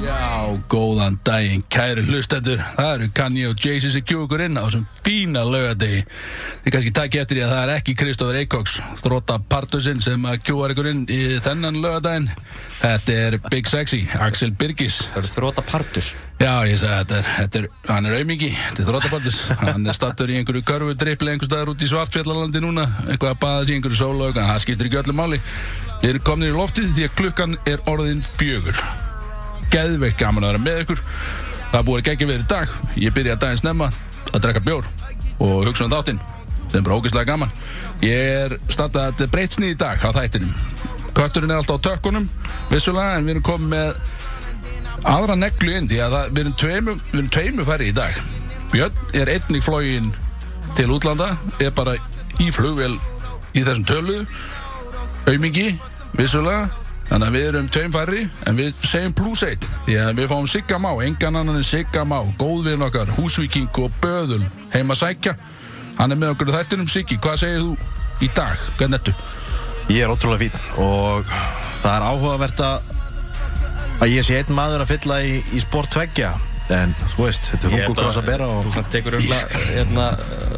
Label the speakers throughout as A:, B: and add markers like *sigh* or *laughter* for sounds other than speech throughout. A: Já, góðan daginn, kæru hlustendur Það eru Kanye og Jay-Z sem kjú ykkur inn á þessum fína laugardegi Þið kannski takki eftir því að það er ekki Kristófur Eikóks Þrótta partusinn sem að kjúar ykkur inn í þennan laugardaginn Þetta er Big Sexy, Axel Birgis
B: Það eru þróta partus
A: Já, ég sagði þetta er, þetta er, hann er aumingi, þetta er þróttaballis, hann er stattur í einhverju körfu drippli einhver staðar út í Svartfjallalandi núna, eitthvað að baða sig í einhverju sólaug, en það skiptir ekki öllu máli. Við erum komin í loftið því að klukkan er orðin fjögur. Geðveikt gaman að vera með ykkur, það er búið að gegja við í dag, ég byrja að daginn snemma að drekka bjór og hugsa um þáttinn, sem er bara ógeðslega gaman. Ég er stattað breytsni í dag á þættinum. Kötturinn er alltaf á tökkunum, vissulega, en við erum komin með aðra neglu inn því að það, við erum tveimur, við erum tveimur færri í dag Björn er einnig flógin til útlanda er bara í flugvél í þessum tölu aumingi, vissulega þannig að við erum tveim færri en við segjum plus 1 því að við fáum Sigga Má, engan annan en Sigga Má góðvinn okkar, húsvíking og böðul heima sækja hann er með okkur í þættinum Siggi, hvað segir þú í dag, hvernig ertu?
C: Ég er ótrúlega fín og það er áhugavert að að ég sé einn maður að fylla í, í sport tveggja en þú veist, þetta er þungu kross að bera og
B: Þú samt tekur örgulega hérna,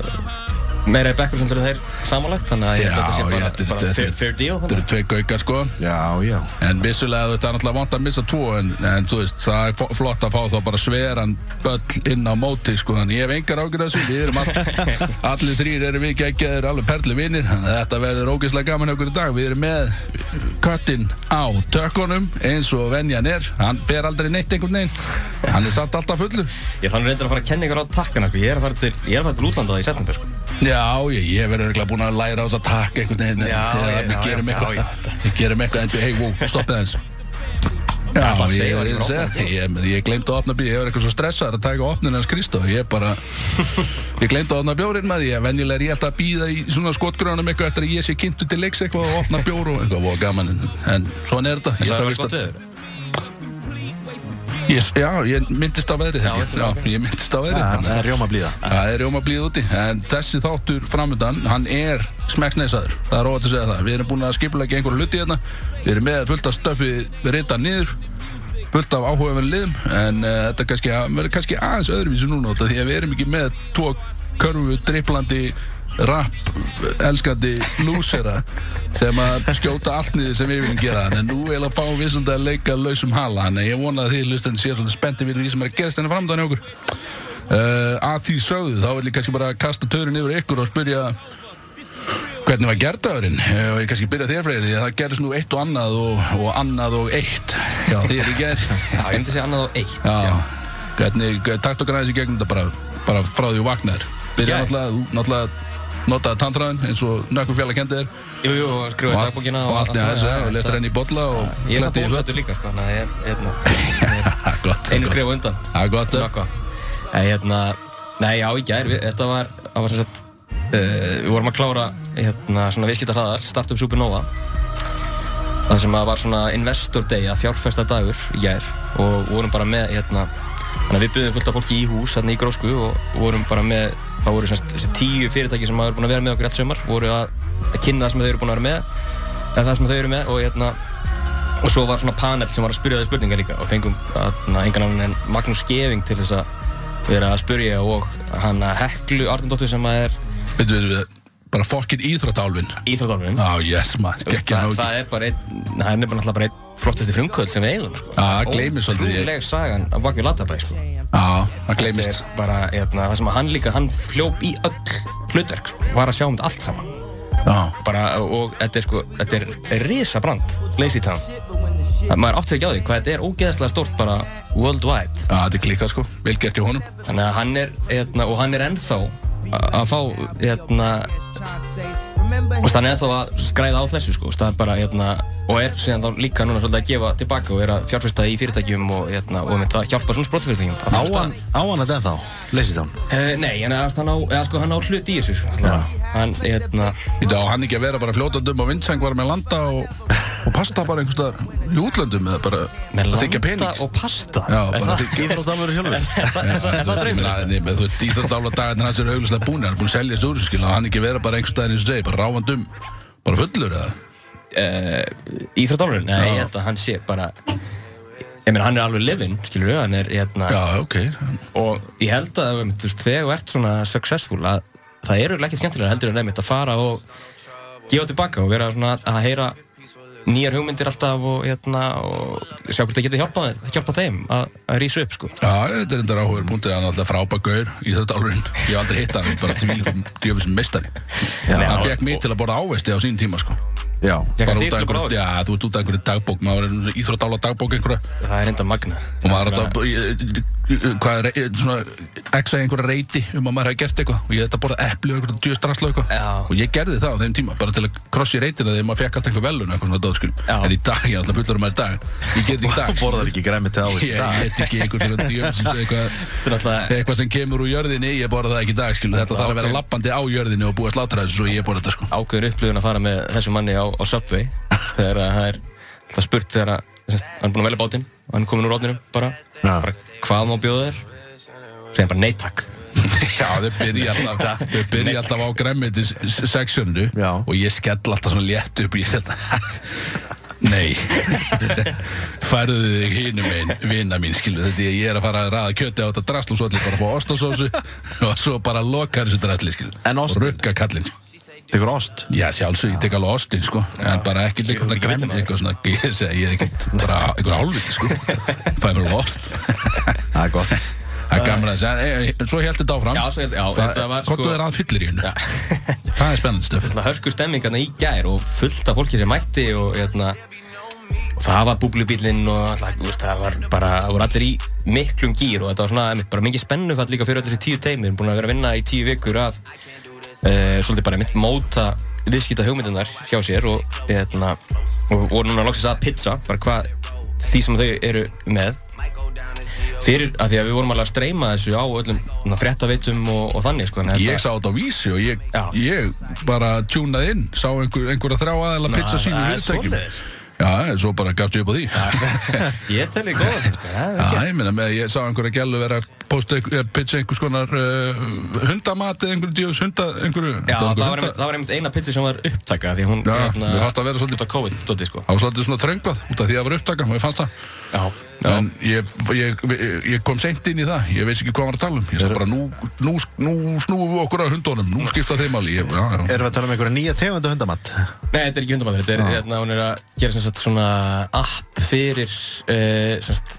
B: uh, meira í bekkursendur en þeir samanlagt þannig að ég held að þetta
A: Já,
B: sé
A: já,
B: bara,
A: þetta er-
B: bara
A: þetta er-
B: fair, fair deal
A: Þetta
B: þannig.
A: eru tvei gaukar sko
C: Já, já
A: En vissulega þú veist, það er náttúrulega vant að missa tvo en, en þú veist, það er fo- flott að fá þá bara sveran böll inn á móti sko, þannig ég hef engar ágjörð þessu, við erum all, allir þrýr erum við geggjaðir alveg perli vinnir, þannig að þetta verður ógeðslega gaman hjá okkur í dag, við erum með köttin á tökkunum eins og venjan er, hann fer aldrei neitt einhvern veginn, hann er samt alltaf fullu
B: Ég fann reyndar að fara að kenna ykkur á takkan sko. ég, er að fara til- ég er að fara til útlanda í september sko.
A: Já, ég, ég verður örgulega búin að læra á þess að taka einhvern veginn
B: Já,
A: Eða
B: já,
A: við
B: já,
A: gerum
B: já, já,
A: eitthvað
B: þetta-
A: Við gerum eitthvað en við, hey, wow, stoppið eins Já,
B: ætla að
A: ég,
B: segja
A: ég,
B: honum
A: ég,
B: frá
A: ég, ég, ég glemt að opna bíl, ég var eitthvað svo stressaður að taka opnin hans Kristof Ég
B: *laughs*
A: bara, ég glemt að opna bjórinn maður, ég venjulega er ég alltaf að býða í svona skotgrunum eitthvað eftir að ég sé kynntu til leiks eitthvað og opna bjór og eitthvað, og gaman en, en svona er þetta
B: En
A: Ég
B: það
A: þarf
B: er
A: víst
B: gott
A: að-
B: veður
A: Ég- Já, ég myndist á veðrið
B: Já,
A: já,
B: þetta er
A: ég myndist á veðrið
C: Það það er rjóma blíða
A: Það er rjóma blíð úti, en þessi þáttur framöndan, hann er smekksneisaður. Það er óvægt að segja það. Við erum búin að skipulega einhverju hluti hérna. Við erum með fullt af stöfi rita niður, fullt af áhugaverðin liðum, en uh, þetta kannski, verður kannski aðeins öðruvísi núna út af því að við erum ekki með tvo körfu, driplandi, rap, elskandi lúsera sem að skjóta allt niður sem við viljum gera en nú vil að fá við svolítið að leika lausum hala en ég vona að þið lustan sér svolítið spennti við því sem er að gerast henni framdann í okkur uh, að því sögðu þá vil ég kannski bara kasta törun yfir ykkur og spyrja hvernig var gerðdagurinn Eh, og ég kannski byrja þér freyri því að það gerðist nú eitt og annað og, og annað og eitt já *laughs* þér í gerð
B: Já, ég myndi að segja annað á eitt
A: já,
B: já.
A: hvernig takt okkar aðeins í gegnum þetta bara, bara frá því þú vagnar byrja
B: Ég-
A: náttúrulega, þú náttúrulega notaði tantræðin eins og nökkur fjallar kendi þér
B: Jú, jú, og skrifa í
A: og,
B: dagbókina
A: og allt í þessu og
B: þetta-
A: lestur henni í bolla og
B: Ég er samt
A: klæddi í föt.
B: ósættur líka sko, þannig að ég-
A: *laughs*
B: hérna,
A: Ha, gott,
B: Einu
A: gott.
B: skrif á undan
A: Það er gott, eh?
B: Nokka Nei, hérna Nei, já, í gær, við, þetta var, það var sem sagt uh, Við vorum að klára, hérna, svona viðskipta hraðar Startup Supernova Það sem að var svona investor day, að fjárfesta dagur í gær Og vorum bara með, hérna Þannig að við byggðum fullt af fólki í hús, hérna í grósku Og vorum bara með, það voru sem sagt þessi tíu fyrirtæki sem hafa búin að vera með okkur allt sömar Voru að, að kynna það sem þau eru búin að vera með Eða það sem þau eru með og hérna Og svo var svona panel sem var að spyrja þau spurningar líka og fengum atna, engan annan en Magnús Skeving til þess að vera að spyrja og hann að Heklu Arndóttur sem að er
A: Bíddu, bíddu, bíddu. bara fokkin íþróttálfin
B: íþróttálfurinn.
A: já, yes maður, gekkja
B: Það, það er bara einn, hann er bara náttúrulega bara einn flottasti frumkvöld sem við eigum sko.
A: Já, það gleymist svolítið ég.
B: Ótrúleg sagan á bakvið Latabæ sko.
A: Já, það
B: Þetta
A: gleymist
B: er bara eitna, það sem að hann líka, hann fljóp í öll hlutverk sko, var að sjá um þetta allt saman.
A: Já,
B: Bara, og þetta er sko, þetta er risa brand, Lazy Town. Það- Maður átti ekki á því hvað þetta er ógeðslega stórt bara worldwide.
A: já, þetta er klikkað sko, vel gert hjá honum
B: Þannig að hann er, hérna, og hann er ennþá a- að fá, hérna, og hann er ennþá að skræða á þessu, sko, það er bara, hérna, og er síðan þá líka núna svolítið að gefa tilbaka og er að fjárfesta í fyrirtækjum og, hérna, og mynd að hjálpa svona sprótfyrirtækjum. að fjárfesta.
C: Áan, áan að den þá, leysið þá
B: Eh, nei, en að hann á, eða sko, hann á hlut í þessu, sko, allavega. hann, hérna,
A: Í dag á hann ekki að vera bara fljótandum og vindseng var með landa og, og pasta bara einhvers staðar í útlöndum eða bara
B: með
A: að þykja
B: landa
A: pening
B: og pasta.
A: Já,
B: Er
A: bara
B: það-
A: þykja-
C: Íþróttalvöru sjálfur
B: er það- er það- er það draumur?
A: Nei, með þú veist, íþróttála dagarnir hans er auglustlega búin hann er búin að selja þessu úr, skil og hann ekki vera bara einhvers staðar eins og segi, bara ráfandum bara fullur eða
B: uh, íþróttálurinn Eh, Nei,
A: Já.
B: ég held að hann sé bara ég meina hann er alveg livin, skilur við, hann er hérna,
A: Já, ok
B: og ég held að um, þú veist, þegar þú ert svona successful að það eru ekki skemmtilega heldur en nefnitt að fara og gefa tilbaka og vera svona að heyra nýjar hugmyndir alltaf og hérna og sjá hvort það getur hjálpað hjálpa þeim að, að rýsa upp sko
A: Já, þetta er enda ráhugur punktið hann er alltaf frábæk gaur í þetta álurinn Ég hef aldrei hitt hann, bara því líkum djöfisum mestari Hann fekk mig til að borða ávesti á sín tíma sko
C: Já,
B: Fékk
A: Bara
B: hann þig
A: út af
B: til að borða
A: einhverju- Já, þú ert út af einhverju dagbók maður er íþrótt ála dagbók einhverja
B: það er enda magna
A: og maður er alltaf í- í- í- hvað er í- svona exa einhverja reyti um að maður hafi gert eitthvað og ég þetta borða epli og einhverja djöðstrassla
B: Já.
A: eitthvað og ég gerði það á þeim tíma bara til að krossi reytina þegar maður fekk allt einhver velun eitthvað svona dóðskil
B: Já.
A: en í dag, ég er alltaf fullur um að í dag ég gerði
B: *laughs*
A: í dag
C: og borðar ekki græmið til ávist
A: ég get ekki einhverjum djöfsins eitthvað
B: þetta er alltaf
A: eitthvað sem kemur úr jörðinni, ég borða það ekki í dag skilu. þetta þarf að vera
B: ok.
A: lappandi á jörðinni og búa slátræðis og ég borða þetta sko.
B: ákveður upplifun að fara með þessum manni á, á Subway þegar að það er það spurt þegar að sem sagt, hann er búin að velja bátinn og hann er komin úr rótninum bara,
C: Já.
B: bara hvað má bjóða þér segja bara nei takk
A: *laughs* Já, þau byrja alltaf, þau byrja alltaf á græmmetis sectionu
C: Já.
A: og ég skell alltaf svona létt upp og ég setja *laughs* Nei *laughs* Færðu þig hinum einn vina mín, skilu þetta er- ég er að fara að raða kjöti á þetta drasl og svo allir bara að fá ostasósu *laughs* og svo bara lokar þessu drasli, skilu
C: En
A: og
C: ostin?
A: rugga kallinn
C: Tekur ost
A: Já, sjálfsög, ég tek alveg ostin, sko en bara ekki líka svona
B: vill
A: græm
B: maður.
A: eitthvað svona, ég segi, ég er ekki bara einhver hálfviti,
C: *laughs*
A: sko fæði mér alveg ost
C: Það er gott
A: *laughs* Það er gaman að segja, e, e, svo held þetta áfram
B: já, svo, ég- já þetta var
A: Hvort
B: sko
A: þú er að fyllir í hennu
B: *laughs* Já.
A: Það er spennandi stöfn
B: Það hörku stemming hérna í gær og fullt af fólki sem mætti og hérna og það var búblubílinn og alltaf, þú veist, það var bara, það voru allir í miklum gýr og þetta var svona, einmitt, bara mikið spennufall líka fyrir öll þessi tíu teimi, við erum búin að vera að vinna í tíu vikur að e, svolítið bara mitt móta viðskipta hugmyndunar hjá sér og hérna, og voru núna loksins að pizza, bara hvað því sem þau eru með fyrir, að því að við vorum alveg að streyma þessu á öllum na, fréttaveitum og, og þannig, sko, þannig að
A: Ég
B: þetta-
A: sá þetta á vísi og ég,
B: Já.
A: ég bara tjúnaði inn Sá einhver, einhverja þrjá aðeila pizza sínu
B: það er
A: fyrirtækjum
B: svoleiðis.
A: Já, svo bara gafst ég upp á því
B: Ég telli góða þetta, sko, það
A: *laughs*
B: er
A: Já, ég meina, með- ég sá einhverja gælu vera að posta einhver- eh, pizza einhvers konar uh, hundamat eða einhverju djöfus hunda einhverju,
B: Já,
A: þetta
B: það
A: einhver
B: var, einmitt, það var einmitt eina pizza sem var upptaka því hún hérna-
A: Já, mér fannst það vera svolítið-
B: út af COVID-dóti sko
A: Það var svolítið svona þröngvað út af því að það var upptaka og ég fannst það
B: Já,
A: En ég, ég, ég kom seint inn í það, ég veist ekki hvað hann var að tala um Ég sagði bara, nú, nú, nú snúum við okkur að hundunum, nú skipta þeim alveg Ég- já, já.
C: Erum við að tala um einhverja nýja tegundu hundamatt?
B: Nei, þetta er ekki hundamadur, þetta er hérna, hún er að gera sem sagt svona app fyrir uh, sem sagt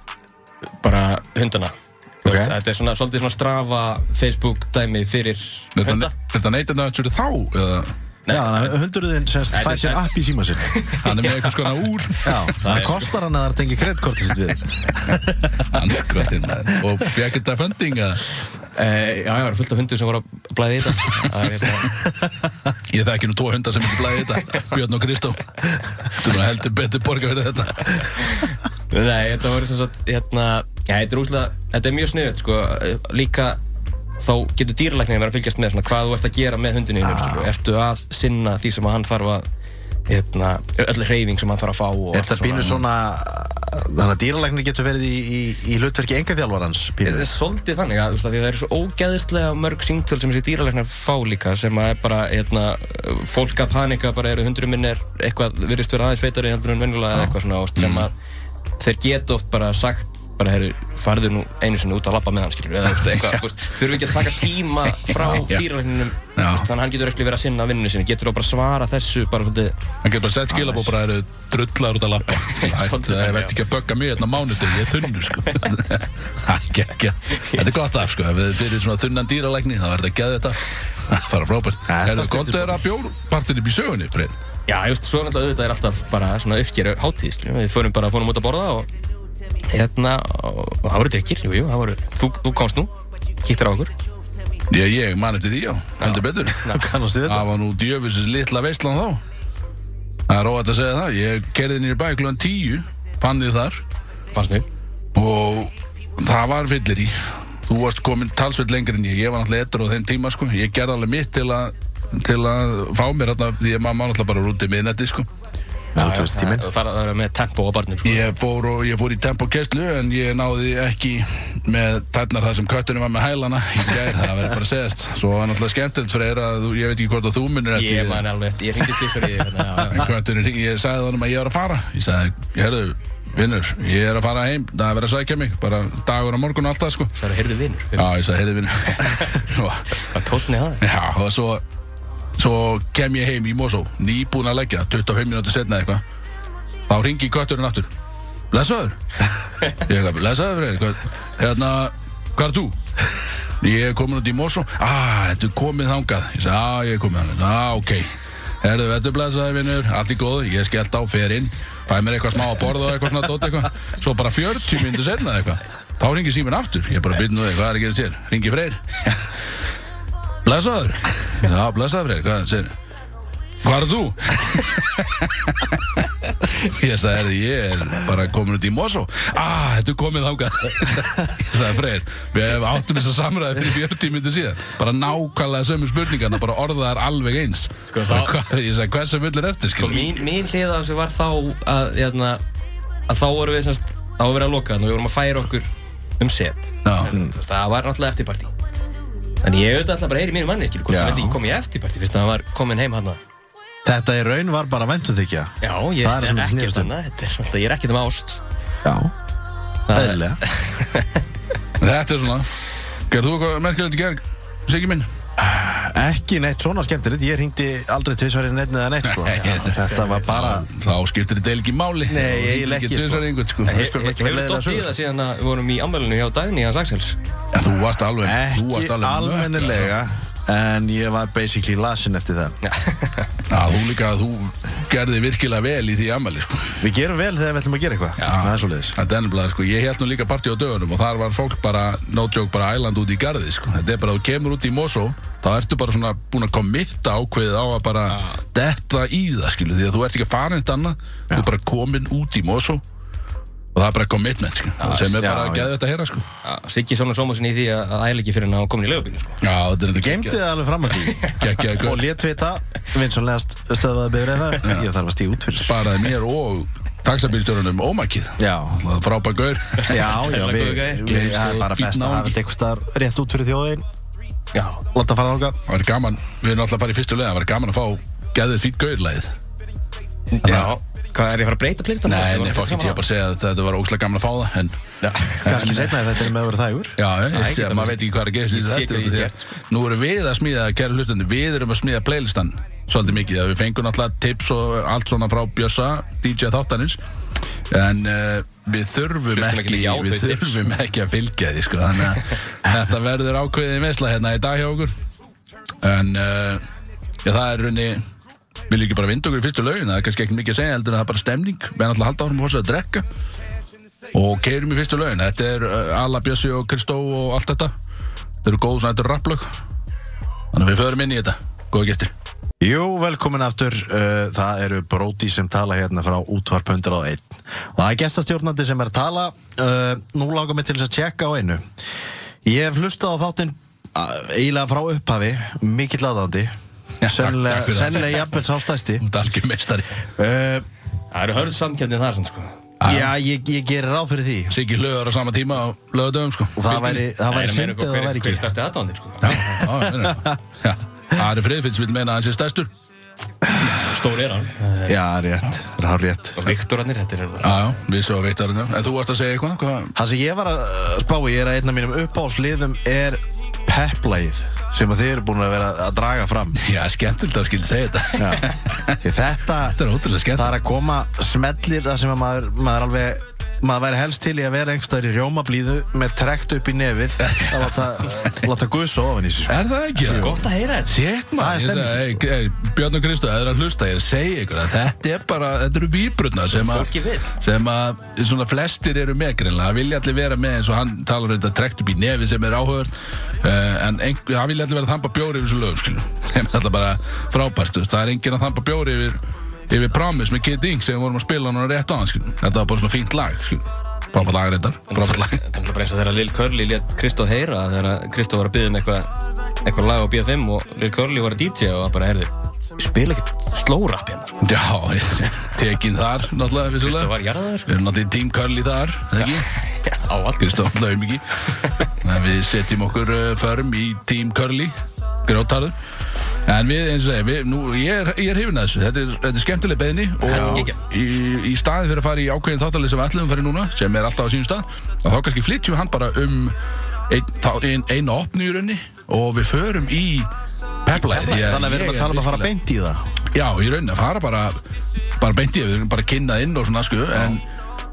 B: bara hundana Þú
C: Ok.
B: veist, Þetta er svona, svolítið svona strafa Facebook dæmi fyrir
A: Er
B: hunda
A: þetta- er þetta neytenda þetta þá? Eða,
C: Já, þannig að hundurðin semst
B: Þetta er-
C: fær sér app í síma sinn
A: hann er með eitthvað skona úr
C: Já, það kostar hann að það tengi kreddkortið sitt við
A: Anskotinn maður Og fekk þetta funding að
B: Eh, Já, já, það er fullt af hundur sem voru að blæði í þetta Það er hérna
A: Ég þekki nú tvo hundar sem ekki blæði þetta Björn og Kristó Þú nú heldur betur borga fyrir þetta
B: Nei, þetta voru sem sagt, hérna, já, þetta er úslega, þetta er mjög sniðut, sko, líka þá getur dýralæknir verið að fylgjast með svona hvað þú ert að gera með hundinu ah. sko. ertu að sinna því sem að hann þarf að hérna, öll hreyfing sem hann þarf að fá og
C: Er það býnur svona Þannig að dýralæknir getur verið í, í, í hlutverki engaþjálfarans
B: Þetta
C: pínu.
B: er svolítið þannig að, þú veist, að því að það eru svo ógeðislega mörg síntöl sem þessi dýralæknar fá líka sem að er bara, hérna, fólk að panika bara eru hundurinn minn er eitthvað virðist vera aðeins veitari heldur en venjulega eða eitthvað svona og sem
A: Mm.
B: að þeir geta oft bara sagt bara herru, farðu nú einu sinni út að labba með hann skilur eða þú veist, eitthvað, þú veist, þurfum ekki að taka tíma frá
A: Já.
B: dýralækninum
A: Já.
B: þannig að hann getur ekki verið að sinna vinninu sinni getur þá bara svara þessu bara svolítið
A: Hann getur bara sett skilabó bara eru drullar út að lappa Það er verið ekki að bögga mig hérna á mánudegi Ég er þunnur sko Ekki, ekki Þetta er gott af sko Ef þið fyrir svona þunnan dýralækni þá er þetta geð þetta Það er frábært
C: Ja, þetta
A: Er það
C: styttir
A: gott að vera bjórpartin upp í sögunni, Freyr?
B: Já, ég veist, svo náttúrulega auðvitað er alltaf bara svona uppgeru hátíð, skiljum, við fórum bara, fórum út að borða og hérna, og og það voru drikkir, jú, jú, það voru, þú, þú komst nú, kíktir á okkur.
A: Ég, ég man eftir því, já, heldur betur
C: *laughs* Kannast við þetta?
A: Það var nú djöfisins litla veistlan þá Það er óvægt að segja það Ég kerði nýri bæk klukkan tíu Fann þið þar
B: Fannst nú?
A: Og það var fyllir í Þú varst komin talsveit lengri en ég Ég var náttúrulega ettur á þeim tíma sko Ég gerði alveg mitt til að til að fá mér hérna Því að maður má náttúrulega bara rúti miðnætti sko
C: Já, þú veist tíminn
B: Það það er með tempo á barnum, sko.
A: Ég fór, og, ég fór í tempokesslu En ég náði ekki með tætnar það sem köttunum var með hælana Ég gerði það verið bara að segjast Svo var náttúrulega skemmtilegt fyrir að þú- Ég veit ekki hvort að þú minnir eftir því.
B: Ég man alveg, eftir- ég ringdi til fyrir því, hérna, já, já.
A: En Kötturinn hringi, ég sagði honum að ég var að fara Ég sagði, herru, vinnur, ég er að fara heim, það er að vera að sækja mig, bara dagur á morgun og allt það, sko.
B: Það er að heyrðu vinnur.
A: Já, ég sagði, heyrðu vinnur. Og-
B: Hvað tótni það er?
A: Já, og svo, svo kem ég heim í Mosó, nýbúin að leggja, 25 minúti setna eitthvað. Þá ringi kötturinn aftur. Blessaður? Ég hef blessaður fyrir þér. Hérna, hvað er þú? Ég er komin út í Mosó. Ah, þetta er komið þangað. Ég sagði, ah, ég er komið þangað. Ah, ok. Herðu, þetta er blessaður, vinnur. Allt í góð. Ég skellt á, fer inn. Fæ mér eitthvað smá að borða og eitthvað svona dótt eitthvað. Svo bara 40 minúti setna eitthvað. Þá ringi síminn aftur. Ég bara byrja nú þig, hvað er að gera þér? Ringi freyr. Blessaður Já, blessaður Freyr, hvað segir Hvað er þú? ég sagði, "Herri, ég er bara komin út í Mosó Ah, þetta er komið þangað Ég sagði, Freyr, við áttum þess að samræða fyrir 40 myndir síðan Bara nákvæmlega sömu spurningarna, bara orðaðar alveg eins
B: Sko, þá-
A: Hva, Ég sagði, hversu fullur ertu,
B: Sko,
A: skil
B: mín, mín hlið á þessu var þá að, jæna, að þá vorum við semst, þá vorum við að loka þannig og við vorum að færa okkur um set.
A: Já.
B: En,
C: Mm.
B: þú veist, Það var náttúrulega eftirparti. En ég auðvitað alltaf bara heyri mínu manni, skilur, hvort
C: Já.
B: það vildi ekki koma í eftirparti, fyrst að hann var komin heim hann að...
C: Þetta í raun var bara væntumþykja
B: Já, ég
C: Það er það sem þetta snerist um.
B: annað, þetta er alltaf, ég er ekkert um ást.
C: Já,
B: Það er-
C: eðlilega
A: Þetta er svona Gerðu þú eitthvað merkilegt í gerg, Siggi minn?
C: Ekki neitt svona skemmtilegt, ég hringdi aldrei tvisvarinn einn eða neitt sko
A: Nei,
C: Já, Þetta var bara
A: Þá skiptir þetta eiginlega ekki máli
C: Nei,
A: Þú
C: eiginlega
A: hringir
C: ekki,
A: tvisvar
C: sko.
A: í einhvern, sko.
B: En he-
C: skulum
B: he-
C: ekki fara
B: Hefur
C: leiðina
B: dótt í
C: sögu.
B: það síðan að við vorum í ammælinu hjá Dagný hans Axels?
A: Já, Þú varst alveg þú
C: ekki
A: varst alveg mökkaður.
C: almennilega En ég var basically lasin eftir það
A: Já, þú líka að þú gerði virkilega vel í því ammali, sko.
C: Við gerum vel þegar við ætlum að gera eitthvað Það er svo leiðis
A: Þetta er nefnilega, sko, ég held nú líka partí á dögunum og þar var fólk bara, no joke, bara æland út í garði, sko. Þetta er bara, þú kemur út í Mosó, þá ertu bara svona búin að kommitta ákveðið á að bara detta í það, skilu, því að þú ert ekki að fara eitt annað, þú er bara komin út í Mosó og það er bara commitment, sko, sem er
C: já,
A: bara
C: já.
A: að geða þetta að heyra, sko.
B: Siggi Sónu Sómusin í því að að æla ekki fyrir hann að komin í leigubílu, sko.
A: Já, þetta er
C: Geimdi
A: þetta
C: það alveg fram að
A: *laughs*
C: því
A: geggjaði
C: Og
A: gaur.
C: lét vita, vinsanlegast stöðvaði byrðið það Ég þarf að stíða út fyrir
A: Sparaði mér og taxabílstjórunum ómakið.
C: Já,
A: Frábær gaur.
C: Já, já,
B: Ella
C: við,
B: góðu gæi.
C: við, það er bara
A: Fínn
C: best að hafa
A: náungi.
C: þetta eitthvað staðar rétt út fyrir þjóðin Já, láta fara þangað
A: Það var gaman, við erum alltaf að fara í fyrstu leið, það var gaman að fá geðið fýtt gaurlæðið.
B: Já, hvað er ég að fara að um breyta playlistan?
A: Nei, nei, fokk ekki, ég er bara að segja að þetta var ógslag gaman að fá það, en...
C: *laughs* Kanski setna ef þetta er með að vera þægur
A: Já, ég,
B: Æ,
A: ég sé
B: geta
A: að maður
B: maður-
A: veit ekki hvað er að gerast í
B: Ég sé
A: þetta.
B: hvað ég
A: því að
B: gert, sko.
A: Nú erum við að smíða, kæru hlustandi, við erum að smíða playlistan svolítið mikið. að Við fengum alltaf tips og allt svona frá Bjössa, DJ Þáttanins, en uh, við þurfum
B: Hlustum
A: ekki,
B: ekki mikið á
A: við
B: þau tips.
A: þurfum ekki að fylgja því, sko. Þannig að þetta verður ákveðið meðsla hérna í dag hjá okkur. En uh, já, það er raunni, við líka bara vinda okkur í fyrstu laugin, það er kannski ekki mikið að segja, heldur en það er bara stemning, við erum alltaf að halda áfram og hossa að drekka og keirum í fyrstu laugin, þetta er uh, Alla Bjössi og Kristó og allt þetta, þetta eru góð, svona, þetta eru rapplög, þannig að við förum inn í þetta, góða getur.
C: Jú, velkomin aftur uh, Það eru Bróti sem tala hérna frá útvarp 101 og það er gestastjórnandi sem er að tala uh, Nú lágum við til þess að tjekka á einu Ég hef hlustað á þáttinn uh, eiginlega frá upphafi mikill aðandi
A: Já, takk- takk
C: Sennilega
A: fyrir það.
C: sennilega jafnvel sástæsti
A: *laughs* Þetta er algjör meistari,
C: uh,
B: Það eru hörð samkjöndin þar, sann, sko.
A: Ah.
C: Já, ég, ég gerir ráð fyrir því
A: Siggi lögur á sama tíma á lögadöfum, sko.
C: og það væri, það væri synd eða það væri
B: Hver
C: ekki
B: er stærsti aðdándin, sko?
A: Já, já, já, já, já. Ari Friðfinns vil meina að hann sé stærstur.
B: Stór er hann.
C: Já, rétt, rár rétt
B: Og Viktorarnir, þetta er...
A: Já, já, við svo veittarinn, já. En þú varst að segja eitthvað, hvað?
C: Það sem ég var að uh, spá í er að einn af mínum uppáhalsliðum er peplæð sem að þið eru búin að vera að draga
A: *laughs*
C: fram
A: Já, skemmtilegt að skilja segja þetta.
C: Því Þetta,
A: *laughs* Þetta er ótrúlega skemmt.
C: það er að koma smellir það sem að maður, maður alveg maður væri helst til í að vera einhverstaðar í rjómablíðu með trekt upp í
A: *laughs*
C: nefið að láta, láta guðsa ofan í sig sko.
A: Er það ekki?
B: Það er gott að heyra þetta.
A: Sétt
C: Það er
A: maður,
C: stemning,
A: ég segi, Björn og Kristof, það er að hlusta, ég er að segja ykkur að þetta er bara, þetta eru výbrutna sem að,
B: Fólki vill.
A: sem að svona flestir eru með greinlega, það vilja allir vera með eins og hann talar um þetta trekt upp í nefi sem er áhugavert, uh, en einhver, það vilja allir vera að þampa bjóri yfir þessu lögum, *laughs* skiljum, sem er alltaf bara frábært, þú veist, það er enginn að þampa bjóri yfir, yfir Promise með Kid Ink sem við vorum að spila núna rétt á hann, skiljum, þetta var bara svona fínt lag, skiljum, frábært lag reyndar, frábært lag.
B: Það er alltaf bara eins og þegar Lil Curly létt Kristó heyra þegar Kristó var að byggja um eitthvað eitthvað lag á B5 og Lil Curly var að DJ og hann bara heyrði spila ekkert slórapp hérna sko.
A: Já, *laughs* tekin þar, náttúrulega,
B: Kristó
A: vissulega.
B: var jarðaður sko.
A: Við erum náttúrulega í Team Curly þar, eða ekki?
B: Já, á allt
A: Kristof alltaf um ekki eh, Við setjum okkur uh, förm í Team Curly Grótarður En við, eins og segja, við, nú, ég er, ég er hefinn að þessu, þetta er, þetta er skemmtileg beðni og
B: Þetta er
A: í,
B: geggjað.
A: í staði fyrir að fara í ákveðin þáttalið sem við ætlum að fara í núna, sem er alltaf á sínum stað, að þá kannski flytjum við hann bara um ein, þá, ein, eina opni í raunni og við förum í peplæð.
C: Þannig að við erum að tala um að fara beint í það
A: Já, í rauninni að fara bara, bara beint í við erum bara kynnað inn og svona sko, en,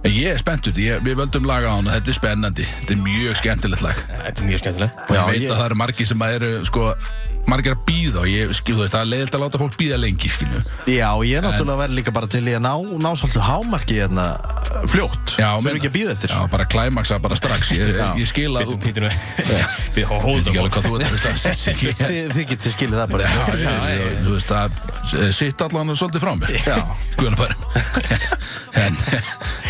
A: en ég er spenntur, ég, við völdum laga á hana, þetta er spennandi, þetta er mjög skemmtilegt lag.
B: Þetta er mjög skemmtilega
A: og
C: Já,
A: ég veit
C: ég-
A: að það eru margir sem að eru sko, margir að býða og ég skil þú veist, það er leiðilt að láta fólk býða lengi skilu.
C: Já, ég er náttúrulega verið líka bara til í að ná, ná svolítið hámarki hérna uh, fljótt
A: Já,
C: Þurfum ekki að býða eftir sko.
A: já, bara klæmaksa bara strax ég,
C: Já.
A: ég skil að þú-
B: Pítur Við
A: ég veit
B: hóðum
A: ekki alveg hvað þú ert
C: *laughs*
A: að segja
C: Þi, Þið getið skilið það
A: Já,
C: bara
A: ég- ég- þú veist, það eh, sitt allan svolítið frá mér guðan
C: *laughs*
A: bara en,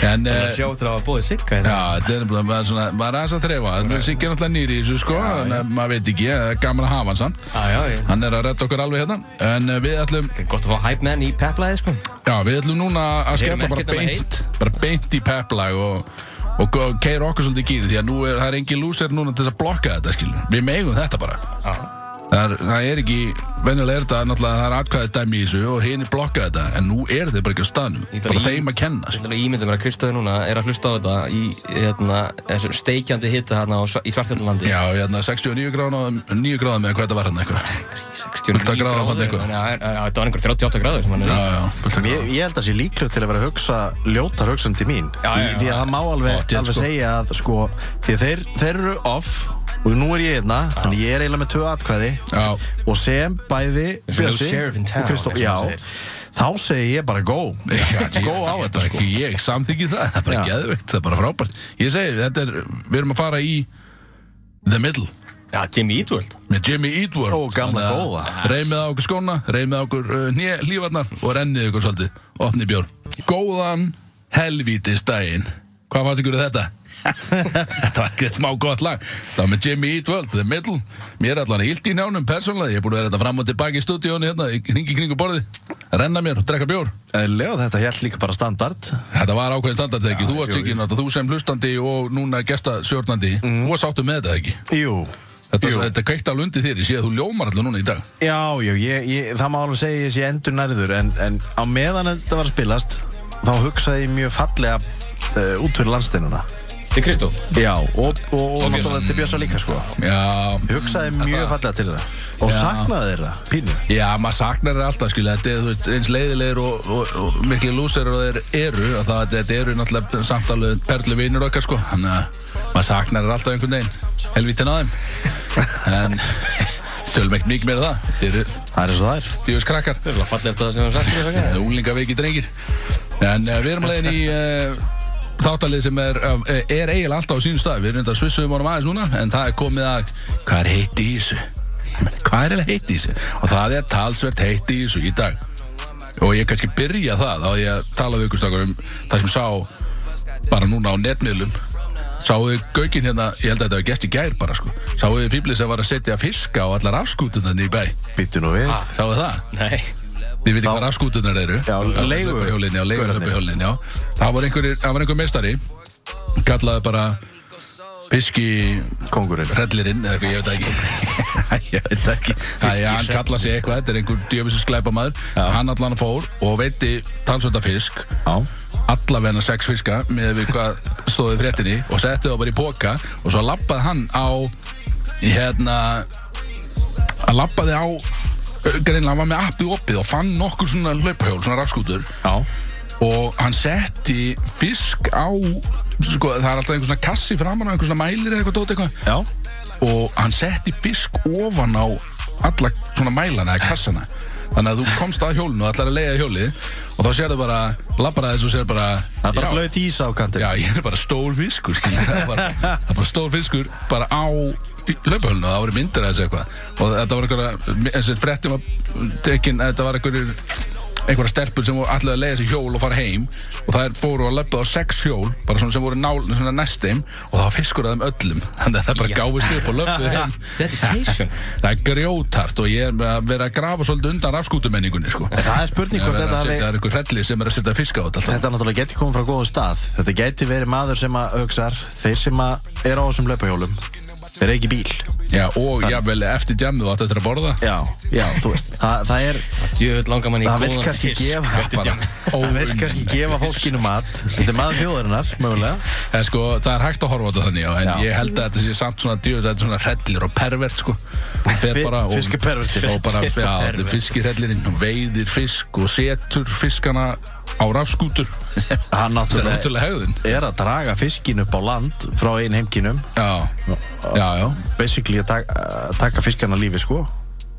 A: en eh,
B: Sjá til að hafa bóðið sigga hérna
A: Já, þetta er nefnilega bara svona, maður er aðeins að þrefa Það er sikkert náttúrulega nýri í þessu sko Þannig að maður veit ekki, það er gaman að hafa hann samt
B: Já, já, já
A: Hann er að redda okkur alveg hérna En eh, við ætlum
B: Gott að fá hype menn í peplæði sko
A: Já, við ætlum núna að
B: Við erum
A: skella bara
B: ekkert nema
A: beint, bara beint í peplag og, og, og keira okkur svolítið í gýri því að nú er, það er engin lúser núna til að blokka þetta, skilur. Við megum þetta bara. Það er, það er ekki, venjulega er þetta náttúrulega, það er atkvæðið dæmi í þessu og hinn er blokka þetta, en nú er þið bara ekki á staðnum,
B: Ég þarf
A: bara
B: í-
A: þeim að kenna,
B: Ég
A: skilur.
B: ætla að ímynda mér að Kristóði núna er að hlusta á þetta í hérna, þessum steikjandi hitta hérna á Sva- í Svartjöldanlandi
A: Já, hérna 69 gráðum, 9 gráðum eða hvað þetta var hann eitthvað.
B: 69
A: Fullt af gráðum þarna eitthvað.
B: þannig að- að- að Þetta var einhver 38 gráður sem hann er
A: Já,
B: í
A: já, fullt að
C: Ég, ég held að sé líklegt til að vera að hugsa ljótar hugsan til mín
B: Já, já, já.
C: Í- Því að það má alveg,
A: Ó, djöfull,
C: alveg
A: sko.
C: segja að sko, Því að þeir, þeir eru off Og nú er ég einna Þannig ég er eiginlega með tvö atkvæði
A: Já.
C: Og sem bæði
B: Eins og
C: Bjössi
B: no sheriff in town,
C: og Kristó
B: eins og
C: Já,
B: hann segir.
C: þá segi ég bara go
A: Já,
C: Go á
A: ég-
C: þetta
A: bara
C: sko
A: ekki, Ég samþyggi það, það er bara
C: Já.
A: geðveikt Það er bara frábært Ég segi, þetta er, við erum að fara í The Middle
B: Já, Jimmy Eatworld
A: með Jimmy Eatworth
C: Ó, gamla
A: Þannig að
C: góða.
A: reymið á okkur skóna, reymið á okkur uh, nýja lífarnar og rennið ykkur svolítið opni bjórn góðan helvítis daginn hvað fannst ykkur um þetta? *laughs* þetta var ekkert smá gott lag það var með Jimmy Eatworld, The Middle mér er allan illt í njánum persónlega ég er búin að vera þetta fram og tilbaki í stúdíónu hérna hringi kringu borðið, renna mér og drekka bjór
C: Lega þetta held líka bara standard
A: Þetta var ákveðin standardteki, þú varst ekki náttúrulega, þú sem hlustandi og núna gestastjórnandi, þú varst áttu með þetta ekki.
C: Jú
A: Þetta,
C: Jú.
A: þetta kveikt alveg undir þér, ég sé að þú ljómar allir núna í dag.
C: Já, já, ég, ég, það má alveg segja að ég sé endur nærður en, en á meðan þetta var að spilast þá hugsaði ég mjög fallega uh, út fyrir landsteinuna
B: Til Kristó
C: Já, og, og, og
A: Ok.
C: náttúrulega til Björsa líka sko
A: Já,
C: Ég hugsaði mjög fallega til þeirra og saknaði þeirra, pínu
A: Já, maður saknar þeir alltaf, skilja, þetta er þú veist, eins leiðilegir og, og, og mikli lúserir og þeir eru, að það, þetta eru náttúrulega samt alveg perlu vinnur okkar, sko, þannig að maður saknar þeir alltaf einhvern veginn, helvítin að þeim, en *laughs* tölum ekkert mikið meira um það, þetta eru
C: Það er eins og það er
A: djúvis krakkar,
B: Það er alveg fallið eftir það sem hann sagt þér, sagði.
A: úlingaveiki Eh, drengir, en uh, við erum leiðin í uh, þáttalið sem er, uh, er eiginlega alltaf á sínum stað, við erum þetta að svissum honum aðeins núna, en það er komið að, hvað er heitt í þessu? Ég meina, Hvað er eiginlega heitt í þessu? Og það er talsvert heitt í þessu í dag. og ég kannski byrja það þá ég talaði ykkur stakar um það sem sá bara núna á netmiðlum sáuði gaugin hérna, ég held að þetta var gest í gær bara sko, sáuði fýblið sem var að setja fiska á allar afskútunan í bæ
C: Býttu nú við
A: sáuði það?
B: Nei
A: Þið veitir hvað
C: Já.
A: rafskútunar eru
C: Já, leigu-
A: Leigurlöpahjólin, já,
C: gaurarnir.
A: leigurlöpahjólin, já Það var einhver, það var einhver meistari Kallaði bara Fiski
C: Kongurinn
A: Hrellirinn, eða eitthvað, ég veit það ekki *laughs* Ég veit það ekki Það er, hann kallaði sig eitthvað, þetta er einhver djöfisins glæpamaður Hann allan fór og veitti talsvönda fisk
C: Já
A: allavegna sex fiska með við hvað stóði í fréttinni og setti það bara í póka og svo lappaði hann á í hérna hann lappaði á greinlega hann var með appi opið og fann nokkur svona hlaupahjól, svona rafskútur
C: Já
A: og hann setti fisk á sko, það er alltaf einhver svona kassi framan á einhver svona mælir eða eitthvað dót eitthvað
C: Já
A: og hann setti fisk ofan á alla svona mælana eða kassana þannig að þú komst að hjólinu og ætlar að leiða hjólið og þá sérðu bara, labbar aðeins og sérðu bara
C: Það er bara
A: já,
C: blöðt ís á kantin
A: já, ég er bara stór fiskur skilur. það er bara, það er bara stór fiskur bara á löpahjólinu það voru myndir að þessu eitthvað og þetta var einhverja, þessi fréttum var tekin, þetta var einhverjir einhverja stelpur sem voru allir að leiða sér hjól og fara heim og það fóru að löpa á sex hjól bara svona sem voru nál, svona næstum og það var fiskur að þeim öllum *laughs* þannig að það bara gáfist upp og löpuð heim
B: Dedication
A: Það er grjótart og ég er með að vera að grafa svolítið undan rafskútumenningunni sko.
C: En Það er spurning
A: Það
C: hvort
A: er
C: þetta
A: að
C: hafi
A: setja það er einhver hrelli sem er að setja fisk á þetta alltaf.
C: Þetta náttúrulega geti komið frá góðum stað Þetta geti verið maður sem að auksar Þeir sem að er á þessum löpahjólum Þeir eru ekki bíl
A: Já, og jafnvel eftir djamið og allt eftir að borða
C: Já, já, þú veist Það, það er,
B: *laughs* Djöfull langar manni í
C: það vil
B: góðan
C: kannski
B: fisk.
C: gefa
B: Eftir
A: bara.
B: djamið.
C: *laughs* Það vil kannski gefa fólkinu mat Þetta er maður þjóðarinnar, mögulega
A: Það er sko, það er hægt að horfa á þetta þannig já, en
C: Já.
A: ég held að þetta sé samt svona djöð þetta er svona hrellir og pervert sko Fer
C: Fi-
A: bara og-
C: fiskipervertinn.
A: og bara, já,
B: Fiskipervert.
A: þetta er fiskirellirinn og veiðir fisk og setur fiskana á rafskútur *laughs* þetta er
C: Hann náttúrulega
A: ótrúlega hegðun
C: er að draga fiskin upp á land frá einn heimkinum
A: já, já, já,
C: basically að taka, að taka fiskana lífi sko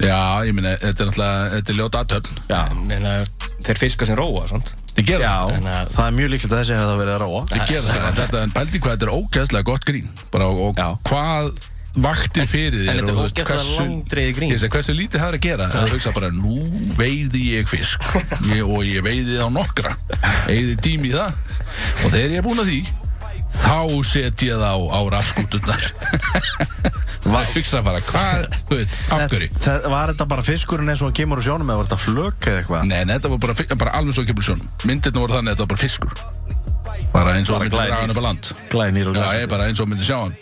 A: já, ég meina þetta er náttúrulega, þetta er ljóta aðtöfn
C: Já,
B: Meina, þeir fiskar sem róa svont.
A: þið gera
C: já
A: það,
B: En að-
C: eh, það er mjög líklegt að þessi hefði verið að róa
A: þið gera það en þetta er pældi hvað þetta er ógeðslega gott grín bara og,
C: Já.
A: og hvað vaktir fyrir þér
B: en
A: og
B: þetta er
A: þú veist,
B: ógeðslega
A: hversu-
B: langdregið grín.
A: Ég segi, hversu lítið það er að gera það er að hugsa bara, nú veiði ég fisk ég, og ég veiði þá nokkra eigði tími í það og þegar ég er búin að því þá set ég þá á *laughs* rafskúturnar það hugsa bara, hvað, þú veit, af
C: það,
A: hverju
C: það, Var þetta bara fiskurinn eins og hann kemur úr sjónum eða var þetta flök eða eitthvað?
A: Nei, nei, þetta var bara, fi- bara alveg svo kemur sjón myndirna voru þannig að þetta var bara fiskur bara eins og
B: Bara
A: myndi draga
B: glænýr.
A: hann upp á land
C: Glænýr og
A: Já, ég
C: glæsir
A: er bara eins og myndi sjá hann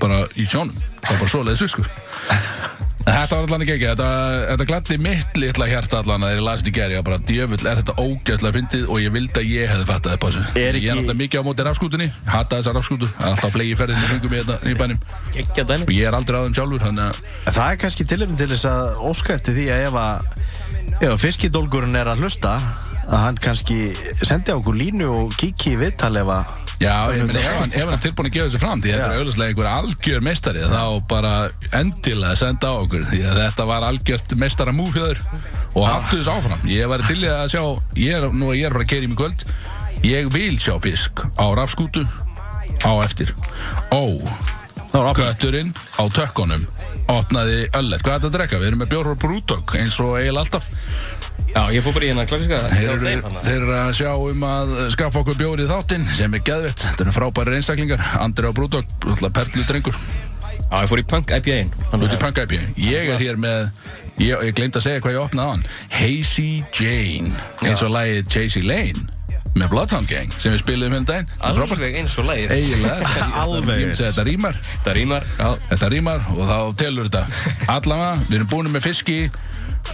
A: bara í sjónum, það var bara svoleiðis fiskur En Þetta var allan ekki ekki Þetta, þetta gladdi mitt litla hjarta allan að þegar ég lasið í gær, ég var bara djöfull er þetta ógæðslega fyndið og ég vildi að ég hefði fattað þetta þessu
C: Er
A: Ég er
C: ekki-
A: alltaf mikið á móti rafskútunni, hata þessa rafskútu það er alltaf flegi ferðin í hringum í þetta í bænum
B: Ekki að
A: og
B: dæmi.
A: ég er aldrei á þeim sjálfur þannig að
C: En Það er kannski tilefni til þess að óska eftir því að ef að ef að fiskidólgurinn er að hlusta að hann kannski sendi á okkur línu og kíki í viðtal ef að
A: Já, ég meina, ef hann, ef hann er tilbúin að gefa þessu fram því þetta
C: Já.
A: er auðvitað einhver algjör meistari þá bara endilega senda á okkur því að þetta var algjört meistara múfjöður og haltu þessu áfram ég var til í að sjá, ég er, nú, ég er bara að keira í mig kvöld ég vil sjá fisk á rafskútu á eftir ó,
C: þá er okkur
A: götturinn á tökkunum opnaði öllet, hvað er þetta að drekka? Við erum með bjórhór brútök eins og eiginlega alltaf
B: Já, ég fór bara í hennar klassiska.
A: Þeir eru, þeir eru að sjá um að skaffa okkur bjóri í þáttinn sem er geðvett. Þetta eru frábæri einstaklingar. Andri á Brúdók, alltaf perlu drengur.
B: Já, ég fór í Punk IPA-in.
A: Út í panga Ég er hér með, ég, ég glemt að segja hvað ég opnaði á hann. Hazy Jane, eins og lagið Chasey Lane með Bloodhound Gang sem við spilum hérna daginn. Það er Frábært.
B: Alveg eins og leið.
A: *laughs* Eiginlega.
C: Alveg
A: Ég myndi segja Þetta rýmar.
B: Þetta rýmar. Já.
A: Þetta rýmar og þá telur þetta Allavega, við erum búin með fiski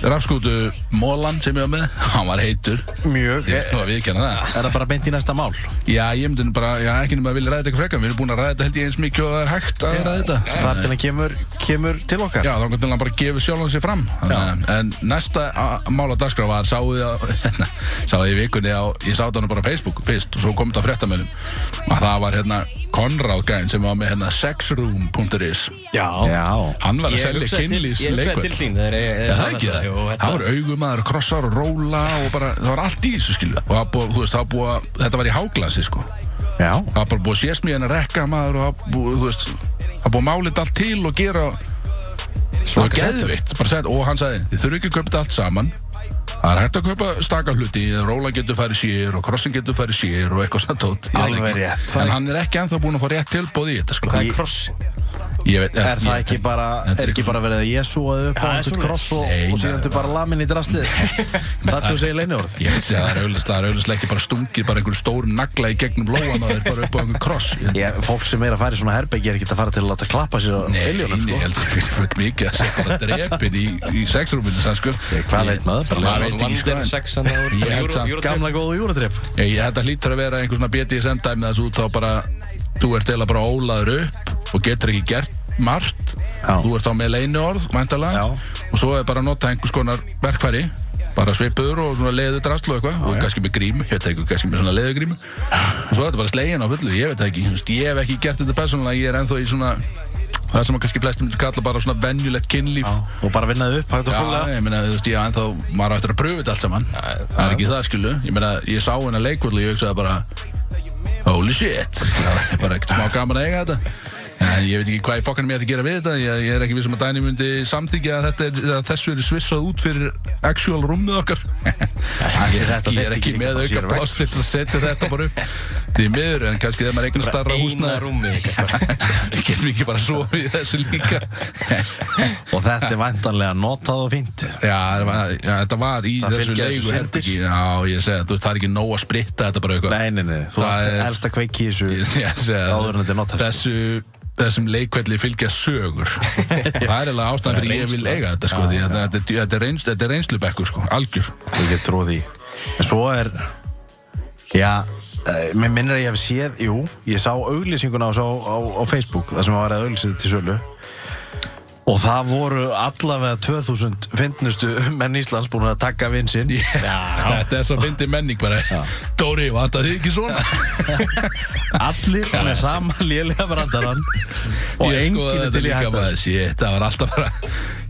A: Rafskútu Mólan sem ég var með Hann var heitur
C: mjög
A: Ég
C: Er
A: ætla að viðkjanna það
C: það bara beint í næsta mál?
A: Já, ég myndi nú bara, já, ekki nema að vilja ræða þetta eitthvað frekar Við erum búin að ræða þetta held ég eins mikið og það er hægt að ræða þetta
C: Þar til hann kemur, kemur til okkar?
A: Já, þá kannski hann bara gefið sjálfan sér fram Þannig að- En næsta a- mál á dagskrá var Sáðu á, *laughs* sáðu í vikunni á Ég sáði hann bara á Facebook fyrst Og svo kom þetta á fréttamöðlum Að það var hérna Konráð gæn sem var með hérna sexroom.is
B: Já.
C: Já.
A: Hann var að
B: Ég
A: selja
B: hugsaði til-
A: kynlýs
B: Ég hugsaði til þín þegar ég
A: Já,
B: sá
A: það er ekki
B: þetta.
A: það.
B: Jú, þetta-
A: Það voru augumæður, krossar og róla og bara, það var allt í þessu skilu. Og það búið, þú veist, það búið, að- þetta var í háglasi sko.
C: Já.
A: það var bara búið að sést mér en að rekka maður og það búið, þú veist, það búið að málit allt til og gera svo geðvitt, bara sett, og hann sagði þið þurfum ekki að kaupa þetta allt saman það er hægt að kaupa staka hluti rólan getur farið sér og krossin getur farið sér og eitthvað svona tótt Ég veit
C: Alveg
A: ekki.
C: rétt.
A: en hann er ekki ennþá búin að fá rétt tilbúð í þetta sko.
B: Hvað
A: Ég-
B: er krossin?
A: ég veit-
C: Er það
A: ég-
C: ekki bara,
A: Þetta
C: er ekki bara verið að Jésu að upp á
B: það er
C: einhvern
B: svoleiðis.
C: kross og,
A: Nei,
C: og
A: nei,
C: síðan þú bara lamin í *laughs* draslið? það er þú segir leinjórð.
A: ég veit að það er auðvitað það er auðvitað ekki bara stungið bara einhver stór nagla í gegnum lóan og það er bara upp á einhver kross Ég-
C: Ég, fólk sem er að fara í svona herbergi er ekki að fara til að láta klappa sér á
A: Nei,
C: eljónum
A: nei,
C: sko.
A: ég held að það er fullt mikið að setja bara drepin í, í sexrúminu sann sko
C: Ég, hvað veit maður? Bara
A: Maður veit ekki sko
B: Vandinn
A: en-
B: sexan á
A: Ég held samt
C: Gamla góðu júratripp.
A: Ég, ég, þetta hlýtur að vera einhver svona BDSM dæmi þessu út þá bara þú ert eiginlega bara ólaður upp og getur ekki gert margt
C: Já.
A: þú ert þá með leiniorð, væntalega
C: Já.
A: og svo er bara að nota einhvers konar verkfæri bara svipur og svona leðu drastl og eitthvað og kannski með grímu, ég veit ekki, kannski með svona leðu grímu og svo er þetta bara slegin á fullu, ég veit það ekki Þú veist, ég hef ekki gert þetta persónulega, ég er ennþá í svona það sem að kannski flestum myndir kalla bara svona venjulegt kynlíf
C: Og bara vinnaði upp, hægt og
A: Já,
C: húlega.
A: ég meina, þú veist, ég ennþá maður á eftir að pröfu þetta allt saman Það er ekki það, skilu Ég meina, ég sá hennar leikvöld og ég hugsaði bara Holy shit *laughs* Það er bara ekkert smá gaman að eiga þetta En ég veit ekki hvað ég fokkanum ég ætti að gera við þetta Ég, ég er ekki vissum að Dæni myndi samþykja að, þetta er, að þessu er svissað út fyrir actual rúmið okkar *laughs* Ég er ekki, ég er ekki með auka pláss til þess að setja þetta bara upp Því miður, en kannski þegar maður eignar starra *laughs*
B: Eina
A: húsnaður
B: rúmi
A: Ég getum ekki bara sofið í þessu líka *laughs*
C: Og þetta er væntanlega notað og fínt.
A: Já, það var- já, þetta var í
C: Það
A: þessu
C: fylgja þessu
A: leigu
C: syndir.
A: herbyggi Já, ég segi það, þú veist, það er ekki nóg að spritta þetta bara eitthvað
C: Nei, nei, nei, þú
A: Það
C: ert
A: er-
C: elsta kveik í þessu.
A: *laughs* Ég segi það.
C: Áður en þetta er notað.
A: Þessu þessum leikvelli fylgja
C: *laughs*
A: sögur það er eiginlega ástæðan fyrir ég vil eiga þetta sko, því að þetta, þetta, þetta, er reyns, þetta er reynslubekkur sko, algjör
C: Ég get tróð því En svo er Já, eh, mér minnir að ég hef séð Jú, ég sá auglýsinguna á, á, á, á Facebook Það sem var að auglýsa til sölu Og það voru allavega 2000 finnustu menn Íslands búin að taka vinsinn
A: *laughs* þetta er svo fyndi menning bara Dóri, vantar þið ekki
C: *laughs*
A: svona?
C: Allir með sama lélega brandarann Og
A: Ég
C: enginn
A: skoðaði sko,
C: er
A: þetta
C: til í
A: líka
C: hættan
A: bara, shit, það var alltaf bara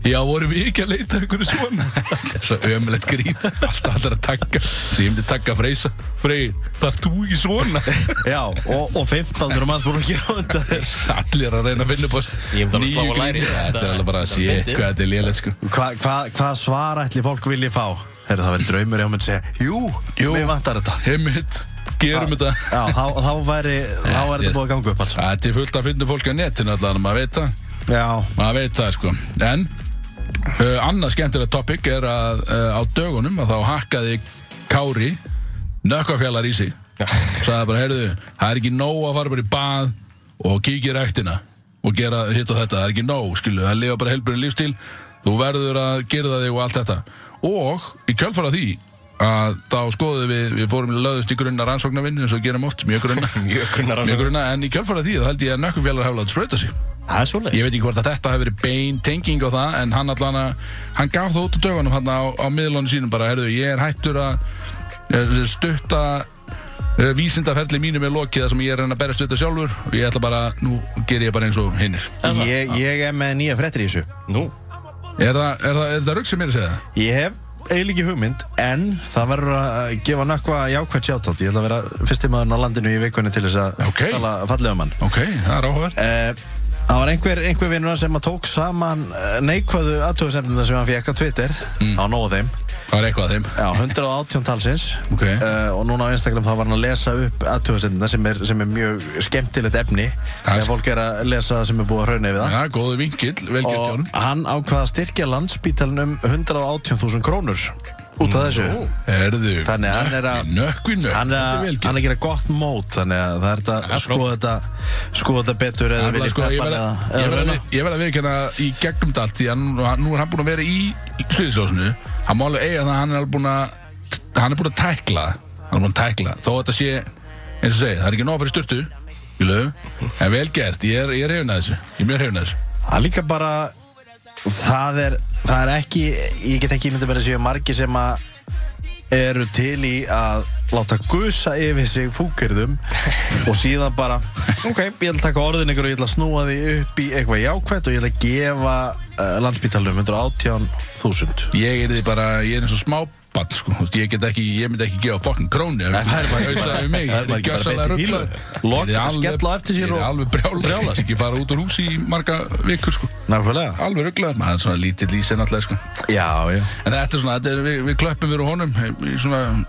A: Já, vorum við ekki að leita að einhverju
C: *laughs*
A: svona Þetta er svo ömulegt grín Alltaf allir að takka Svo ég myndi takka Freysa Freyr, þar þú ekki svona *laughs*
C: Já, og, og 1500 manns búin að gera á undan þér
A: Allir að reyna að finna upp á
B: Ég myndi alveg slá á
A: nýju
B: lærið.
A: gríni. Þetta er alveg bara,
B: Þetta er
A: shit,
B: fyndið.
A: hvað þetta er lélegt sko
C: Hvað hva, hva svar ætli fólk vilji fá? Herðu það verið draumur hjá mér að segja Jú,
A: Jú.
C: mér vantar þetta
A: Heimitt, gerum þetta
C: Já, þá, þá væri, þá væri þetta búið að ganga upp alls
A: Þetta er fullt að finna fólk á netinu allan Maður veit það
C: Já,
A: maður veit það sko en uh, annað skemmtilega topic er að uh, á dögunum að þá hakkaði Kári nökkafjallar í sig sagði bara, heyrðu, það er ekki nóg að fara bara í bað og kíkja í ræktina og gera hitt og þetta, það er ekki nóg skilu, það lifa bara helburinn lífstíl þú verður að gera þig og allt þetta og í kjölfara því að þá skoðum við, við fórum löðust í grunna rannsóknarvinni eins og við gerum oft, mjög grunna
B: *laughs* *laughs* Mjög grunnar
A: mjög grunna, en í kjölfara því þá held ég að nökkafjallar hafa látið sprauta sig
C: það er svolítið
A: Ég veit ekki hvort að þetta hefur verið bein tenging á það en hann allan að, hann gaf það út á dögunum hann á, á miðlunum sínum bara, herðu, ég er hættur að eh, stutta eh, vísindaferli mínu með lokið þar sem ég er að reyna að berjast við þetta sjálfur og ég ætla bara, nú ger ég bara eins og hinnir.
C: Ég, ég er með nýja frettir í þessu
B: Nú,
A: Er það, er það, er það rugg sem er að segja það?
C: Ég hef eiginlega ekki hugmynd En það verður að gefa nökkva jákvæmt sjátátt Ég ætla að vera fyrsti maðurinn á landinu í vikunni til þess að
A: Ok.
C: tala fallega um hann
A: Ok, það er áhugavert.
C: Eh, Það var einhver, einhver vinnur sem að tók saman eh, neikvæðu aðtöðsefnina sem hann fekk á Twitter mm. á nóðu þeim
A: Það er eitthvað að þeim.
C: Já, 118 talsins
A: Ok.
C: Eh, og núna á Instagram þá var hann að lesa upp aðtöðsefnina sem, er- sem er mjög skemmtilegt efni
A: Það er-
C: sem fólk er að lesa sem er búið að hrauna yfir það
A: Já, góðu vinkill, velgjört
C: og
A: Jón.
C: hann ákvaða að styrkja landsbítalinn um 118.000 krónur út af þessu
A: Herðu,
C: þannig að hann er að
A: nökkvi, nökkvi,
C: hann er, að,
A: velgjört.
C: hann er að gera gott mót þannig að það er þetta að skoða þetta skoða þetta betur eða
A: Nefnilega,
C: vilja
A: sko, ég
C: peppa
A: verð
C: eða,
A: að- ég
C: eða
A: verð
C: reyna
A: að- ég verð að viðkjanna í gegnum dalt því að nú, nú er hann búin að vera í, í sviðsljósinu hann má alveg eiga það að hann er alveg búin að hann er búin að tækla það. hann er búin að tækla það. þó að þetta sé eins og segi það er ekki nóg fyrir styrtu skilu, en vel gert ég er, ég er hefnað þessu ég er mjög hefnað þessu
C: Það er líka bara það er, það er ekki ég get ekki myndið bara að séu margir sem að eru til í að láta gusa yfir sig
B: *laughs*
C: fúkyrðum og síðan bara ok, ég ætla að taka orðin ykkur og ég ætla að snúa því upp í eitthvað jákvætt og ég ætla að gefa uh, landsbítalum 118.000
A: ég er því bara ég er eins og smábann sko Þú veist, ég get ekki ég myndi ekki gefa fokkin krónu ef
C: Nei, það er bara-
A: hausaði mig
C: það er bara ekki bara
A: gjörsamlega
C: beint í
A: ruglaður.
C: fílu. Loka,
A: Ég er alveg-
C: skella á eftir sér
A: ég er
C: og-
A: alveg brjálast ekki fara út úr húsi í marga vikur sko
C: Nákvæmlega
A: alveg rugglaður maður er svona lítill í sen alltaf sko
C: Já, já
A: En þetta er svona, þetta er, við, við klöppum fyrir honum í svona,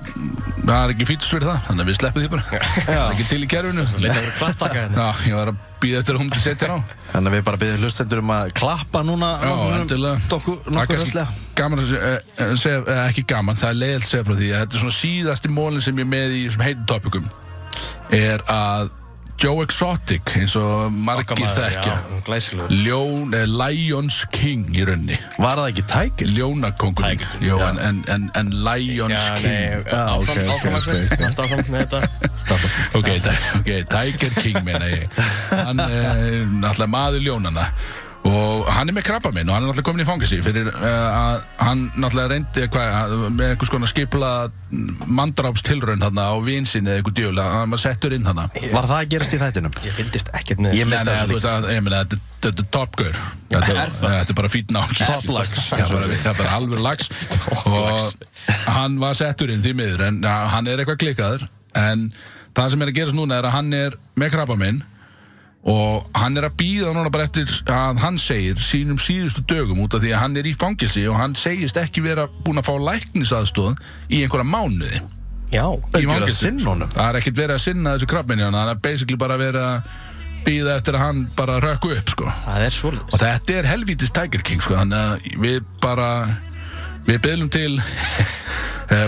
A: það er ekki fítust fyrir það þannig að við sleppum því bara það er ekki til í kerfinu
B: leita fyrir kvartaka hérna
A: Já, ég var að býða eftir að hún til setja hann á
C: Þannig að við bara byrjum hlustendur um að klappa núna
A: Já,
C: nokkrum sinnum.
A: endilega
C: Dokku-
A: Það er
C: Nokkur
A: kannski
C: röstlega
A: Gaman að segja, eh, eh, segja, eh, ekki gaman, það er leiðilt að segja frá því að þetta er svona síðasti mólin sem ég er með í þessum heitum topikum er að Joe Exotic eins og margir þekkja
B: Glæsilegur
A: Ljón, eh, Lions King í raunni
C: Var það ekki tækir?
A: Ljónakongurinn Jó, en, en, en, en Lions
B: Já,
A: King
B: nei,
C: Já,
B: áfram,
C: ok, ok,
B: áfram,
C: ok, ok.
B: áfram, áfram með þetta
A: Ok, Ti- ok, Tiger King meina ég Hann er náttúrulega maður ljónana og hann er með krabba minn og hann er náttúrulega komin í fangasi fyrir uh, að hann náttúrulega reyndi hva, með einhvers konar skipla mandrápstilraun þarna á vinsinni eða einhver djöfla, hann var settur inn þarna
C: Var það að gerast í þættinum?
B: Ég fylgdist ekkert með
C: Ég
A: Nei,
B: þessu.
C: misti
A: nei,
C: þessu
A: þú
C: líkt
A: veist að, ég meina, þetta er- þetta er topgaur
B: er
A: Þetta
B: það?
A: þetta er bara fýtna ákjör
C: Toplax,
A: Það er bara- það er bara alveg lags Og hann var settur inn því miður En ja, hann er eitthvað klikkaður En það sem er að gerast núna er að hann er með krabba minn Og hann er að býða núna bara eftir að hann segir sínum síðustu dögum út af því að hann er í fangilsi og hann segist ekki vera búin að fá læknisaðstóð í einhverja mánuði
B: Já
A: í
C: Ekki verið að
A: fangelsi.
C: sinna honum.
A: það er ekkert verið að sinna þessu krabbinni hann er basically bara verið að býða eftir að hann bara rökku upp sko.
B: Það er svolítið
A: og þetta *laughs* er helvítist Tiger King sko, þannig að við bara við byrjum til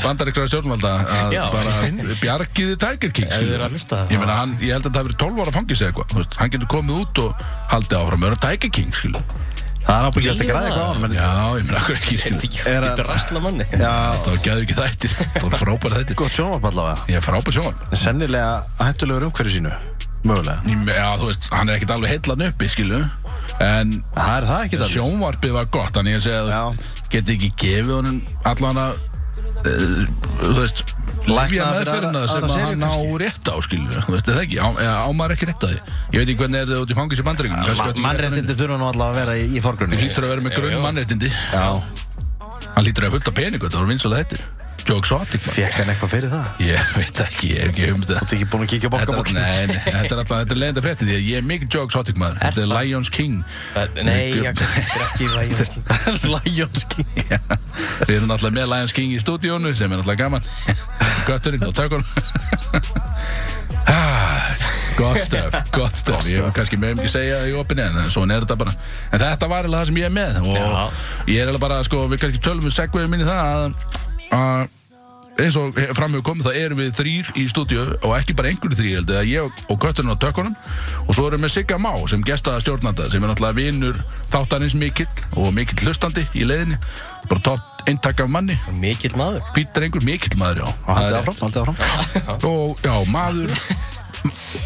A: bandaríkra stjórnvalda að
B: Já.
A: bara bjargiði Tiger King
B: Ef þið eru að hlusta
A: ég meina hann, ég held að það hafi verið 12 ára fangis eða eitthvað, þú veist, hann getur komið út og haldið áfram, vera Tiger King skilu
C: Það er ábyggilegt að græða eitthvað á hann
A: já, ég meina, akkur ekki reyndi ekki
C: Er
B: Þetta
C: hann-
B: er rasla manni
C: Já,
A: það var gæður ekki þættir, það var frábæra þættir
B: Sko.
C: gott sjónvarp allavega
A: ég er frábæra sjónvarp
C: Sennilega hættulegur umhverju sínu Mögulega
A: Ég me- já, þú veist, hann er ekkert alveg heillan uppi skilu, en
C: Það er það ekki það
A: sjónvarpið var gott þannig að segja að
C: Já.
A: geti ekki gefið honum allan að uh, þú veist
C: Lækna
A: lifja
C: fyrir
A: meðferðina
C: aðra-
A: sem
C: aðra
A: að
C: seríu
A: hann á
C: kannski.
A: rétt á skilju þú veist það ekki, á, eða á maður ekki rétt á því ég veit ekki hvernig er það út í fangis í
C: Ma-
A: bandaríkunum
C: Mannréttindi þurfa nú allavega að vera í, í forgrunni
A: hann hlýtur að vera með grunn mannréttindi
C: Já,
A: hann hlýtur að hafa fullt af peningu, það voru vinsulega þetta Jók Svartik maður.
C: fekk hann eitthvað fyrir það?
A: ég veit ekki, ég hef ekki hugmynd um
C: Þú ert ekki búin að kíkja
A: Þetta er, all-
C: bokkabókinu?
A: nei, nei, þetta er alltaf, þetta er leiðinda frétti því að ég er mikið Jók Svartik maður Þetta er
B: það?
A: Lions King
B: Nei, ég getur ekki ræðið
C: Læjónski
A: Já, Við erum náttúrulega með Lions King í stúdíónu sem er náttúrulega gaman *laughs* Götturinn og tökunum *laughs* Ah, Gott stöf, gott stöf Ég hef kannski með um ekki að segja það í opinni en svona er þetta bara En þetta var alveg það sem ég er með og ég er alveg bara, sko, við kannski tölum við segveðum inn í það að, að eins og fram hefur komið þá erum við þrýr í stúdíu og ekki bara einhverju þrýr heldur að ég og kötturinn og tökkunum og svo erum við Sigga Má sem gestaða stjórnanda sem er náttúrulega vinur þáttarins mikill og mikill hlustandi í leiðinni bara topp eintak af manni
B: Mikill maður
A: býtt drengur mikill maður já
C: Og
A: Það
C: haldið
A: er-
C: áfram, haldið áfram
A: og já, maður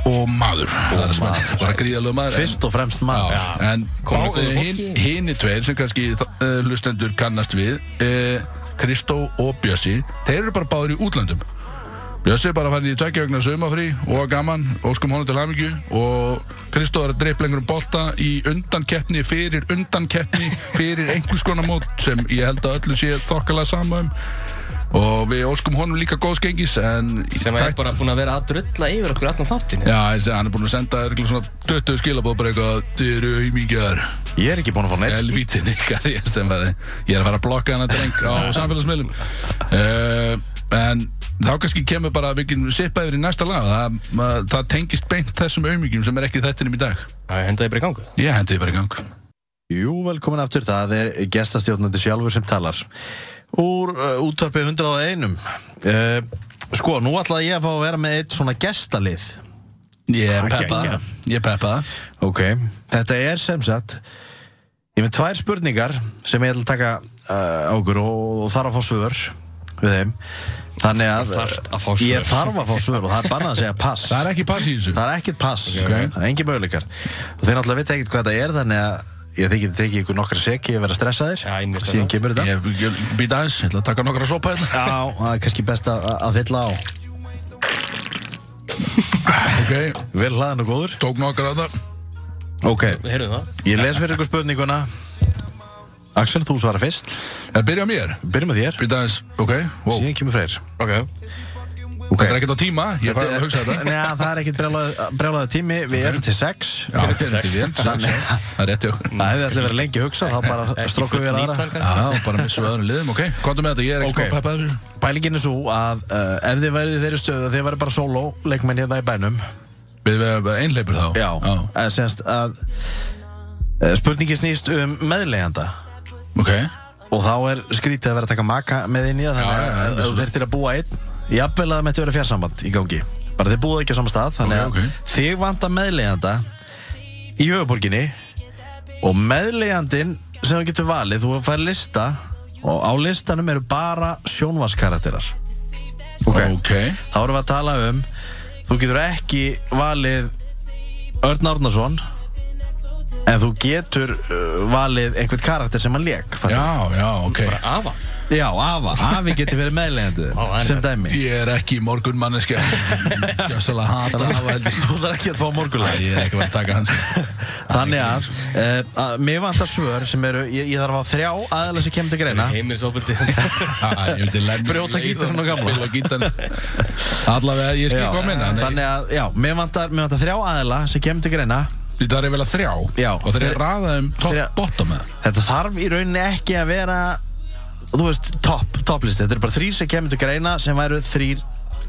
C: *laughs*
A: og maður það er sem hann er, bara gríðalög maður en-
C: Fyrst og fremst mann
A: Já, en
B: Komið góðu fólki.
A: hinn hin tveir sem kannski uh, hlustendur kannast við uh, Kristó og Bjössi þeir eru bara báður í útlöndum Bjössi er bara farin í tveggja vegna saumafrí og gaman, óskum honum til hamingju og Kristó er að dreip lengur um bolta í undankeppni, fyrir undankeppni fyrir einhvers konar mót sem ég held að öllum sé þokkalega sama um og við óskum honum líka góðs gengis en
B: Sem er bara búin að vera að drulla yfir okkur allan þáttinu
A: Já, þessi, hann er búin að senda örugglega svona 20 skilabóð bara eitthvað, þið eru auðmíkjar
C: Ég er ekki búin að fá neitt
A: helvítin ykkar ég er, sem var, ég er að fara að blokka hana dreng *laughs* á samfélagsmiðlum uh, en þá kannski kemur bara við getum sippa yfir í næsta lag það, ma- það tengist beint þessum auðmyggjum sem er ekki í þættinum í dag
B: Það hendaði bara í gangu
A: ég hendi því bara í gang
C: Jú, velkomin aftur, það er gestastjórnandi sjálfur sem talar Úr uh, útvarpið 101 uh, Sko, nú ætlaði ég að fá að vera með eitt svona gestalið
A: ég er
C: Ekki,
A: peppa,
C: ekki.
A: ég peppa
C: Ok Þetta er sem sagt Ég er með tvær spurningar sem ég ætla að taka uh, á okkur og, og þarf að fá svör við þeim Þannig að,
B: Þarft að fá svör.
C: ég þarf að fá svör og það er bannað að segja pass
A: það er ekki pass í þessu
C: Það er ekkert pass,
A: Ok.
C: það er engin möguleikar og þeir náttúrulega veit ekkert hvað þetta er þannig að ég þykir tekið ykkur nokkra seki að vera stressaðir
B: Já, ég mista
C: síðan
B: það.
C: kemur þetta
A: ég, ég býta aðeins, ég ætla að taka nokkra sopa *laughs* hérna
C: Já, það er kannski best að, að fylla á
A: ok,
C: Vel hlaðan og góður
A: tók nokkra að það
C: Ok,
B: Heyrðu það
C: ég les fyrir ykkur spurninguna Axel, þú svara fyrst
A: en Eh, byrja á mér,
C: Byrjum með þér,
A: býta aðeins, ok, wow
C: síðan kemur freyr
B: Ok
C: Ok,
A: þetta er ekkert á tíma, ég fara að hugsa þetta
C: Nei, það er ekkert brjálaðu tími Við erum til sex
A: Já, þetta er ekki vel, sex, já. það er rétt í okkur
C: Það hefði alltaf verið lengi að hugsa þá bara
B: Ekki
C: strókum við
B: full
C: aðra
B: nýtar, kannski?
A: Já, bara missum við öðrum liðum, ok Kontum með þetta, ég er ekki
C: Ok.
A: okay. peppa þessu
C: Pælingin er svo að uh, ef þið værið í þeirri stöðu að þið værið bara sóló leikmenn hérna í bænum
A: Við við einleipur þá
C: Já, að semst að eh, spurningin snýst um meðlegjanda
A: Ok,
C: og þá er skrítið að vera að taka maka með inn í það
A: Já, já, já,
C: þannig að
A: þetta er
C: ef þú þurftir að búa einn jafnvel að það mætti vera fjarsamband í gangi bara þið búið ekki á sama stað þannig
A: Ok, ok.
C: að þig vanta meðlegjanda í höfuborginni og meðlegjandin sem þú getur valið, þú fær lista og á listanum eru bara sjónvarskarakterar
A: ok,
C: þá erum við að tala um þú getur ekki valið Örn Árnason en þú getur uh, valið einhvern karakter sem hann lék fattar?
A: Já, já, ok
B: Bara afa
C: já, Afa, Afi getur verið meðlegendu
B: Á, hann er-
C: sem dæmi
A: Ég er ekki morgun manneskja
C: *laughs*
A: Gjössalega hata hafa heldur
C: þú þarf ekki að fá morgulag
A: Ég er ekki verið að taka sko. hans
C: þannig að, uh, að mér vantar svör sem eru, ég, ég þarf að fá þrjá aðalega sem kemur til greina
B: Heimilisofbeldi
A: ah, Ég
C: *laughs*
A: vildi lenn
C: Brjóta gítarinn og gamla.
A: Brjóta gítarinn Allavega, ég skil
C: Já,
A: komin Þannig
C: þannig að, já, mér vantar, mér vantar þrjá aðalega sem kemur til greina
A: Það er vel að þrjá
C: Já,
A: Og þeir
C: þrjá-
A: raðaðum top
C: þrjá-
A: bottom með
C: þetta þarf í rauninni ekki að vera þú veist, topp, topplisti þetta er bara þrýr sem kemur til greina sem væru þrýr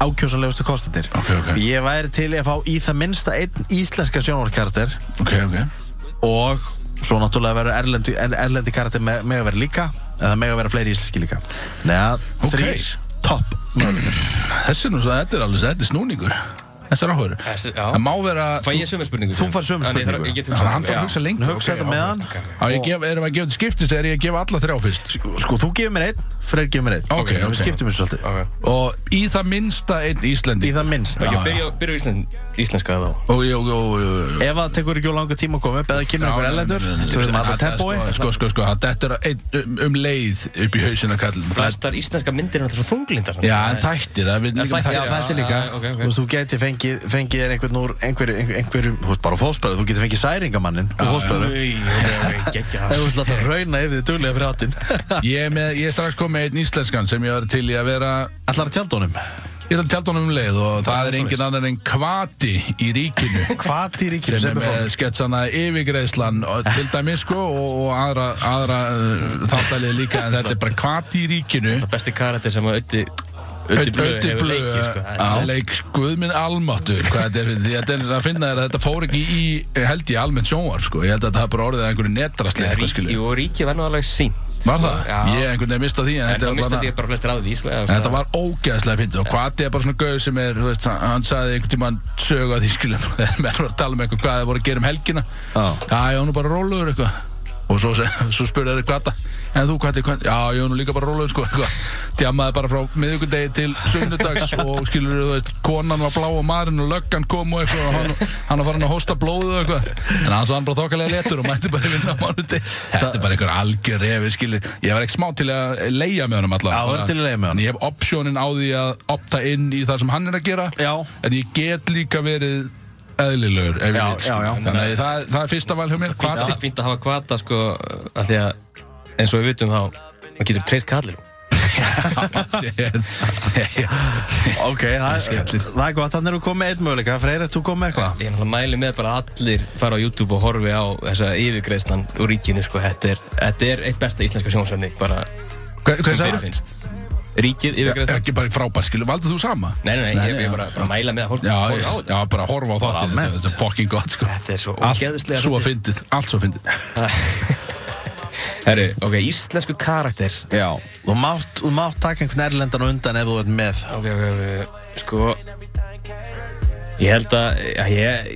C: ákjósanlegustu kostandir
A: Ok, ok.
C: ég væri til í að fá í það minnsta einn íslenska sjónvarkarter
A: Ok, ok
C: og svo náttúrulega verður erlendi, erlendi karakter með, með að vera líka eða með að vera fleiri íslenski líka Nei, að
A: Ok.
C: þrýr topp möguleikar?
A: Þessi er nú svo, þetta er alveg, þetta er snúningur Þessar áhverju
B: Þessi- já.
A: Það má vera
B: Fæ ég sömu spurningu?
C: Þú fær
B: Nei,
C: sömu
B: ég
C: spurningu.
B: þarf- Ég get
A: Þannig að
B: hugsað
A: hann
B: um
A: fær að
B: það.
A: hugsa
C: Nú
A: lengur
C: hugsa þetta með hann
A: Á, ég gef, erum við að gefa þetta skiptist eða er ég að gefa alla þrjá fyrst
C: Sko, þú gefur mér einn, Freyr gefur mér einn
A: Ok, ok.
C: Við skiptum þessu svolítið
B: Ok.
A: Og í það minnsta einn Íslandi
C: Í það minnst
B: Ég byrja byrja á íslens, íslenska þá
A: Og ég, og og- og
C: Ef það tekur ekki á langa tíma að koma upp eða kemur einhver ellendur Þú veist maður að tempói
A: Sko, sko, sko, sko, þetta er einn um, um leið upp í hausina kallin Það er,
B: Flestar íslenska myndir er alltaf svo þunglindar
A: já, en þættir það er við líka með
B: þættir,
C: Já,
A: þættir.
B: Já,
C: þetta er líka
B: já, ok, ok.
C: Þú veist, þú geti fengið fengið þér einhvern úr einhverju, einhverju, einhverju þú veist, bara fóspæðu, þú geti fengið særingamannin og fóspæðu
B: Nei, nei, geggja
C: Ef þú ætla að rauna yfir þið duglega fyrir *laughs* áttin
A: Ég er, með, ég er strax komið með einn íslenskan sem ég var til í að vera
C: Ætlar að tjálda honum
A: Ég ætla að tjálta honum um leið og það er engin annar en kvati í *laughs* ríkinu
C: Hvað til ríkjum
A: sem er
C: sem er
A: með
C: fólk?
A: sketsana yfirgreðslan
B: *laughs*
A: og- til dæmis sko og, og aðra, aðra uh, þáttalið líka en þetta er bara kvati í ríkinu
B: Það besti karakter sem að Ötti Ötti Blöð
A: Ötti
B: hefur leikið sko. Það
A: blöð
B: er-
A: leik Guðminn Almáttu hvað þetta er, þetta er að finna er að þetta fór ekki í held ég almennt sjónvarp sko ég held að það hafi bara orðið að einhverju netrasli
B: Ríki-
A: eitthvað skilju
B: Jú, Ríki var nú alveg sínt
A: var það?
B: sko, Já.
A: ég einhvern veginn mista því en,
B: En
A: þetta er
B: þá
A: allavega-
B: mistaði ég bara flestir af því sko, eða,
A: Þetta
B: veist,
A: var ógeðslega fyndið og hvað er bara svona gauð sem er, þú veist, hann- hann sagði einhvern tímann sögu að því skilum *laughs* þegar menn var að tala með eitthvað hvað það voru að gera um helgina
C: Já.
A: Já, ég var nú bara róluður eitthvað og svo, seg- *laughs* svo spurði þeir hvað en þú hvað hvað, já, ég var nú líka bara róluður sko *laughs* eitthvað, djamaði bara frá miðvikudegi til
C: *laughs*
A: sunnudags og skilur þú veist konan var blá og marinn og löggan kom og eitthvað og hann, hann var farin að hósta blóðu og eitthvað en hans var hann bara þokkalega léttur og mætti bara í vinnu á mánuði þetta er bara einhver algjör refi skilur, ég var ekki smá til að leia með honum allavega
C: Já, þú ert til að leigja með honum.
A: En ég hef optionin á því að opta inn í það sem hann er að gera
C: Já.
A: en ég get líka verið eðlilegur ef
C: Já,
A: ég vil
C: já, já.
A: þannig að það, það er fyrsta val hjá mér
B: Fínt
A: hvað
B: að- Fínt að hafa kvata sko af Því að eins og við vitum þá Það getur treyst kallir
C: Ok, það er, það er gott, þannig erum við komið með einn möguleika Freyr, ert þú komið með eitthvað?
B: Ég náttúrulega mæli með bara að allir fara á YouTube og horfi á þessa yfirgreðslan úr ríkinu sko. þetta, er, þetta er eitt besta íslenska sjónsefni bara
A: hvað
B: sem
A: sagði
B: þeir
A: það?
B: finnst Ríkið
A: er
B: yfirgreðslan
A: ekki bara frábær skilu, valdur þú sama?
B: Nei, nei, nei, ég,
A: já.
B: ég bara, bara mæla með að fólk
A: Já,
B: horfi
A: ég,
B: á þetta
A: já, bara horfa á þáttin
C: almennt.
A: þetta er fucking gott sko
B: Þetta er svo
A: allt
B: ógeðslega
A: svo
B: fyndið.
A: fyndið allt svo
B: *laughs*
A: fyndið
B: Herru, ok, íslensku karakter
C: Já Þú mátt, þú mátt taka einhvern erlendan á undan ef þú ert með
B: Ok, ok, ok, sko Ég held að, já, ég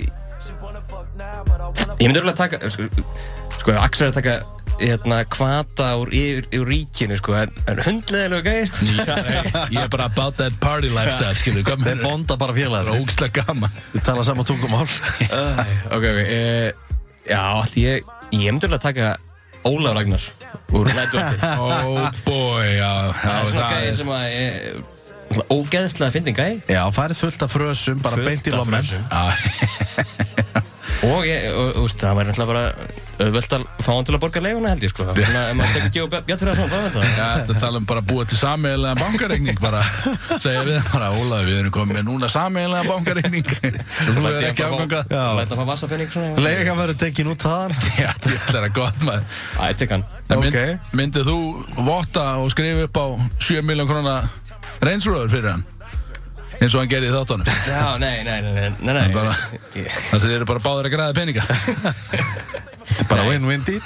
B: Ég myndi örugglega að taka, sko, sko Axel er að taka hérna kvata úr, yfir, yfir ríkinu sko, en, en hundleðilega gæði sko.
A: ég er bara about that party lifestyle skilu, hvað
C: Þeir
A: með það?
C: bonda bara
A: Það
C: félagar
A: er ógstlega
B: *laughs*
A: gaman
C: Þið tala saman tungumál
B: Æ, Ah, ok, ok e, Já, allt ég Ég myndi alveg að taka Ólaf Ragnar Úr *laughs* Lædótti
A: oh boy, já, já
B: Það er svona
A: það
B: gæði
A: er
B: sem að ég, svona Ógeðslega fyndi gæði
C: Já, farið fullt af frösum, bara
B: Fullt
C: beint í
B: af
C: lommen
B: frösum.
A: Já,
B: Og ég, og, og, úst, það væri náttúrulega bara Öðvöld að fá hann til að borga leiguna held ég sko Þannig að ef maður tekur ekki og bjáttur að svona Það er
A: Já, þetta tala um bara að búa til sameiginlega bankareikning bara, segja við hann bara Ólaði, við erum komið með núna sameiginlega bankareikning sem þú er ekki ágangað
B: Já Læta að fá vassafinning svona
C: Leika verður tekin út þaðan
A: *laughs* Já, þetta er að gott maður
B: Æ, ég tek hann
A: En mynd,
C: Ok.
A: Myndið þú votta og skrifa upp á 7 miljón krona reynsröður fyrir hann eins og hann gerði í þáttunum
B: Já, nei, nei, nei, nei, nei, nei.
A: bara-
B: Ég-
A: Þannig að þið eru bara báðir að græða peninga
C: Þetta er bara win-win deal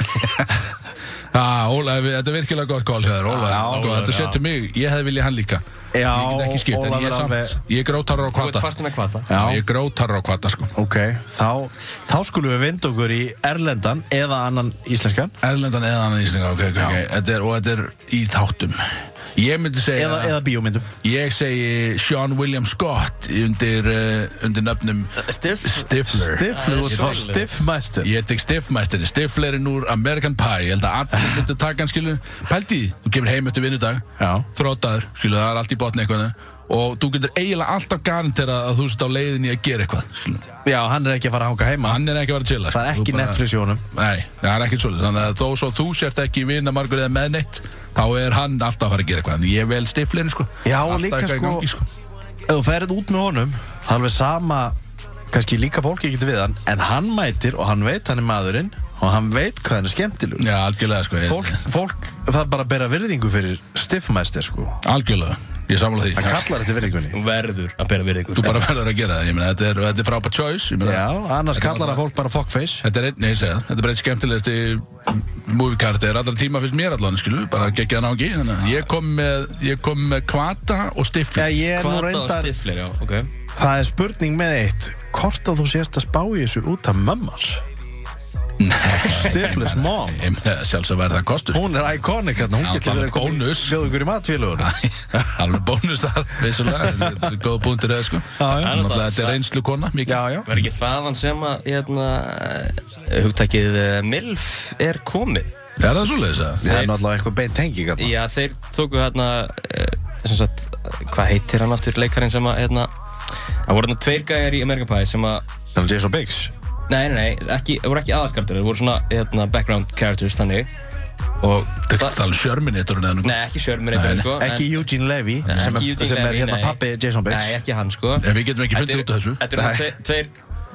A: Já, Ólaði, þetta er virkilega gott kól hér Ólaði,
C: Já,
A: sko,
C: Ólafur,
A: þetta
C: já.
A: setur mig, ég hefði viljað hann líka
C: Já,
A: Ég get ekki skipt, en
C: Ólafur
A: ég er
C: alveg-
A: samt Ég grótar á
B: Þú ert
A: kvata
B: fastur með kvata
A: Já, ég grótar á kvata, sko
C: Ok, þá, þá skulum við vinda okkur í erlendan eða annan íslenskan
A: Erlendan eða annan íslinga, ok, ok, ok þetta er, Og þetta er í þáttum Ég myndi segja
C: Eða, eða bíómyndum
A: Ég segi Sean William Scott undir, uh, undir nöfnum
B: Stiff
A: Stifler
C: Stiff, þú ert frá stiff mæstur
A: Ég tek Stiffmæstinni, Stiflerinn úr American Pie Ég held að
C: *laughs*
A: allir myndu taka hann skilu Pældi, því, þú kemur heim eftir vinnudag
C: Já.
A: Þrótaður, skilu, það er allt í botni eitthvað eh. Og þú getur eiginlega alltaf garantera að þú sett á leiðinni að gera eitthvað skilu.
C: Já, hann er ekki að fara að hanga heima
A: Hann er ekki að sko. vera til
C: Það er ekki Netflix í honum
A: Nei, það er ekkert svolítið Þannig að þó svo þú sért ekki vinna margur eða með neitt Þá er hann alltaf að fara að gera eitthvað En ég vel stifleiri sko
C: Já,
A: Alltaf
C: líka,
A: eitthvað í
C: sko-
A: gangi, sko.
C: ef þú ferð út með honum það er alveg sama kannski líka fólki getur við hann en hann mætir og hann veit hann er maðurinn og hann veit hvað hann er skemmtilegur
A: Já, algjörlega sko ég,
C: fólk, fólk þarf bara að bera virðingu fyrir stiffmæstir sko
A: Algjörlega, ég samla því
C: hann kallar þetta virðingunni
B: Þú verður að bera virðingu sko.
A: Þú bara verður að gera það Ég meina, þetta er, þetta er frábært choice ég meina,
C: já, annars
A: Þetta er
C: kallar hann
A: bara-
C: fólk bara fuckface
A: Þetta er einn, nei, ég segja það. Þetta er bara einn skemmtilegasti moviecard er allra tíma fyrst mér allan skilu, bara geggja hann á ekki þannig að ég kom með, ég kom með kvata og stifli
C: Já, ég er nú
B: Kvata og
C: reyndar
B: stiflir, já, ok
C: Það er spurning með eitt Hvort að þú sért að spá í þessu út af mömmars? Stiflis mom
A: sjálfsög verða kostur
C: Hún er iconic hérna, hún
A: Já,
C: getur
A: það er
C: verið að koma í-
A: bónus.
C: bjóða ykkur í matfélugur
A: alveg bónus þar, vissulega en þetta er góð punktur eða sko
C: já.
A: Náttúrulega, þetta er reynslu kona, mikið
C: Já, já
B: Var ekki þaðan sem að hérna, eh, hugtakið eh, MILF er komið?
A: er það svoleiðis að
C: Það er náttúrulega eitthvað beint tengi hérna
B: Já, þeir tóku hérna, eh, sem sagt, hvað heitir hann aftur leikarinn sem að, hérna, það voru hérna tveir gæjar í American Pie sem að,
C: Það er Jason Biggs
B: nei, nei, nei, ekki, það voru ekki aðalkardir, það voru svona, hérna, background characters þannig og,
A: Þetta er ekki alveg sjörminatorinn eða nú
B: nei, ekki Sherman
A: Nei,
B: eitthvað,
A: nei.
B: sko, en-
C: Ekki Eugene Levy
B: Nei,
C: sem,
B: ekki
C: er,
B: Eugene
C: sem er
B: Levy,
C: hérna
B: nei.
C: pappi Jason Biggs
B: Nei, ekki hann, sko.
A: En við getum ekki
B: Þetta
A: fundið
B: eru-
A: út af þessu.
B: Þetta eru
C: Nei.
B: tveir, tveir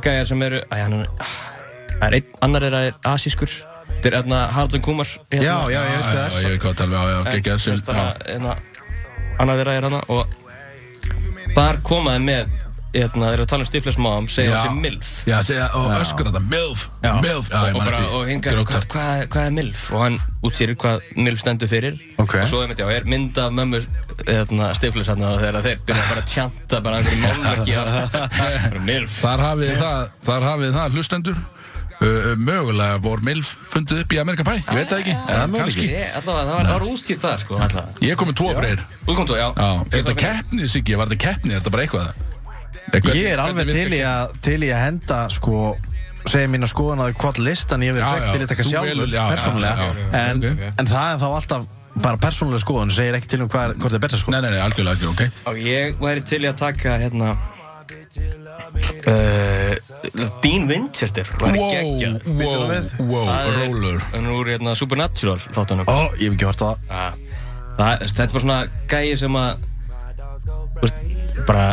B: gæjar sem eru, æ, hann er, ah, það er einn, annar er að er asískur, þetta er hérna Harlan Kumar, hérna,
C: Já, já, ég veit hvað það
A: Já,
C: er
A: ég veit hvað að tala, já, já, geggja þessu
B: sem
A: já.
B: stara hérna annað þeirra er hana og þar komaði með hérna þeirra að tala um Stifles Mom segja
A: Já.
B: hann sem MILF
A: Já, segja, og öskra þetta, MILF, MILF Já, ég
B: og,
A: man
B: bara, og hingar
A: Grótart.
B: hvað, hvað, hvað er MILF og hann útsýrir hvað MILF stendur fyrir
C: Ok.
B: og svo einmitt já, er mynd af mömmu hérna, Stifles hann þegar þeir byrja bara að tjanta bara einhverjum málverki af- bara MILF
A: Þar hafið þið það, þar hafið þið það hlustendur Uh, uh, mögulega vor MILF fundið upp í Amerikan Pie, ég veit það ekki,
C: það er
A: en
C: möguleiki.
A: kannski
B: Ég- allavega það var, það var útsýrt það sko allavega
A: Ég kom með tvo freyr Já,
B: útkomt þú, já,
A: er þetta keppni, Siggi, var þetta keppni, er þetta bara eitthvað Eitthvað-
C: Ég er alveg
A: hvernig
C: til í
A: virkar-
C: að, til í að henda sko segja mína skoðan á því hvort listan ég hef
A: Já,
C: verið frekk
A: já,
C: til í taka
A: þú
C: sjálfur
A: velur- já, já,
C: persónulega
A: já, já, já,
C: en,
A: ok.
C: en það er þá alltaf bara persónulega skoðan segir ekki til um hvað, hvort það er betra
A: Nei,
C: skoðan
A: nei, nei, algjörlega, algjörlega, ok
B: Og ég væri til í að taka hérna uh, Dean Winchester væri wow. geggjað
A: Wow,
C: Býtum við.
A: wow, wow,
B: Það er-
A: roller
B: Hann er úr hérna Supernatural þáttunum
C: Ó, ég hef ekki hort á það
B: Það, það, þetta er bara svona gæi sem að þú veist, bara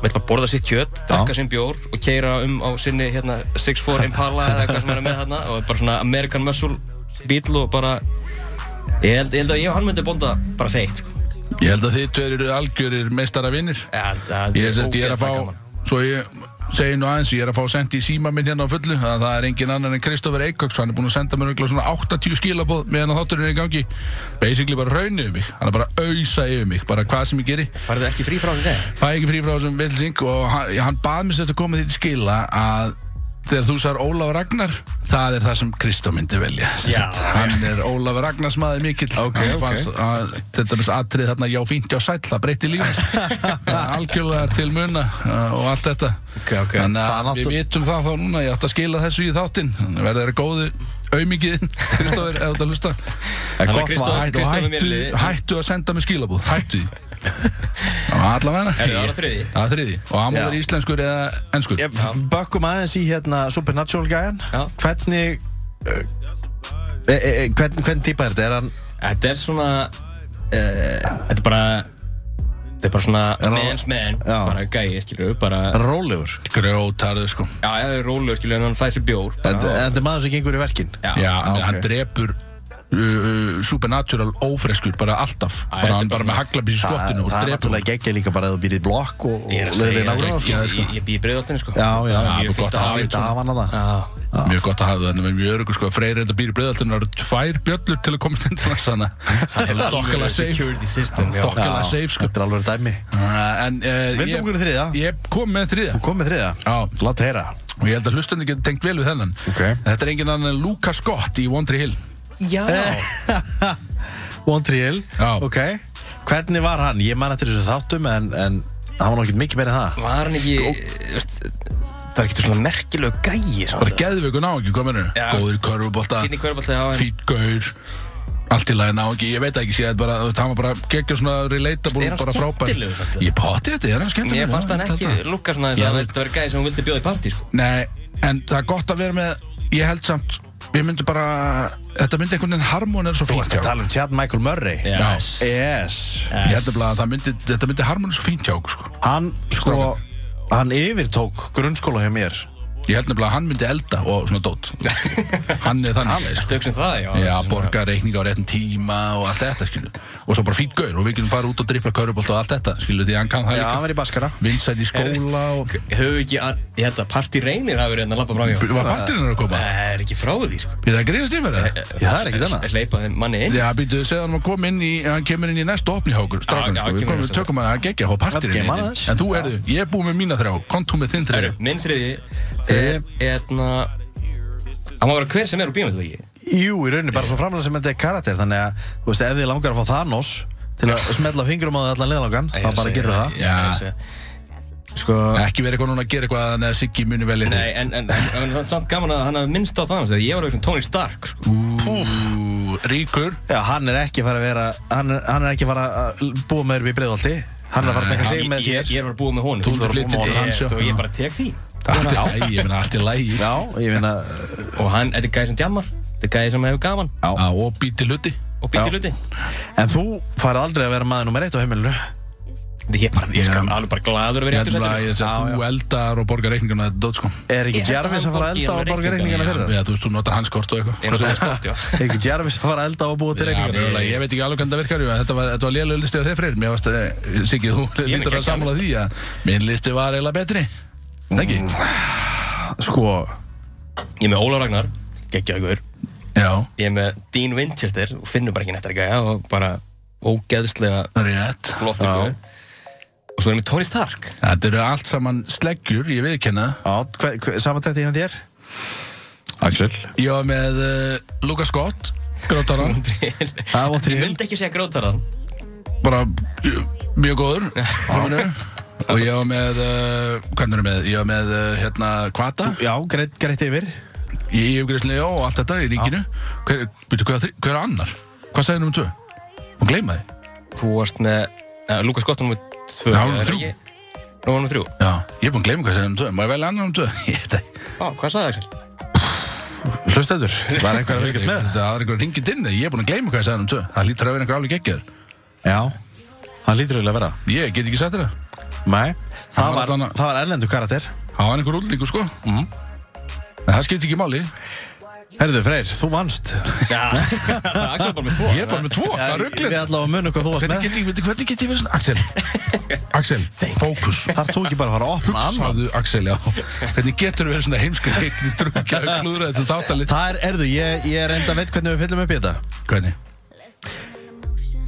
B: veit bara borða sitt kjöt, drakka sinn bjór og keira um á sinni hérna 6-4 Impala eða eitthvað sem er með þarna og bara svona American Muscle bíl og bara ég held, ég held að ég og hann myndi bonda bara feitt sko.
A: Ég held að þið tveir eru algjörir meistara vinnir
B: ja,
A: Ég er, sérst, ég er að fá, svo ég segi nú aðeins, ég er að fá sendi í síma minn hérna á fullu að það er engin annar en Kristoffer Eikoks hann er búin að senda mér örugglega svona 80 skilaboð meðan að þátturinn er í gangi basically bara raun yfir mig, hann er bara að ausa yfir mig bara hvað sem ég geri,
B: farðu ekki frí frá því þegar
A: fæ ekki frí frá þessum villsing og hann, hann bað mér sérst að koma því til skila að þegar þú sær Ólaf Ragnar það er það sem Kristó myndi velja sem
B: Já.
A: sagt, hann er Ólaf Ragnars maður mikill
C: Ok,
A: Hann
C: ok.
A: fannst að, þetta með atrið þarna já fínt já sæll það breytti
C: *laughs*
A: líf algjörlega til muna uh, og allt þetta
C: Ok, ok.
A: þannig
C: Það er
A: að við
C: náttúr-
A: vitum það þá núna ég átt að skila þessu í þáttinn þannig verður þeirra góði *laughs* auðmikið Kristóður ef þetta hlusta
C: En
B: Þannig að
C: gott
B: Kristó-
C: var
A: hættu,
B: Kristoffer
A: hættu,
B: Milli-
A: hættu að senda mér skilabúð hættu því Það var allavega
B: Er það var að þriði?
A: Það er þriðji og hann
C: Já.
A: verður íslenskur eða ennskur
C: Ég Bökkum aðeins í hérna Supernatural gæjan
B: Já.
C: Hvernig uh, e, e, e, hvern, Hvern típa er þetta? Er hann
B: Þetta er svona eh, Þetta er bara Þetta er bara svona
C: hann-
B: man's man
C: Já.
B: Bara gæi, skilur bara
C: er hann rólegur?
A: Grjótarðu sko
B: Já, já, það er rólegur, skilur En hann fæði sér bjór bara,
C: Þetta þetta er maður sem gengur í verkin
B: Já,
A: Já,
C: ah, ok.
A: hann drepur uh, uh, Supernatural ófreskur bara alltaf
B: Æ,
A: bara
B: þetta er
A: hann bara
B: bara
A: með
B: svona-
A: haglabís í
C: Það,
A: skottinu og
C: það er
A: drepur
C: náttúrulega geggja líka bara að þú býr í blokk og,
B: Ég er
C: og
B: að segja,
C: leiðir
B: ég,
C: nágrunum sko.
B: ég, ég, ég bý í breiðaltinu, sko
C: Já, já,
A: Já,
B: Mjög
A: bara
B: fínt
A: gott
B: að
A: að
B: hafa
A: hafa
C: Þetta hafa hann að það
B: Já,
A: Mjög gott að hafa það, en við mjög öryggur sko að Freyr enda býr í breiðaltinu það eru tvær bjöllur til að komast inn til þess hana Það er þokkala safe
B: Security system, já
A: Þokkala
C: Já,
A: safe sko
C: Þetta er alveg dæmi
A: Uh, En uh,
C: Vindum okkur í þriðja.
A: Ég kom með þriða
C: Komið þriða
A: Já,
C: Látt heyra
A: og ég held að hlustandi getur tengt vel við þennan
C: Ok.
A: Þetta er engin annan en Luka Scott í Wondry Hill
B: Já,
C: One Trill
A: Já.
C: Ok Hvernig var hann? Ég man eftir þessu þáttum en, en hann var nokkið mikið meira en það
B: var hann
C: Sko.
B: ekki eh, veist, Það er ekki svona merkilegu gæi
A: Bara geðveikur ná ekki, kominu
B: Já.
A: Góður í körfubolta
B: Fínni kvörbalt Já, en
A: fýtt gaur Allt í lagi ná ekki, ég veit það ekki sé þetta bara, þú veist, hann var bara geggjur svona relatable,
B: Er hann
A: bara frábær
B: skemmtilegur samt?
A: Ég pati þetta, er hann skemmtilegur
B: Mér
A: já,
B: fannst hann
A: ég held
B: ekki
A: það.
B: lukka svona eins
A: Já,
B: og
A: þú-
B: að Þetta var gæi sem hún vildi bjóða í partí, sko
A: Nei, en það er gott að vera með, ég held samt, ég myndi bara, þetta myndi einhvern veginn harmonera svo
C: Þú
A: fínt
C: ert að
A: hjá
C: tala um Chad Michael Murray
B: Yes.
C: Yes
A: Ég held nefnilega að það myndi, þetta myndi harmonera svo fínt hjá okkur, sko
C: Hann sko
A: Strákar.
C: Hann yfirtók grunnskóla hjá mér
A: Ég held nefnilega að hann myndi elda og svona
B: *laughs*
A: dót Hann er þannig sko.
B: Ertu auksum það, já?
A: Já,
B: Svona-
A: borga reikninga á réttum tíma og allt þetta, skilju Og svo bara fýtt gaur og við getum fara út og dripla körubolt og allt þetta, skilju Því að hann kann það
C: Já,
A: líka
C: hann verið í Baskara
A: Vinsæl í skóla og
B: Höfum við ekki að, ég held að Parti Reynir hafi verið hérna að labba fram hjá
A: Var parturinn að koma?
B: Það er ekki frá því, sko
A: Er það að grínast yfir það?
C: Já, það er ekki þarna
B: Leipa þeim manni inn
A: Já, býtu, segðu hann að koma inn í, hann kemur inn í næstu opni hákur, strákan,
B: Já, já,
A: sko, við
B: kemur
A: komum,
B: inn,
A: tökum hann að gegja á partirinn.
C: Þetta kemur aðeins.
A: En þú erðu, ég er búið með mína þrjá, kontu með þinn þrjá.
B: Herru, Minn þriði
C: Eh.
B: er, hérna Það má vera hver sem er úr bíómið, ekki?
C: Jú, í rauninni, bara svo framlega sem þetta er karakter Þannig að, þú veist, ef þið langar að fá Thanos Til að smella fingrum á þig allan leðalangan Þá bara gerur það
A: Já.
B: Já Sko
A: Ekki verið eitthvað núna að gera eitthvað að neða Siggi muni vel í þig.
B: Nei, en, en, en, en það er samt gaman að hann hafi minnst á það Þegar ég var auðvitað Tony Stark, sko
A: Ú, Ríkur.
C: Já, hann er ekki fara að vera Hann er, hann er ekki fara að búa með þér í breiðvaldi Hann er að fara að taka
B: Ég,
C: þig
B: ég,
C: með
B: ég,
C: sér
B: ég var búið með honum
A: Þú ert flytjandi
B: Ég-
A: hans, já.
B: sko, Ég bara tek því
A: Allt í lagi, ég meina allt í lagi.
C: Já, ég finna
B: Og hann, þetta er gæði sem djammar Þetta er gæði sem hefur gaman
C: Já.
A: Á, Og býti hluti.
B: Og býttir
C: Já.
B: hluti
C: En þú farið aldrei að vera maður nummer eitt á heimilinu
B: Ég er bara, ég
A: Já.
B: skal alveg bara gladur að vera
A: Ég
B: í sko.
A: held bara að
B: aftursætinu
A: ég sé að þú eldar og borgar reikninguna þetta dót, sko.
C: Er ekki
B: Ég held að
C: Jarvis
B: hann
C: að fara
B: borgi
C: að elda og
B: alveg
C: borga reikningana fyrir hann?
A: Já, þú veist, þú notar hans kort og eitthvað.
B: Ég er bara skott, já
C: Er ekki Jarvis að fara að elda og búa til
A: Já,
C: reikningana?
A: mögulega, ég veit ekki alveg hvernig það virkar jú, en þetta var, þetta var lélega listi á þeir freyr Mér varst, eh, Siggi, þú
B: Ég er
A: lítur
B: ekki
A: að
B: að
A: samla því að minn listi var eiginlega betri Það ekki?
B: Mm.
C: Sko,
B: *laughs* Ég er með Óla Ragnar, geggjagur
A: Já,
B: Ég er með Dean Winchester og finnur bara ekki nættar gæja og bara ógeðslega
A: rétt
B: flottur gæja Og svo er ég með Tony Stark
A: Þetta eru allt saman sleggjur, ég viðkenna
C: á, hva, hva, samantætti hjá þér? Axel
A: Ég var með uh, Luka Scott, grótaran
C: Það er vondur í
B: Ég
C: hund
B: myndi ekki segja grótarðan
A: Bara eh, mjög góður kominu. Og ég var með, uh, hvernig erum með? Ég var með, uh, hérna, Kvata
C: Já, greitt, greitt yfir
A: Í yfgriðslega og allt þetta í ríkinu Hver, byrju, hver, hver, hver er annar? Hvað sagði nummer tvö? Hún gleyma því?
B: Þú varst með uh, Lukas Gott nummer 2
A: Já, hann var þrjú.
B: Nú var nummer 3
A: Já, ég er búinn að gleyma hvað sem um tvö, má ég velja annan um tvö? *laughs* Ég veit það ekki.
B: Á, hvað sagði Axel?
C: Hlustendur, var einhver að fylgjast með?
A: Það er einhver ringið inn, ég er búinn að gleyma hvað sem um tvö. Það lítur að vera einhver alveg geggjaður.
C: Já, hann lítur eiginlega að vera
A: Ég get ekki sagt þér það.
C: Nei, það
A: var
C: var,
A: allan að-
C: það var erlendu karakter
A: Það var einhver útlendingur sko.
C: Mhm.
A: En það skiptir ekki máli.
C: Herðu Freyr, þú vannst
A: *laughs*
B: Já, Axel var bara með 2
A: Ég er bara með tvo, það er
C: Við
A: rugglir.
C: allavega munum hvað þú varst
A: Hvernig
C: með
A: get ég, veitir, hvernig get ég verið svona, *laughs* Axel? Axel, fókus.
C: Þar þú ekki bara að fara að opna annan
A: Hugsaðu, Axel, já. Hvernig getur þú verið svona heimskur heikni, drukja, klúðra þetta dátalið?
C: Það er, erðu, ég, ég er enda veit hvernig við fyllum upp í þetta
A: Hvernig?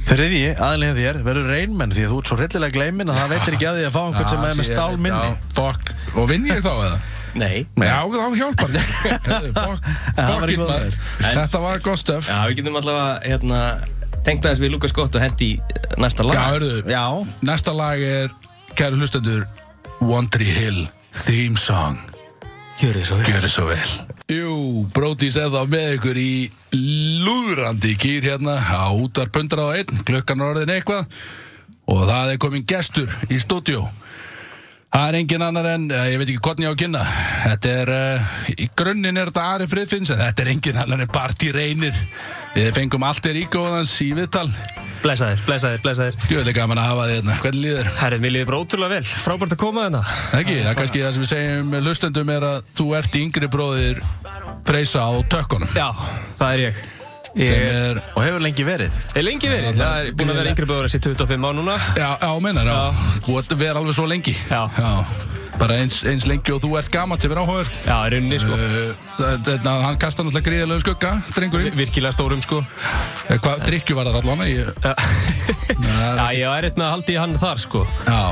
C: Þriði, aðlega þér, verður reynmenn því að þú ert svo hryllilega gleyminn að það veitir ekki að því að fá einhvern sem er
A: Ah,
C: með
A: shit,
C: stál minni
A: já, Fuck, og vinn ég þá eða?
B: Nei
A: Já, þá hjálpar
C: *laughs* En það var
A: þetta
C: ekki góður.
A: Þetta var gott stöf
B: Já, við getum allavega, hérna Tengt aðeins við Lukas Gott og hendi eh, næsta lag
A: Já, hörðu,
C: Já,
A: næsta lag er Kæru hlustendur, Wandry Hill Theme Song
B: gjör þið svo vel
A: Gjörðu svo vel Jú, Brótis eða með ykkur í lúðrandi kýr hérna á útarpundra og einn, klukkan er orðin eitthvað og það er komin gestur í stúdjó Það er engin annar en, eh, ég veit ekki hvernig ég á að kynna Þetta er, uh, í grunninn er þetta Ari Friðfinns en þetta er engin annar en Barti Reynir Við fengum allt er ígóðans í viðtal
D: Blessaðir, blessaðir, blessaðir.
A: Gjöðlega gaman að hafa þið hérna, hvernig líður?
D: Herri, mér líður bara ótrúlega vel. Frábært að koma hérna. þarna.
A: Ekki, það er kannski það sem við segjum hlustendum er að þú ert yngri bróðir Freysa á tökkunum
D: Já, það er ég. Ég
A: sem
D: er,
A: er,
C: og hefur lengi verið
D: er lengi verið. Það er búin að vera yngri bróður þessi 25 á núna.
A: já, já, meinar, já þú ert að vera alveg svo lengi
D: Já.
A: bara eins, eins lengi og þú ert gamalt sem er áhugavert
D: Já, í rauninni sko.
A: Uh, þetta, hann kastar náttúrulega gríðilegu skugga drengurinn,
D: Virkilega stórum sko.
A: Eh, hvað drikkju var það allan eh, ég,
D: Já,
A: er-
D: *laughs* Já, ég var eitt með að halda í hann þar sko.
A: já,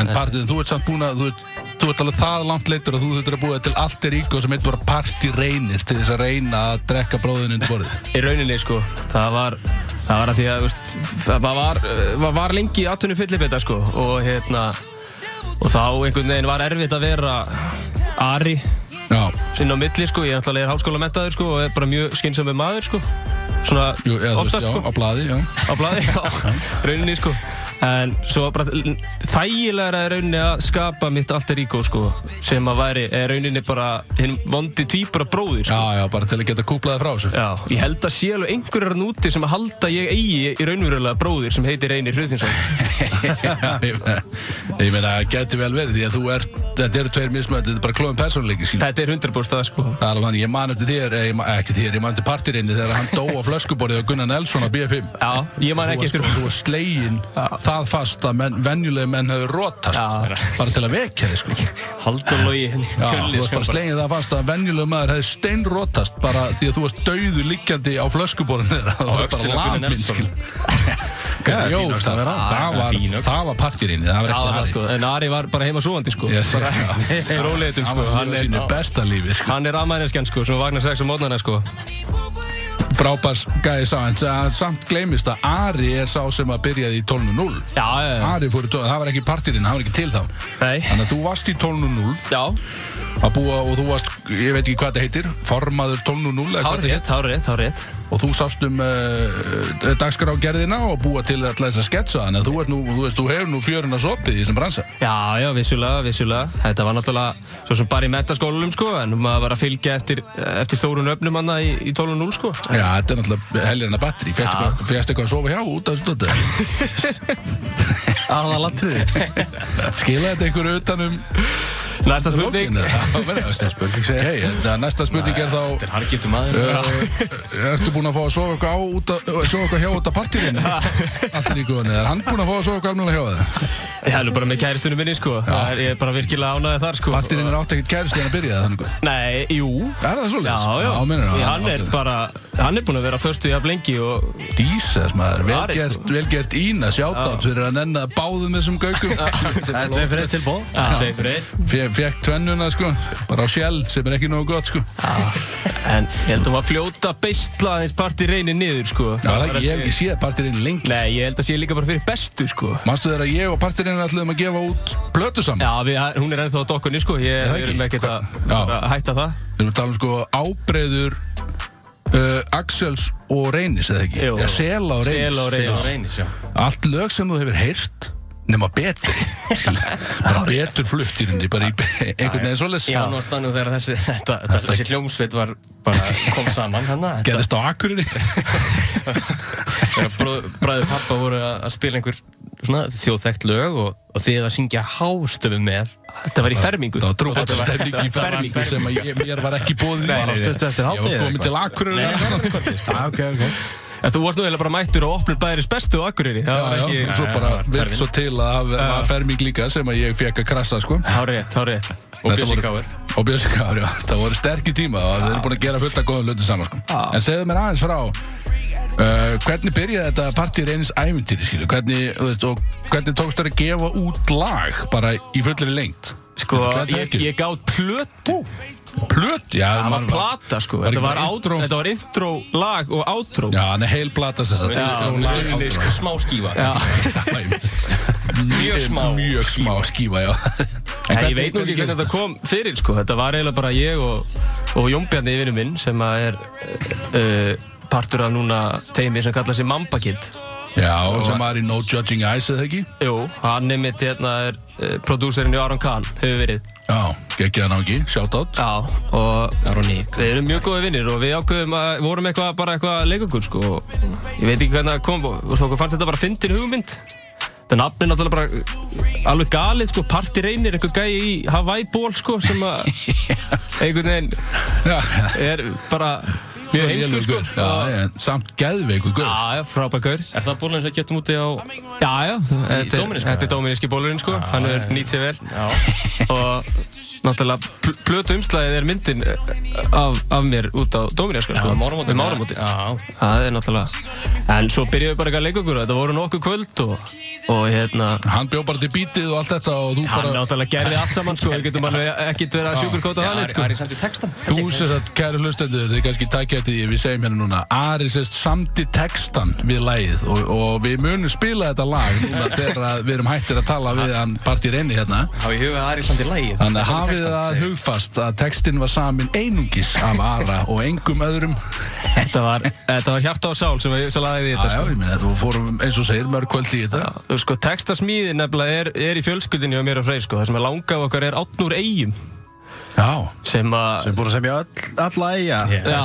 A: en partið, þú ert samt búin að þú ert, þú ert alveg það langt leitur að þú þurftur að búa til allt er íkvæð sem heit bara parti reynir til þess að reyna að drekka bróðinu í borðið
D: Í rauninni sko. Það var, það var að því að, veist, það var, uh, var, var lengi aðtunni fyllibita sko. Og hérna, og þá einhvern veginn var erfitt að vera Ari
A: já,
D: sinna á milli sko, ég náttúrulega er háskóla mentaður sko og er bara mjög skynsami maður sko svona
A: jú, já, þú
D: oftast
A: veist, já,
D: sko
A: á blaði *laughs* já.
D: á blaði, á rauninni sko En svo bara þægilegra er rauninni að skapa mitt alter ego sko sem að væri, er rauninni bara hinn vondi tvíbara bróðir sko.
A: Já, já, bara til að geta kúplaði frá þessu
D: Já, ég held að sé alveg einhverjar núti sem að halda að ég eigi í raunverulega bróðir sem heitir Einir Hruðinsson
A: *laughs* Já, ég meina- ég meina, það getur vel verið því að þú ert, þetta eru tveir mismönd þetta er bara klóðum persónuleiki, skil
D: Þetta er 100% það sko
A: Það er alveg þannig, ég man eftir þér, eh, ég man- ekki þér, ég man eftir partirinn þegar hann dó á flöskuborðið á Gunnar Nelson á BFM
D: Já, ég man ekki eftir
A: Þú var slegin það fast að menn, venjulegi menn hefur rótast
D: Já.
A: bara til að vekja þig, sko
B: Haldur logi hérna,
A: Já, þú varst bara slegin það fast að venjulega maður hefði steinrótast bara því að þú varst dauður liggjandi á flöskuborðinu þeirra Það var bara
B: öxlina Gunnar
A: lamin,
B: Nelson.
A: skil Hvernig
C: fín
A: jók
C: öxl að
A: það
C: vera að.
A: það var,
B: Fín öxl.
A: það var partirinn, það var
D: *laughs* Já,
A: ekki
D: það
A: Ari.
D: sko, en Ari var bara heima svoandi sko
A: Yes,
D: Bara
A: já. *laughs*
D: rólegheitum,
A: Hann
D: sko
A: var
D: Hann
A: á
D: er,
A: sínu besta lífi, sko
D: hann er afmæðinskjan sko sem vagnar sex á mótnana sko
A: Frábærs gæði sá, en sa- samt gleymist að Ari er sá sem að byrjaði í 12.0
D: Já, já, já
A: Ari fór í 12, það var ekki partirinn, það var ekki til þá
D: Nei,
A: Þannig að þú varst í 12.0
D: já,
A: að búa og þú varst, ég veit ekki hvað þetta heitir formaður 12.0 eða hvað
D: hár
A: þetta
D: rétt, hár rétt, hár rétt
A: og þú sást um uh, dagskrágerðina og búa til alltaf þess að sketsa þannig að þú, ert nú, þú, veist, þú hefur nú fjöruna sopið í þessum bransa
D: Já, já, vissulega, vissulega. Þetta var náttúrulega svo sem bara í metaskólanum, sko, en maður var að fylgja eftir, eftir stórun öfnum hann í, í 12.0, sko.
A: Já, þetta er náttúrulega helgirna batteri Férst
D: Já.
A: eitthvað, fékkstu eitthvað að sofa hjá út af þessu dottir
C: Aðalatriði
A: Skila þetta einhverju um utanum
D: Næsta spurning.
A: Næsta spurning segja okay, þetta Næsta spurning er
B: Þetta
A: þá
B: er hargiftur maður
A: Uh, ertu búinn að fá að sofa eitthvað á út að, sofa eitthvað hjá út af partíinu allir í guðunni, er hann búinn að fá að sofa eitthvað almennilega hjá það?
D: Ég hef nú bara með kæristunum minni, sko. Já. Ég er bara virkilega ánæðið þar, sko.
A: Partíinu er átt ekkert kærist en að byrja það
D: Nei, jú.
A: Er það
D: Já,
A: svolítið?
D: já.
A: minnur
D: Ég, hann er bara, hann er búinn að vera förstu í að blengi og
A: Dísas maður,
D: Ari, sko.
A: velgert, velgert Ína sjáttátt fyrir að nenna báðum þessum gaugum
C: Það er tvei fyrir einn tilbóð
B: Tveimur einn
A: Fe- Fekk tvennuna sko, bara á sjæl sem er ekki nógu gott sko Já,
D: en ég held að hún var fljóta beistla aðeins parti reynir niður, sko.
A: það ekki, ég hef ekki séð partirinn lengi
D: Nei, ég held að sé líka bara fyrir bestu, sko.
A: Manstu þegar að ég og partirinn ætluðum að gefa út plötu saman?
D: Já, við, hún er ennþá á dokkunni, sko. Ég,
A: það
D: við
A: ekki.
D: erum ekkert að
A: Já.
D: að hætta það.
A: Við erum að tala um sko ábreyður uh, Axels og Reynis eða ekki?
D: Jú.
A: Já, Sela og Reynis
D: Sela og Reynis.
B: Tveimur einn sjá
A: Allt lög sem þú hefur heyrt nema betur bara
D: *laughs*
A: betur flutt í rauninni, bara í einhvern veginn svoleiðis
B: Ég var nú á stannu þegar þessi, *laughs* þetta, þetta, þessi hljómsveit var bara kom saman hann Þegar
A: gerðist á
D: *laughs*
A: Akureyri
B: bróð- bræður pappa voru að að spila einhver svona þjóðþekkt lög og, og þið að syngja hástöfum með
D: Þetta var í fermingu.
A: Það var
B: Þetta
A: dróttu
B: var-
A: stefning í
B: þetta var
A: fermingu
B: fermingu.
A: sem að ég, mér var ekki bóðin
D: Nei,
A: var á
D: nei, nei.
A: stuttu
C: Stuttu
A: Ég
C: eftir
A: var
C: hádegi
A: komin til Akureyri eða eitthvað.
C: Ah, ok, ok
D: En þú varst nú eiginlega bara mættur og opnur bæðiris bestu á Akureyri Það
A: Já,
D: var
A: já,
D: ekki
A: Svo bara
B: var
A: vilt
B: ferming.
A: svo til að það var ferming líka sem að ég fekk að krassa sko
D: Há rétt, há rétt
A: Þetta
B: Bjössi
A: voru-
B: Káir.
A: Og Bjössi Káur, já Það voru sterkir tíma og við erum búin að gera fullt af góðum hlutum saman sko
D: Já.
A: En segðu mér aðeins frá Uh, hvernig byrjaði þetta partí reynis ævintýri skilu? Hvernig, þú veist, og hvernig tókst þér að gefa út lag bara í fullri lengt?
D: Sko,
A: Þetta er
D: ég,
A: ekki-
D: ég gátt plötu
A: Plöt? Já,
D: Það var
A: man-
D: plata, sko
A: var
D: Þetta
A: ekki
D: var,
A: bara
D: átro,
A: intro?
D: þetta var intro, lag og átro
A: Já, hann er heil plata sem sagt
D: Já,
A: Lag-
D: rauninni,
A: átro.
B: sko, smá skífa
D: *laughs* Já.
A: mjög
B: smá
A: mjög smá skífa já.
D: En ég veit nú ekki hvernig þetta kom fyrir, sko Þetta var eiginlega bara ég og, og Jónbjarni yfirinu minn sem að er uh, partur af núna teimi sem kallar sig Mamba Kid
A: já, sem var í No Judging Eyes eða ekki
D: Jú, hann er mitt hérna er uh, prodúserinn í Aron Kahn, hefur verið
A: já, geggjaðan á ekki, shout out
D: Já, og
B: Aroni
D: Við erum mjög góði vinnir og við ákveðum að vorum eitthvað bara eitthvað leikungur sko og ég veit ekki hvernig það kom og og okkur fannst þetta bara fyndin hugmynd Það nafn er náttúrulega bara alveg galið sko, party reynir, einhver gæi í Hawaii ból sko sem
A: *laughs*
D: að einhvern veginn
A: já,
D: *laughs* er bara mjög heimskur sko
A: já, en samt geðveiku gaur
D: Já, já, frábær gaur
B: Er það bólinn sem getum úti á
D: Já, já, þetta er,
B: Dóminíska?
D: þetta er dominíski bólurinn sko, hann er nýtt sér vel
B: Já
D: og náttúrulega pl plötu umslæðið er myndin eh, af, af mér út á dominíska sko,
B: Um áramótin
D: um áramótin
B: Já
D: Það er náttúrulega En svo byrjuðum við bara eitthvað að leika okkur Þetta voru nokkuð kvöld og, og hérna
A: hann bjó bara til bítið og allt þetta og þú
D: Hann
A: bara
D: náttúrulega gerði allt saman sko Við getum alveg ekkert verið að sjúkurkóta það neitt
B: Ari,
D: sko
B: Ari sendi textan
A: Þú sérst að, kæri hlustendur, þið kannski takk eftir því við segjum hérna núna Ari sérst samdi textan við lagið og, og við munum spila þetta lag
D: *laughs*
A: núna þegar að við erum hættir að tala við hann partýr einni hérna
B: Há ég huga að Ari sendi lægi
A: Þannig að hafið það hugfast að textin var samin einungis af Ara og engum öðrum
D: Þetta var, þetta var hjarta og sál sem ég sem lagði í
A: Já,
D: þetta
A: já, ég meina, þetta fórum eins og segir mörg kvöld í þetta.
D: sko. sko textasmíðin nefnilega er, er í fjölskyldinni og mér og Freyr sko Það sem er langað okkar er átnúr eigum
A: Já,
D: sem að
C: Sem búin að semja öll, alla ægja
D: Já,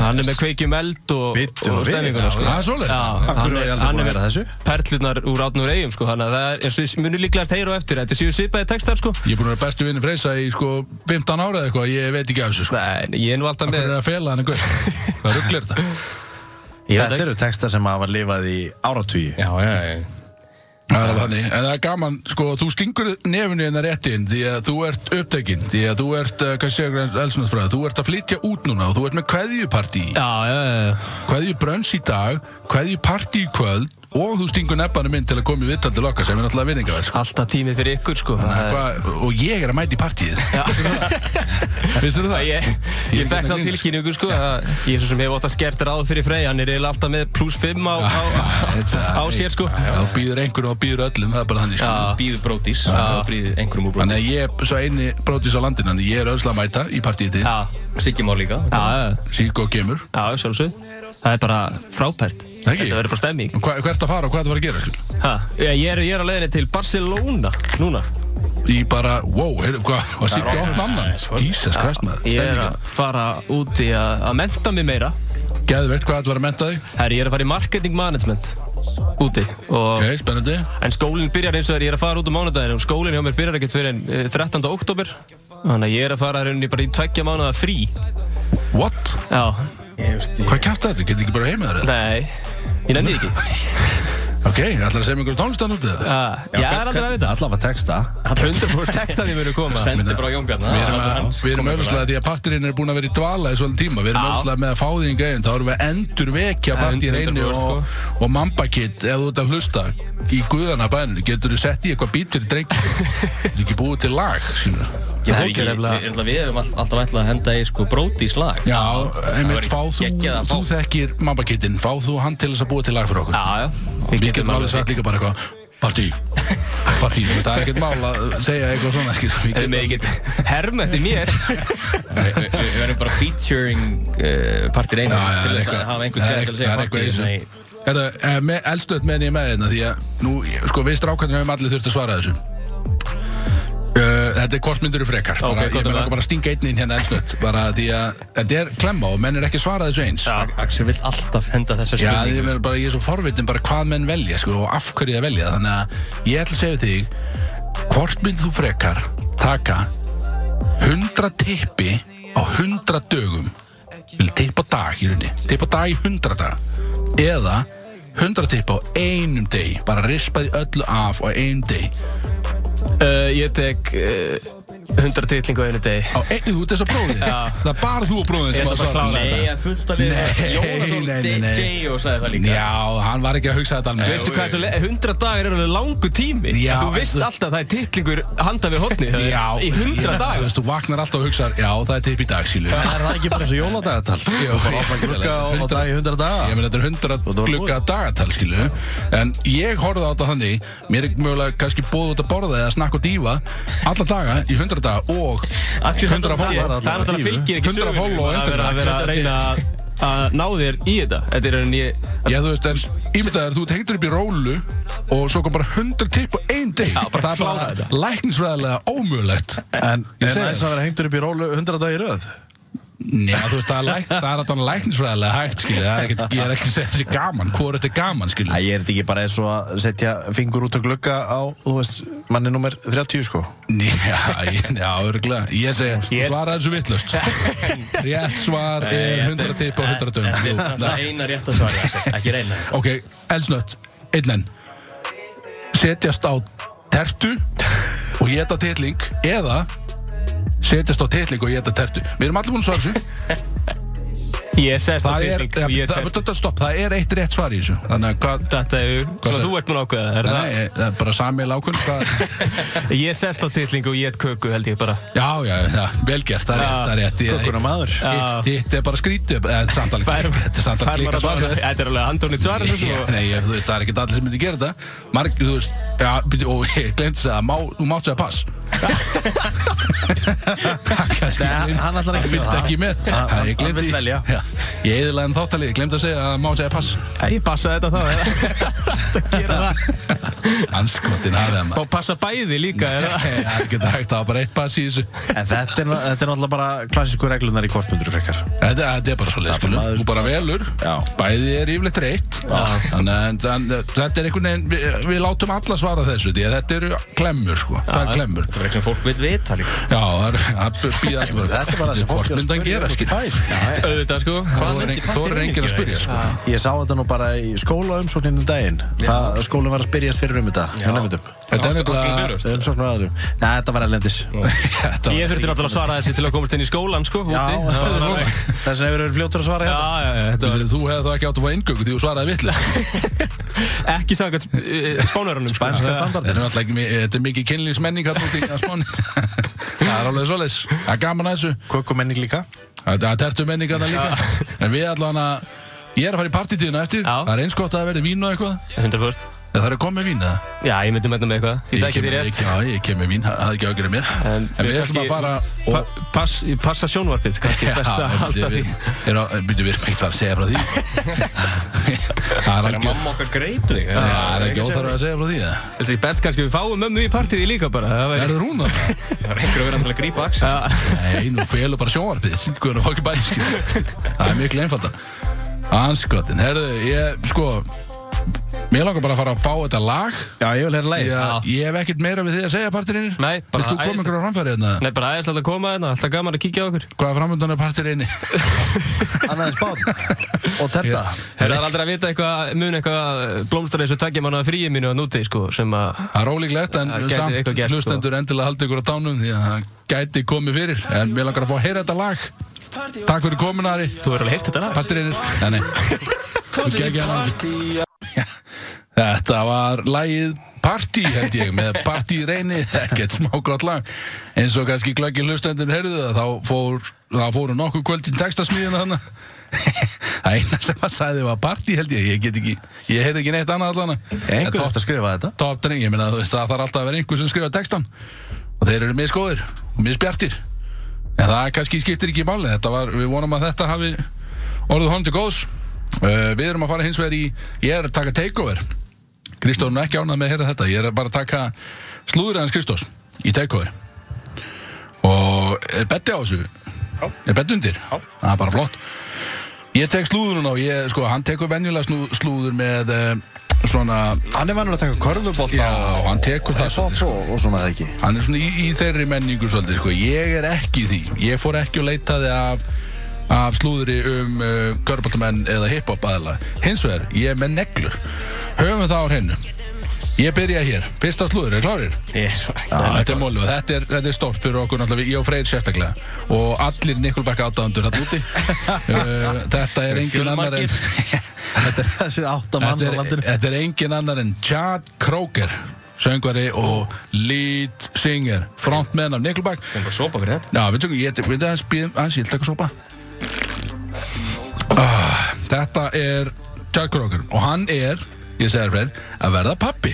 D: hann er með kveikjum eld og,
C: Bíddu nú
D: og
C: við,
D: stemminguna
C: já,
D: sko.
A: það er
D: Já,
A: svolítið.
C: Akkur
D: hann
C: var ég
D: er,
C: aldrei búin
D: hann er
C: að vera
D: með
C: þessu
D: perlunar úr átnúr eigum sko Þannig að það er, eins og við munum líklega heyra á eftir Þetta séu svipaði textar sko
A: Ég er búin að vera bestu vinni Freysa í sko 15 ára eða eitthvað, ég veit ekki af þessu sko.
D: Nei, en ég er nú alltaf
A: Hvað
D: með
A: er að fela hann einhver? Hvað rugglir þetta?
D: Ég veit
C: Þetta
D: ekki.
C: eru textar sem hafa lifað í áratugi
B: Já, já, já.
A: Það er alveg þannig, en það er gaman, sko, þú stingur nefninu hérna rétt inn því að þú ert upptekinn, því að þú ert, uh, hvað segir Græns Elsnöðsfræða, þú ert að flytja út núna og þú ert með kveðjupartí,
D: Já, já, já, já
A: kveðjubrönns í dag, kveðjupartí í kvöld og þú stingur nefnanum inn til að koma í vittal til okkar sem er náttúrulega vinningaverð, sko.
D: Alltaf tími fyrir ykkur sko Það er-
A: Hva, og ég er að mæta í partíið
D: Vissir það? Ég,
A: Ég
D: ég fekk
A: finn
D: þá
A: að grínast.
D: tilkynningu sko að ég er svo sem hef ótt að skert ráð fyrir Frey hann er eiginlega alltaf með pluss 5 á, á, á, á sér sko
A: Já, þú býður einhverjum og býður öllum, það er bara þannig sko.
D: Já.
B: Býðu brótís, og býðu einhverjum úr
A: Þannig
B: brótís.
A: að ég er svo eini brótis á landinu, þannig að ég er öðslega að mæta í partíið til,
D: Já,
B: Siggi má líka.
D: já, já,
A: sík og gemur
D: já, sjálfsög Það er bara frábært
A: Það ekki?
D: Þetta verður bara stemming
A: Hvað ert að fara og hvað ert að fara að gera, sko? skil?
D: ha, ég, ég, er, ég er á leiðinni til Barcelona núna
A: í bara, wow, heyrðu, hvað, hvað sýtti opna annan? Jesus Christ, maður,
D: Ég er
A: stemninga.
D: að fara út í að að menta mig meira
A: Geðveikt hvað ætlar að menta þig,
D: Herri, ég er að fara í marketing management úti og
A: ok, spennandi.
D: En skólinn byrjar eins og þegar ég er að fara út á mánudaginu og skólinn hjá mér byrjar ekkert fyrir en 13. oktober Þannig að ég er að fara rauninni bara í tveggja mánuða frí
A: What?
D: Já,
B: Ég veist, ég...
A: Hvað kæft þetta? Getur ekki bara heima þér? eða?
D: nei, ég nefndi því ekki
A: Ok, ætlar að segja mig einhverjum tónlistan út í það?
D: Já, Ég er aldrei að vita
C: Alla var texta
D: 100% textaði munu koma
B: Sendi bara á Jón Bjarnar.
A: Við erum,
B: Hann-
A: að,
B: hann-
A: við erum
B: kom eitthvað
A: auðvitað því að partirinn er búin að vera í dvala í svona tíma Við erum
D: Já.
A: auðvitað með að fá því enga einn Þá erum við að endur vekja partirinn einu
D: 100%
A: og, og mamba kit Ef þú ert að hlusta í guðana bæn Getur þú sett í eitthvað bítur í dreng Þú er ekki búið til lag skilur.
B: Ég þarf
D: Þetta
B: ekki,
D: er nefnilega-
B: við- náttúrulega við hefum all- alltaf ætlað að henda í sko brótís lag.
A: *laughs* Já, einmitt
B: væri
A: fá þú
B: geggjað að fá.
A: Þú þekkir mamba kitin, fá þú hann til þess að búa til lag fyrir okkur
D: Já, já, við
A: Við
D: getum alveg
A: sagt
D: sagt
A: líka bara eitthvað Partí Partí Það er ekkert mál að segja eitthvað svona skil Við
D: Eða
A: getum
D: mig ekkert *laughs* herm eftir mér *laughs*
B: Við við- við verðum bara featuring uh, partir einu
A: Já, já,
B: til
A: það er
B: þess að
A: eitthvað-
B: hafa einhvern
A: það er
B: gæða til að segja
A: eitthvað-
B: partir
A: það er eitthvað
B: í
A: í þessu. Herðu, eh, með eldstöð menn ég með hérna Því að nú, ég- sko við strákarnir hefum allir þurft að svara þessu Uh, þetta er kortmyndur og frekar
D: Ok,
A: bara, Ég
D: gott
A: með
D: að
A: langar
D: það.
A: bara að stinga einn inn hérna eldstöð bara því að þetta er klemma og menn er ekki að svara þessu eins Já,
B: Axel vill alltaf henda þessa
A: Já,
B: spurningu
A: ég, meina bara, ég er svo forvitin bara hvað menn velja sko, og af hverju það velja þannig að ég ætla að segja við þig hvort mynd þú frekar taka 100 tippi á 100 dögum vil tipp á dag í rauninni tipp á dag í 100 dag eða 100 tipp á einum degi bara rispaði öllu af á einum degi
D: uh, Ég tek uh, 100 titlingu á einu degi
A: á einu, þú ert þess að prófið
D: Já.
A: það er bara þú að prófið
D: Ég
A: sem
D: ætla
A: að
D: bara að
A: svara
D: klára.
B: Nei, að fullt að liða
A: Nei,
B: Jónasson
A: nei, nei, nei.
B: DJ og sagði það líka
A: Já, hann var ekki að hugsa þetta alveg
D: Veistu hvað þessu le- 100 dagar er alveg langu tími
A: Já,
D: Þú
A: en
D: veist
A: þú-
D: alltaf að það er titlingur handa við horni
A: Já,
D: Í 100
A: Þú
D: dagar
A: veist, þú vaknar alltaf og hugsaðar, já, það er tipp í dag, skilur
C: Er það ekki bara eins og *laughs* jóladagatal?
A: Jú,
C: Bara opna
A: ég-
C: glugga og- og
A: hundra-
C: dag í hundra daga
A: Ég meina þetta er 100
C: Og það var
A: glugga dagatal skilu En ég horfði á þetta þannig Mér er mögulega kannski bóð út að borða eða snakka og dífa Alla daga í 100 daga og
B: Axel,
A: 100
B: þetta sé-
A: follow
D: Það er náttúrulega fylgir ekki
A: 100 follow á
D: að vera
A: Instagram.
D: að, vera að reyna að- að ná þér í þetta Þetta er enn ég
A: Já, þú veist, en ímyndaður, þú tengdur upp í rólu og svo kom bara 100 tipp og ein deg
D: Já, bara
A: Það er
D: klára
A: bara
D: þetta.
A: læknisfræðilega ómögulegt
C: En
A: Ég
C: er
A: segi það.
C: næst að vera hengtur upp í rólu hundra dag í röð?
A: Njá, þú veist, það er, læk, það er alltaf læknisfræðilega hægt, skilu Það er ekkert, ég er ekki að segja þessi gaman, hvor þetta er gaman, skilu
C: Æ, ég er þetta ekki bara eins og að setja fingur út á glugga á, þú veist, manni nummer 30 sko
A: Já, ég- já, örgulega Ég segi, þú svaraði þessu vittlust Rétt svar er 100 tipp og 100
B: Þetta er
A: dögum
B: náttúrulega eina rétt að svara Axel, Ekki reyna
A: Ok, elsnött, einn enn Setjast á tertu og geta titling eða setjast á titling og geta tertu Við erum allir búin að svara þessu
D: Ég sest á
A: Það er,
D: titling og ég
A: það,
D: tek
A: það, stopp, það er eitt rétt svar í þessu Þannig að hvað
D: Þetta er
A: Hvað
D: Svona
A: sagði-
D: þú ert mér ákveða er
A: Nei,
D: það?
A: það er bara samil ákvöld Já,
D: Ég sest á titling og ég et köku held ég bara
A: já, það, velgert, það er rétt, það er rétt Ég-
C: Gugguna maður
A: Hitt- Hitt er bara skrítið eh, þetta er samt alveg-
D: Fær
A: Þetta er samt
D: fær
A: alveg
D: maður
A: líka
D: að svara
A: svar
D: þessu? Þetta er alveg Antoni *laughs* svara þessu
A: Já,
D: og-
A: Nei, ég, þú veist, það er ekki allir sem myndi gera þetta Marg, þú veist, já, byrju, og ég glemt þess að má, þú mátt segja
D: *laughs*
A: pass Það kannski
C: Nei, hann-
A: gleymd-
C: hann ætlar ekki að
A: fylgdi
C: gera það.
A: ekki með Já, ég
C: Hann- hann
A: gleymdi
C: vill
A: því.
C: velja.
A: Já, Ég eðilaði en þáttali, glemt að segja að má segja pass
D: sko. Ég passaði þetta þá eða? Þetta gera það
A: Anskotin hafið að maður
D: Og passa bæði líka
A: Það
D: *laughs* eða?
A: er ekki hægt, það var bara eitt pass í þessu
C: En þetta er, ná- þetta er náttúrulega bara klassísku reglunar í kortmundur frekar
A: Þetta, þetta er bara svo leiðskilu,
C: maður-
A: þú bara velur
C: Já.
A: Bæði er yfirleitt reitt Þannig að- en þetta er einhvern veginn Við, við látum alla svara þessu Því að þetta eru klemmur sko, það er klemmur
B: Það er eitthvað sem fólk vil vita líka.
A: Já, það er að býða allir bara
C: Þetta er bara sem fólk er að
A: Fortmyndan
C: spyrja
A: gera,
C: út í
A: skil
C: bæ, sko.
D: Auðvitað sko
A: Það er engin- þorir enginn að spyrja, sko
C: Ég sá þetta nú bara í skólaumsókninu um daginn Það skólinn var að spyrjast fyrir um þetta hjá nemyndum.
A: Þetta er *laughs*
B: Okkur
A: nefnilega
B: byrjast.
C: Umsóknum aðurum Nei, þetta var erlendis
A: Þetta
D: Ég
A: var-
D: þurfti náttúrulega að svara þessu til að komast inn í skólan sko úti.
C: Já,
D: Það var alveg-
C: þess vegna hefur verið fljótur að svara
D: Já,
C: hérna
D: já, já, þetta var
A: Þú hefði þá ekki átt að fá inngöngu því þú svaraði
C: *laughs*
A: vitlega
D: ekki eh, sagðið spánverðunum
C: Spænska
A: Þetta
C: standardin
A: er náttúrulega ekki, mi- þetta er mikið kynlífsmenning hérna úti á spáni *laughs* Það er alveg svoleiðis Það er gaman að þessu
C: Kökumenning líka
A: Það er tertu menning hérna líka En við allan að Ég er að fara í partitíðuna eftir
D: Já.
A: Það er eins gott að það verði vín og eitthvað
D: 100%
A: En Það er að koma með vín eða
D: Já, ég myndi með með eitthvað Ég þekki
A: kem-
D: því
A: ég,
D: rétt
A: Já, ég kem með vín, það er ekki ágjörð mér En, við ætlum að fara og,
D: pa, pass, Passa sjónvarpið, kannski
A: Já,
D: best að halda
A: við
D: því
A: myndum við erum ekkert að fara að segja frá
D: *laughs*
A: því Það er
B: Það er að
A: algjör
B: mamma okkar greip þig.
A: Já, Það er ekki óþarf að segja frá því eða?
D: Þessi best kannski við fáum mömmu í partíði líka bara
A: Er
D: Það væri
A: það rúna?
B: Það er einhver að vera til að grípa Axel.
D: Já,
A: Nei, nú félur bara sjónvarpið Sýnkuður og fokki bæri skil. Það er miklu einfaldan Anskotin, herðu, ég sko Mér langar bara að fara að fá þetta lag
C: Já, ég vil hérna leið
A: Já. Ég hef ekkert meira við því að segja partirinn
D: Nei, bara
A: Vilt þú koma
D: æðislegt.
A: ykkur á framfæri hérna?
D: Nei, bara aðeins alltaf koma þarna, alltaf gaman að kíkja á okkur
A: Hvað er framöndan af
D: *laughs*
A: partirinn?
C: Annaðins bát *laughs* Og terta
D: Herra, það er aldrei að vita eitthvað, mun eitthvað blómstra eins og tveggja mánu að fríi mínu að núti, sko, sem að
A: Það er ólíklegt en
D: Það gæti
A: samt
D: eitthvað gert, sko.
A: hlustendur endilega haldi ykkur á tánum því að það gæti komið fyrir en mér langar að fá að heyra þetta lag Takk fyrir kominari
D: Þú hefur alveg heyrt þetta lag
A: Partirinnir Nei, nei Þú geggjaði hann aldrei. Já, Þetta var lagið Party held ég með Party reyni ekkert smá gott lag eins og kannski glöggir hlustendur heyrðu það þá fór, það fóru nokkuð kvöld í textasmíðina þannig það eina sem að sagði var Party held ég ég get ekki, ég heyrði ekki neitt annað allan
C: Einhver
A: En
C: eftir að skrifa þetta
A: top dreng, ég meina þú veist það þarf alltaf að vera einhver sem skrifa textan og þeir eru misgóðir og misbjartir en það kannski skiptir ekki máli þetta var, við vonum að þetta hafi orðið honum til góðs uh, við erum að fara hins vegar í, ég er að taka takeover Kristóf er ekki ánað með að heyra þetta ég er bara að taka slúður aðeins Kristófs í takeover og er betti á þessu er betti undir, það er bara flott ég tek slúðurinn á, ég, sko, hann tekur venjulega slú, slúður með uh, svona
C: Hann er vanur að taka körfubolt
A: Já, hann tekur það svolítið, sko.
C: svolítið Og svona það ekki
A: Hann er svona í, í þeirri menningu svolítið, sko. Ég er ekki í því. Ég fór ekki og leitaði af, af slúðri um uh, körbáltamenn eða hiphop aðla. Hins vegar, ég er með neglur. Höfum það á hennu. Ég byrja hér. Fyrsta slúður, er klárir? Þetta er mólu og þetta er, þetta er stórt fyrir okkur náttúrulega, ég og Freyr sérstaklega og allir Nikulbakka áttaðandur hann úti Uh, Þetta er engin annar en *laughs*
C: Þessi átta
A: Þetta
C: manns á
A: er,
C: landinu
A: þetta er engin annar en Chad Kroger söngvari og lead singer frontman af Nickelback
B: Það er bara sopa fyrir þetta.
A: Já, við tökum, ég við þetta hans býðum hans, ég ætla ekki að sopa ah, Þetta er Chad Kroger og hann er ég segir fyrir, að verða pappi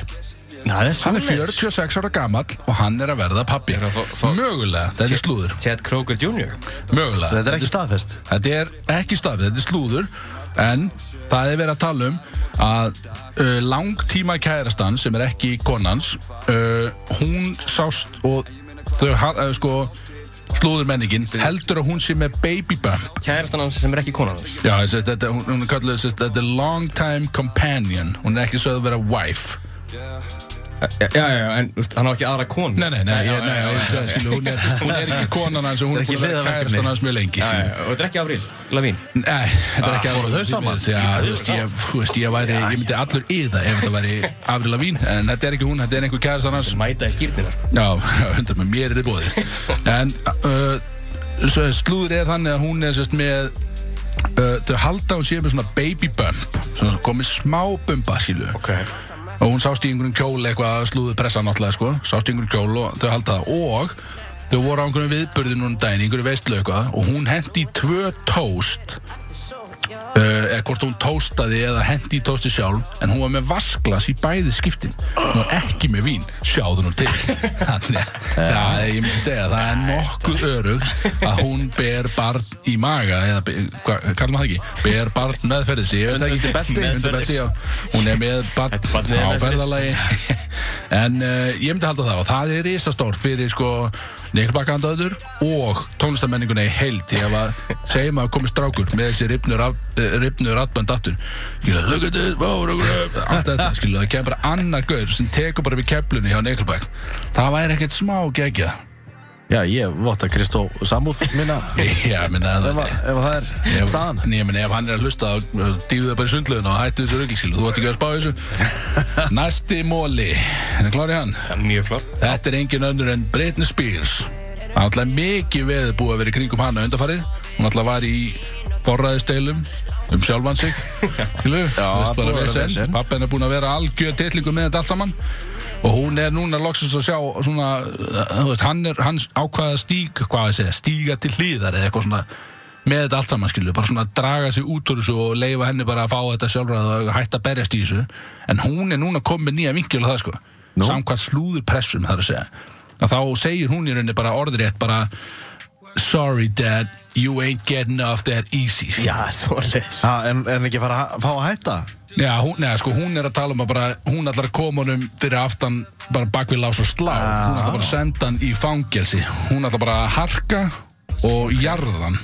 B: Það
A: Hann er 46 ára gamall og hann er að verða pappi
B: Er að fá- fá-
A: Mögulega, þetta er slúður
B: Chad Kroger Jr.
A: Mögulega
C: Þetta er ekki staðfest
A: Þetta er ekki stafið, þetta er slúður En það er verið að tala um að uh, langtíma kærastan sem er ekki konans uh, hún sást og þau ha- uh, sko slúðurmenningin heldur að hún sé með baby bump
B: Kærastan hans sem er ekki konan hans.
A: Já, þessi, þetta, hún, hún kallar þessi þetta er long time companion hún er ekki sögð að vera wife
B: Já, já, já, en þú veist, hann á ekki aðra konu.
A: Nei, nei, nei, ég, nei, ég, ég, ég, skilu, hún, er, hún er ekki konan hans og hún er
C: Þetta er ekki
A: búin að vera
C: hliðarverkefni.
A: kærastan hans mjög lengi
B: Já,
A: skilu.
B: já, og þetta er ekki Avril Lavín.
A: Nei, þetta er ekki
C: voru þau
A: því
C: saman?
A: miður. Já, þú veist, ég, þú veist, ég væri, ég myndi allur yða ef þetta væri Avril Lavín En þetta er ekki hún, þetta er einhver kærast annars
B: Mæta í sko. skýrnir.
A: Já, *laughs* hundar með mér er þið bóðið En uh, svo slúður er þannig að hún er sérst með uh, Þau halda að hún sé með svona baby bump Svona komið smá bumba, skilu
B: Ok.
A: Og hún sást í einhverjum kjól eitthvað slúðu pressa náttúrulega sko Sást í einhverjum kjól og þau halda það Og þau voru á einhverjum viðburði núna um daginn í Einhverju veistlu eitthvað Og hún hendi tvö tóst uh, eða hvort hún tóstaði eða hendi í tósti sjálf en hún var með vasklas í bæði skiptin hún var ekki með vín, sjáðu nú til þannig að það er, ég myndi segja það er nokkuð örug að hún ber barn í maga eða, be- hvað kallar maður það ekki, ber barn meðferðis ég veit það ekki,
B: Undir belti.
A: undir belti já, hún er með barn
B: barnið er
A: á
B: meðferðis.
A: ferðalagi *laughs* en uh, ég myndi halda það og það er risastórt fyrir sko Nikkelbakkaðandöður og tónlistamenninguna í heild ég hef
B: *laughs*
A: að segja maður komið strákur með þessi ripnur, uh, ripnur atbönd aftur skilja, look at this, wow, look at this allt þetta, skilja, það kemur bara annar gaur sem tekur bara við keflunni hjá Nikkelbakk það væri ekkert smá *laughs* gegja
C: Já, ég votta Kristó Samúð minna
A: já, minna,
C: *laughs* ef,
A: það
C: að, ef að það er
A: Ef,
C: staðan
A: Nei, menn, ef hann er að hlusta þá uh, dýfðu það bara í sundlöðinu og hættu þessu rugglskilu Þú ætti ekki að spá í þessu Næsti móli, er það klárið hann?
B: Mjög klár
A: Þetta er engin önnur en Britney Spears Það er alltaf mikið veður búið að vera í kringum hana undarfarið Hún alltaf var í forræðisteilum um sjálfan sig *laughs* Skilu, það er bara
C: búið að vera
A: vesen
C: vesen.
A: Pappin er búin að vera algjör tillingum með þetta allt saman Og hún er núna loksins að sjá svona, uh, þú veist, hann er hans ákvaða stíg, hvað að segja, stíga til hlýðar eða eitthvað svona með þetta allt saman skilu, bara svona draga sig út úr þessu og leifa henni bara að fá þetta sjálfræð og hætta að berjast í þessu en hún er núna komin með nýja vingil og það sko samkvæmt slúðurpressum þar að segja að þá segir hún í rauninni bara orðrétt bara sorry dad, you ain't getting off that easy
B: Já, svoleiðis
C: Ha, en, en ekki fara að fá að hætta
A: Já, hún, neða, sko, hún er að tala um að bara, hún ætlar að koma honum fyrir aftan bara bak við lás og slá
C: Ah.
A: hún ætlar bara að senda hann í fangelsi hún ætlar bara að harka og jarðan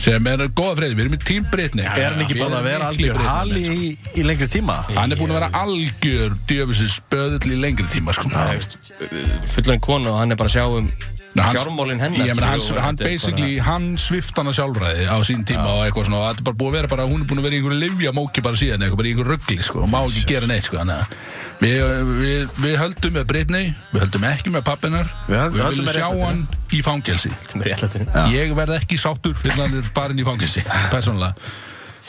A: sem er góða freyði, við erum í tím Britni
C: Er hann ekki búin að vera algjör hali í, í lengri tíma?
A: sko. Hann er búin að vera algjör djöfisins spöðull í lengri tíma sko.
B: Fullan konu og hann er bara að sjá um
A: Nei, hans-
B: fjármálin hennar
A: Ég meina, hans,
B: skilur, og
A: hann
B: þetta er
A: basically,
B: bara-
A: hann svift hana sjálfræði á sín tíma og eitthvað svona og þetta er bara búið að vera bara, hún er búin að vera í einhverju livjamóki bara síðan, eitthvað bara í einhverju ruggli sko, og má ekki gera neitt sko, þannig að við, við, við höldum með Britney, við höldum ekki með pappinar
C: Við höldum-
A: við
C: höldum
A: viljum
C: með
A: sjá
C: réttlætinu.
A: hann í fangelsi
B: Þetta er bara réttlætinu.
A: ég verð ekki sáttur fyrir hann er farin í
C: *laughs*
A: fangelsi persónulega,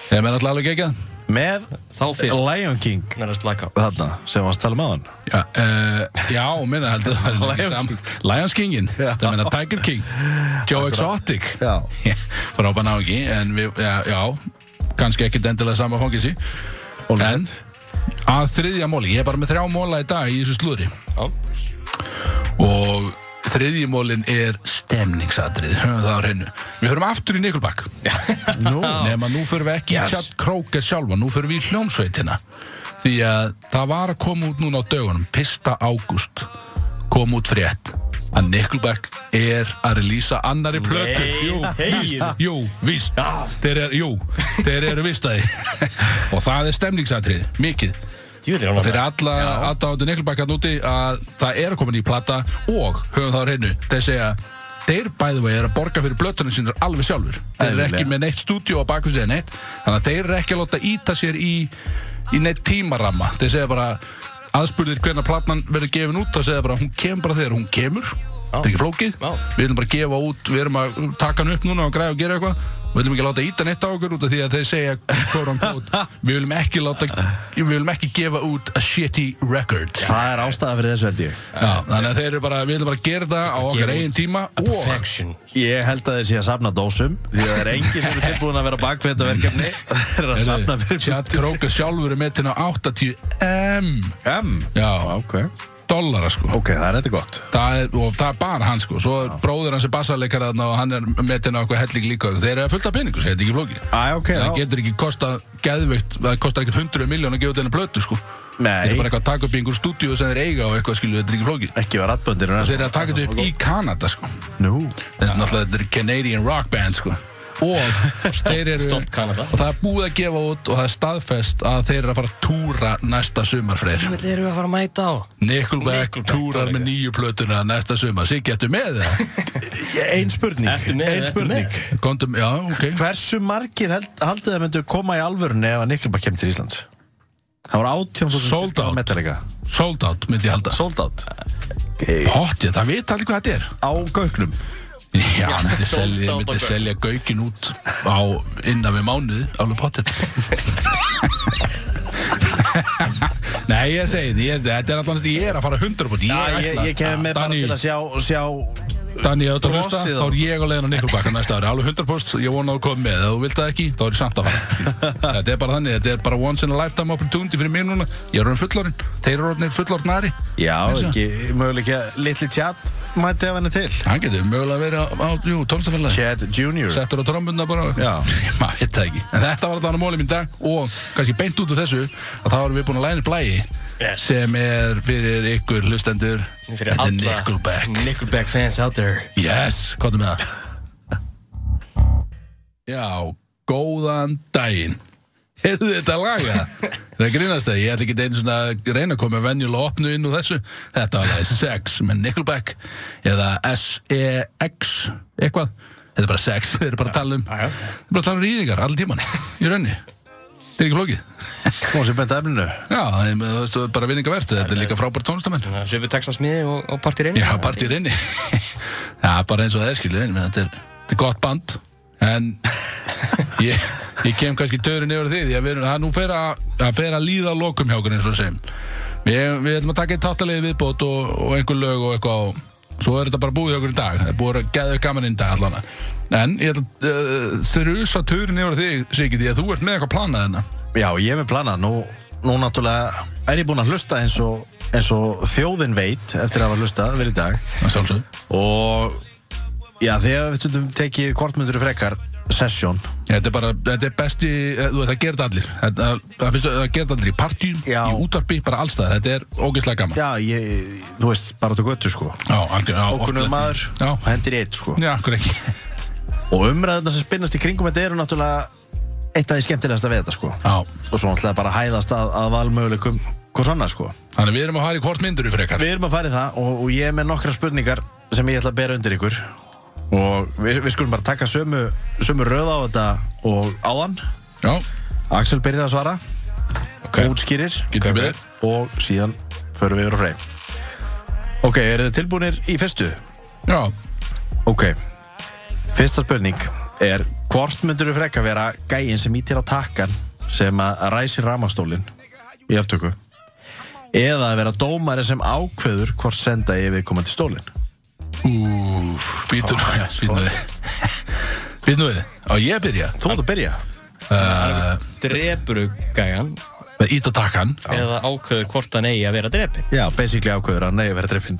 A: þegar mér alltaf alveg ekki að
C: Með
B: Þá fyrst
C: Lion King
B: Þannig að slaka á
C: Þarna, sem varst að tala um með hann
A: Já, uh, já minna heldur það var
C: Lion
A: ekki sam- Lions Kingin, það meina Tiger King Joe Exotic *laughs*
C: Já.
A: frábæn á ekki en við, já, já kannski ekkert endilega sama fangilsi en að þriðja móli, ég er bara með þrjá móla í dag í þessu slúðri
B: Já.
A: og þriðji mólin er stemningsatrið, höfum það á hreinu við höfum aftur í Nikulbakk nú. nema nú förum við ekki yes.
B: Yes.
A: Chad Kroger sjálfa, nú förum við í hljómsveitina því að það var að koma út núna á dögunum, 1. ágúst kom út frétt að Nikulbakk er að relýsa annari plötu Jú,
B: hey.
A: Jú, víst Þeir eru, jú, þeir eru víst að því *laughs* Og það er stemningsatrið, mikið
B: Djúðir hann
A: og fyrir alla aðdándu Nickelbackan úti að það er að koma ný plata og höfum það á reynu þeir segja þeir bæði vegi er að borga fyrir blötunum sínur alveg sjálfur þeir eru ekki
C: Eðlilega.
A: með neitt stúdíu á baku sig neitt þannig að þeir eru ekki að láta íta sér í, í neitt tímaramma þeir segja bara aðspurðir hvernig platan verður gefin út það segja bara hún kemur bara þegar hún kemur það er ekki flókið
B: Já.
A: við viljum bara gefa út við erum að taka hann upp núna og græða og gera eitthvað við viljum ekki láta íta neitt á okkur út af því að þeir segja quote on quote, við viljum ekki láta við viljum ekki gefa út a shitty record já,
C: Það er ástæða fyrir þessu held ég
A: þannig að þeir eru bara, við viljum bara gera það á okkar
B: Gefa út
A: eigin tíma og
B: Perfection
C: Ég held að þeir sé að safna dósum Því að það er enginn sem er tilbúin að vera bakveita verkefni Þeir eru að safna
A: Heyrðu,
C: fyrir
A: Chad Kroger sjálfur er metin á 80 M
C: M
A: já,
C: Ok,
A: dollara sko
C: ok, það er þetta gott
A: það er, og það er bara hann sko svo er bróður hans er bassarleikar þarna og hann er metin á okkur helling líka þeir eru að fullta peningu, segir þetta ekki flókið
C: Æ, ok,
A: það
C: já
A: getur ekki kosta geðveikt það kostar ekkert 100 miljón að gefa út einu plötu sko Nei. þeir eru bara
C: Nei,
A: eitthvað að taka upp í einhver stúdíu sem þeir eiga og eitthvað skilu, þetta er ekki flókið
C: ekki var atböndir
A: þeir eru að taka þetta upp í Kanada sko
C: Nú
A: þetta er náttúrulega þetta er Canadian Rock Band sko
C: *laughs*
A: og þeir eru
B: stolt Kanada.
A: og það er búið að gefa út og það er staðfest að þeir eru að fara að túra næsta sumar freyr
B: Hvað eru að fara að mæta á?
A: Nickelback
B: Nickelback
A: túrar
B: tónleika.
A: með nýju plötuna næsta sumar sig getur með
C: *laughs*
A: það
C: Ein spurning
B: Ertu með,
C: Ein
B: ertu
C: spurning
B: með?
A: Kondum, já, ok
C: Hversu margir held, haldið það myndu koma í alvörunni ef að Nickelback kemur til Íslands? Það voru
A: Sold
C: 18.000
A: out.
C: Metallica
A: Sold out myndi ég halda
C: Sold out
A: Pottið, það veit allir hvað þetta er
C: Á gauknum
A: Já, hann myndi
B: sold
A: selja,
B: out á
A: myndi
B: Gauk.
A: selja gaukin út á innan við mánuð, alveg pottet *laughs* Nei, ég segi því, ég, þetta er alltaf, ég er að fara 100 búinn,
C: Já, ég, ég kemur bara til að sjá, sjá
A: Danni, ef þú ert að hlusta,
C: Brosið
A: þá
C: á-
A: er ég að leiðin á Nikkelbakka næsta ári, alveg 100% ég vona að þú komið með, ef þú vilt það ekki, þá er ég samt að fara þetta er bara þannig, þetta er bara once in a lifetime opportunity fyrir mér núna, ég er orðin fullorinn þeir eru orðin fullornari
C: Já,
A: Eins og-
C: ekki, möguleika litli tjatt mætti af henni til
A: hann getur mögulega verið á, á jú, tónstafélagi
C: Chad Junior
A: settur á trombunna bara
C: Já.
A: *laughs* maður veit það ekki, en þetta var allan á móli mín í dag og kannski beint út úr þessu að þá erum við búin að læna blæi yes. sem er fyrir ykkur hlustendur þetta
B: Fyrir
A: er
B: alla Mm.
A: Nickelback
B: Nickelback fans out there
A: Yes, komdu með það Já, góðan daginn Heyrðu þetta laga? Það grínast það, ég ætla ekki einu svona að reyna að koma með venjulega opnu inn úr þessu Þetta var lagið Sex með Nickelback eða S-E-X eitthvað Þetta er bara sex, þeir eru bara að tala um Þeir eru bara að tala um rýðingar allir tíman í raunni Þetta er ekki flókið
C: Hún sem bent efninu
A: Já, það er- þú veist, það er bara vinningavert Þetta er líka frábært tónstamenn
B: Sjöfu Texas miði og, og partir inn
A: Já, partir inni *laughs* Já, bara eins og það er skilu en þetta er, þetta er gott band En *laughs* ég, ég kem kannski törun yfir því Því að við erum, að nú fer að, að fer að líða að lokum hjá okkur eins og við segjum Við, við ætlum að taka eitt þáttalegi viðbót og, og einhver lög og eitthvað og Svo er þetta bara búið hjá okkur í dag Það er búið að geða gaman inn í dag allan En ég ætla að uh, þurfa törun yfir þig, Siggi Því að þú ert með eitthvað planað hérna, þennan
C: Já, ég er með planað Nú, nú náttúrulega er ég búinn að hlusta eins og, eins og þjóðin veit eftir að hafa hlustað verið í dag
A: Það sjálfsög
C: og já, þegar við stundum tekið kortmyndur frekar sesjón
A: Þetta er bara, þetta er besti, eh, þú veit, það gerir þetta allir Þetta, það finnst það gerir þetta allir í partíum,
C: Já.
A: í útvarpi, bara allstaðar Þetta er ógeðslega gaman Já,
C: Já, ég, þú veist, bara út á götu sko
A: algjör, já,
C: Okkunum
A: oft-
C: maður,
A: Já,
C: hendir í eitt sko
A: já, okkur ekki
C: Og umræðuna sem spinnast í kringum þetta eru náttúrulega eitt af því skemmtilegasta við þetta sko
A: Já,
C: Og svo náttúrulega bara hæðast að, að valmöguleikum hvers annað sko
A: þannig að við erum að fara í hvort myndur í frekar
C: Við erum að fara í það og, og ég er með nokkra spurningar sem ég ætla að bera undir ykkur Og við, við skulum bara taka sömu, sömu röð á þetta og áðan
A: Já,
C: Axel byrjar að svara okay. Útskýrir
A: getum við byrðið
C: og síðan förum við yfir á hreim Ok, eru þið tilbúinir í fyrstu?
A: Já,
C: Ok Fyrsta spurning er Hvort myndur við frekka vera gæin sem ítir á takkan sem að ræsi ramastólin í aftöku eða að vera dómari sem ákveður hvort senda ég við komandi stólin
A: úf, býtum við Býtum við Býtum við, á ég byrja
C: Þú ert að byrja
B: Drepuru gæjan
A: Með ít og takkan
B: Eða ákveður hvort hann eigi að vera drepin
C: Já, basically ákveður að nei vera dreppin